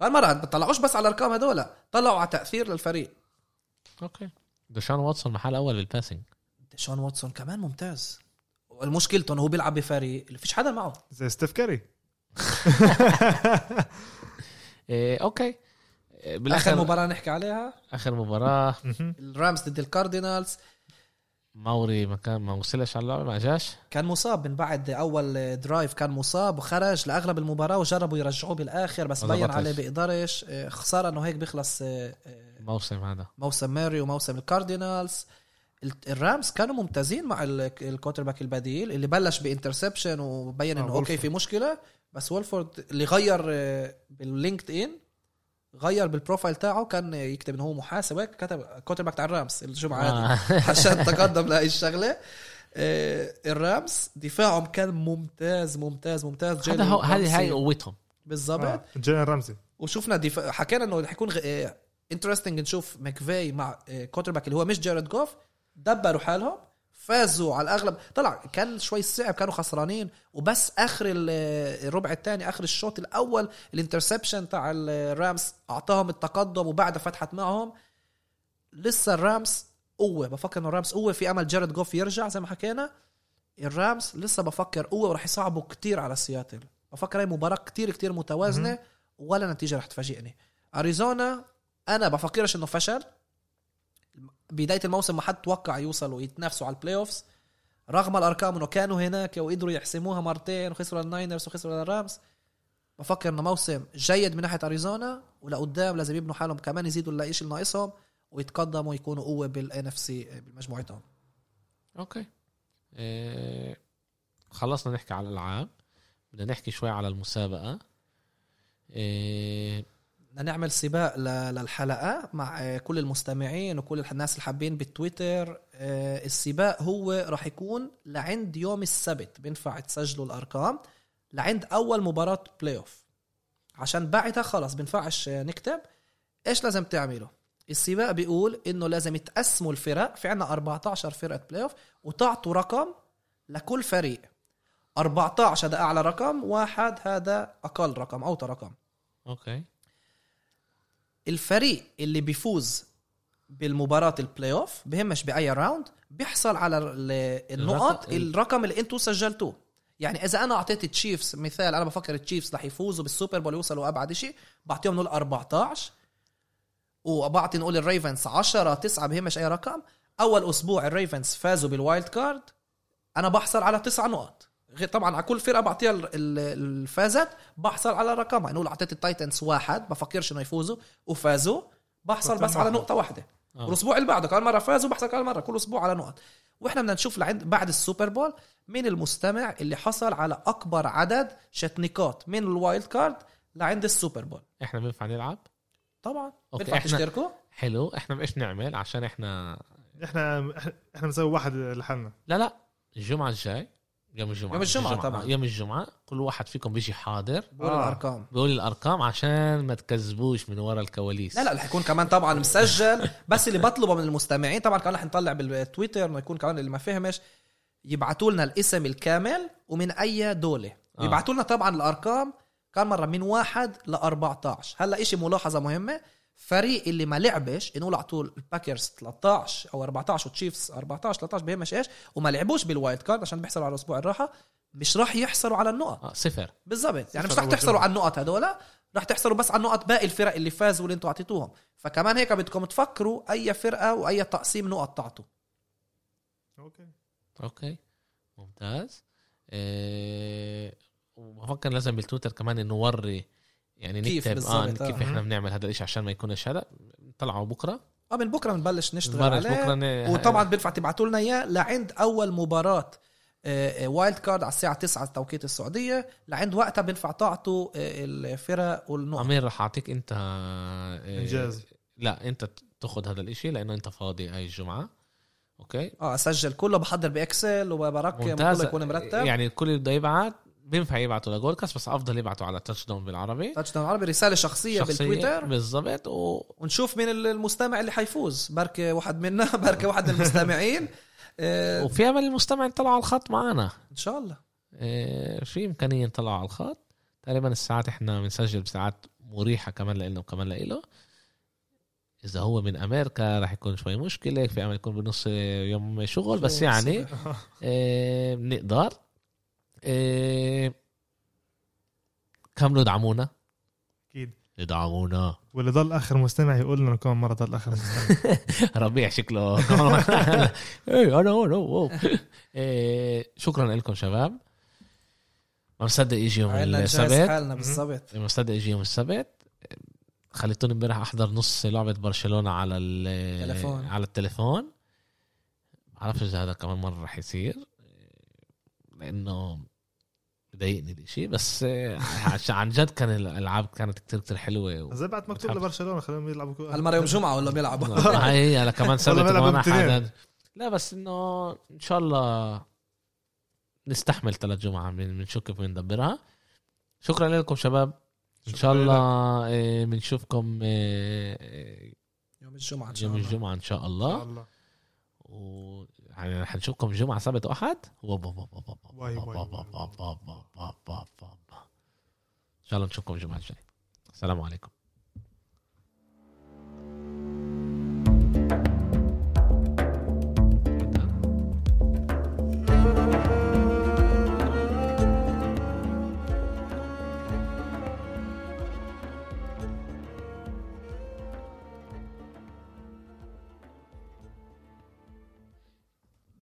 Speaker 2: كان مرة ما طلعوش بس على الارقام هدول طلعوا على تاثير للفريق
Speaker 1: اوكي دشان واتسون محل اول بالباسنج
Speaker 2: شون واتسون كمان ممتاز المشكلته انه هو بيلعب بفريق اللي فيش حدا معه
Speaker 3: زي ستيف كاري
Speaker 1: إيه اوكي إيه بالاخر
Speaker 2: بالاخر
Speaker 1: اخر مباراه
Speaker 2: مباراه نحكي عليها
Speaker 1: اخر مباراه
Speaker 2: الرامز ضد الكاردينالز
Speaker 1: ماوري ما كان ما وصلش على اللعبه ما جاش
Speaker 2: كان مصاب من بعد اول درايف كان مصاب وخرج لاغلب المباراه وجربوا يرجعوه بالاخر بس
Speaker 1: ما
Speaker 2: بين
Speaker 1: زبطش.
Speaker 2: عليه بيقدرش آه، خساره انه هيك بيخلص آه، آه،
Speaker 1: الموسم هذا
Speaker 2: موسم ماري وموسم الكاردينالز ال- الرامز كانوا ممتازين مع ال- الكوتر باك البديل اللي بلش بانترسبشن وبين
Speaker 3: آه،
Speaker 2: انه اوكي
Speaker 3: وولفورد.
Speaker 2: في مشكله بس وولفورد اللي غير آه، باللينكد ان غير بالبروفايل تاعه كان يكتب انه هو محاسب هيك كتب كوتر باك تاع الرامز الجمعه هذه
Speaker 1: آه.
Speaker 2: عشان تقدم لهي الشغله آه، الرامز دفاعهم كان ممتاز ممتاز ممتاز
Speaker 1: هذا
Speaker 2: جيلن
Speaker 1: هو هذه هاي آه.
Speaker 2: رامسي
Speaker 1: قوتهم
Speaker 2: بالضبط
Speaker 3: جيلان آه، رمزي
Speaker 2: وشفنا دفاع حكينا انه رح يكون آه، انترستنج نشوف ماكفاي مع كوتر باك اللي هو مش جارد جوف دبروا حالهم فازوا على الاغلب طلع كان شوي صعب كانوا خسرانين وبس اخر ال- آه، الربع الثاني اخر الشوط الاول الانترسبشن تاع الرامز اعطاهم التقدم وبعدها فتحت معهم لسه الرامز قوه بفكر انه الرامز قوه في امل جارد جوف يرجع زي ما حكينا الرامز لسه بفكر قوه وراح يصعبوا كتير على سياتل بفكر هي مباراه كتير كتير متوازنه ولا نتيجه رح تفاجئني اريزونا انا بفكرش انه فشل بدايه الموسم ما حد توقع يوصلوا يتنافسوا على البلاي اوفز رغم الارقام انه كانوا هناك وقدروا يحسموها مرتين وخسروا الناينرز وخسروا الرامز بفكر انه موسم جيد من ناحيه اريزونا ولقدام لازم يبنوا حالهم كمان يزيدوا الشيء اللي ناقصهم ويتقدموا ويكونوا قوه بالان اف سي بمجموعتهم
Speaker 1: اوكي إيه خلصنا نحكي على الالعاب بدنا نحكي شوي على المسابقه إيه
Speaker 2: بدنا نعمل سباق ل- للحلقه مع آه، كل المستمعين وكل الح- الناس اللي حابين بالتويتر آه، السباق هو راح يكون لعند يوم السبت بينفع تسجلوا الارقام لعند اول مباراه بلاي اوف عشان بعدها خلص بينفعش آه، نكتب ايش لازم تعملوا السباق بيقول انه لازم تقسموا الفرق في عنا 14 فرقه بلاي اوف وتعطوا رقم لكل فريق 14 هذا اعلى رقم واحد هذا اقل رقم اوطى رقم
Speaker 1: اوكي
Speaker 2: الفريق اللي بيفوز بالمباراة البلاي اوف بهمش بأي راوند بيحصل على ال- النقط
Speaker 1: الرقم-
Speaker 2: الرقم اللي انتوا سجلتوه يعني اذا انا اعطيت التشيفز مثال انا بفكر التشيفز رح يفوزوا بالسوبر بول يوصلوا ابعد شيء بعطيهم نقول 14 وبعطي نقول الريفنز 10 9 بهمش اي رقم اول اسبوع الريفنز فازوا بالوايلد كارد انا بحصل على تسع نقط غير طبعا على كل فرقه بعطيها ال- ال- الفازت بحصل على رقمها يعني نقول اعطيت التايتنز واحد بفكرش انه يفوزوا وفازوا بحصل بس على نقطه واحده
Speaker 1: آه.
Speaker 2: والاسبوع اللي بعده كمان مره فازوا بحصل كمان مره كل اسبوع على نقط واحنا بدنا نشوف لعند بعد السوبر بول مين المستمع اللي حصل على اكبر عدد شتنيكات من الوايلد كارد لعند السوبر بول
Speaker 1: احنا بنفع نلعب
Speaker 2: طبعا
Speaker 1: أوكي،
Speaker 2: بينفع
Speaker 1: إحنا-
Speaker 2: تشتركوا
Speaker 1: حلو احنا ايش نعمل عشان احنا
Speaker 3: احنا احنا بنسوي واحد لحالنا
Speaker 1: لا لا الجمعه الجاي يوم الجمعه
Speaker 2: يوم الجمعة طبعاً.
Speaker 1: آه، يوم الجمعه كل واحد فيكم بيجي حاضر
Speaker 2: بقول
Speaker 3: آه.
Speaker 2: الارقام
Speaker 1: بيقول الارقام عشان ما تكذبوش من ورا الكواليس
Speaker 2: لا لا رح يكون كمان طبعا مسجل بس اللي بطلبه من المستمعين طبعا كمان رح نطلع بالتويتر انه يكون كمان اللي ما فهمش يبعتوا لنا الاسم الكامل ومن اي دوله
Speaker 1: آه.
Speaker 2: يبعتوا لنا طبعا الارقام كان مره من واحد ل 14 هلا إشي ملاحظه مهمه فريق اللي ما لعبش نقول على طول الباكرز 13 او 14 وتشيفز 14 13 بهمش ايش وما لعبوش بالوايلد كارد عشان بيحصلوا على اسبوع الراحه مش راح يحصلوا على النقط
Speaker 1: آه صفر
Speaker 2: بالضبط يعني مش
Speaker 3: صفر
Speaker 2: رح
Speaker 3: أول
Speaker 2: تحصلوا
Speaker 3: جولة.
Speaker 2: على النقط هدول رح تحصلوا بس على النقط باقي الفرق اللي فازوا واللي انتوا اعطيتوهم فكمان هيك بدكم تفكروا اي فرقه واي تقسيم نقط تعطوا
Speaker 3: اوكي
Speaker 1: اوكي ممتاز إيه وبفكر لازم بالتويتر كمان نوري يعني
Speaker 2: كيف
Speaker 1: نكتب آه
Speaker 2: بالظبط، آه.
Speaker 1: كيف احنا بنعمل هذا الشيء عشان ما يكونش هذا طلعوا بكره
Speaker 2: اه من بكره بنبلش نشتغل
Speaker 1: نبرش
Speaker 2: عليه
Speaker 1: بكره ن-
Speaker 2: وطبعا بينفع تبعتوا لنا اياه لعند اول مباراه آه، آه، وايلد كارد على الساعه 9 توقيت السعوديه لعند وقتها بينفع تعطوا آه، الفرق والنقط
Speaker 1: امير راح اعطيك انت آه،
Speaker 3: انجاز
Speaker 1: لا انت تاخذ هذا الاشي لانه انت فاضي هاي الجمعه اوكي
Speaker 2: اه اسجل كله بحضر باكسل وبرقم كله
Speaker 1: ممتاز
Speaker 2: يكون مرتب
Speaker 1: يعني الكل اللي بده يبعت بينفع يبعتوا لجولكاست بس افضل يبعتوا على تاتش داون بالعربي
Speaker 2: تاتش داون عربي رساله شخصيه بالتويتر
Speaker 1: بالضبط و...
Speaker 2: ونشوف مين المستمع اللي حيفوز بركة واحد منا بركة واحد من المستمعين آه،
Speaker 1: وفي امل المستمع يطلعوا على الخط معنا
Speaker 2: ان شاء الله
Speaker 1: إيه، في امكانيه نطلعوا على الخط تقريبا الساعات احنا بنسجل بساعات مريحه كمان لإلنا وكمان لإله اذا هو من امريكا راح يكون شوي مشكله في امل يكون بنص يوم شغل بس يعني إيه، بنقدر إيه، كملوا ادعمونا
Speaker 3: اكيد
Speaker 1: ادعمونا
Speaker 3: واللي ضل اخر مستمع يقول لنا كمان مره ضل اخر مستمع
Speaker 1: ربيع شكله اي انا هون هو هو. إيه، شكرا لكم شباب ما مصدق يجي يوم
Speaker 2: عنا نجهز
Speaker 1: السبت
Speaker 2: حالنا بالضبط
Speaker 1: لما استدعي يجي يوم السبت خليتوني امبارح احضر نص لعبه برشلونه على
Speaker 2: تلفون.
Speaker 1: التليفون على التليفون بعرفش اذا هذا كمان مره رح يصير لانه بضايقني الاشي بس آه، عشان عن جد كان الالعاب كانت كتير كتير حلوه و...
Speaker 3: زي بعد ما تقول لبرشلونه خليهم يلعبوا كو-
Speaker 2: هالمرة يوم جمعة ولا بيلعبوا
Speaker 1: هاي هي انا إيه، كمان سبت
Speaker 3: والله بلعب
Speaker 1: وانا
Speaker 3: امتحان.
Speaker 1: حدد لا بس انه ان شاء الله نستحمل ثلاث جمعه بن- بنشوف كيف بندبرها شكرا لكم شباب ان شاء
Speaker 3: شكراً
Speaker 1: الله إيه، بنشوفكم إيه، إيه،
Speaker 2: يوم الجمعة إن شاء
Speaker 1: يوم
Speaker 2: الله.
Speaker 1: الجمعه ان شاء
Speaker 3: إن شاء
Speaker 1: الله
Speaker 3: الله.
Speaker 1: وحابب يعني رح نشوفكم جمعه سبت واحد وب- وب- وب- وب- وب-
Speaker 3: واي- واي-
Speaker 1: وب-
Speaker 3: واي-
Speaker 1: وب- وب- وب- وب- وب- وب. ان شاء الله نشوفكم الجمعه الجايه السلام عليكم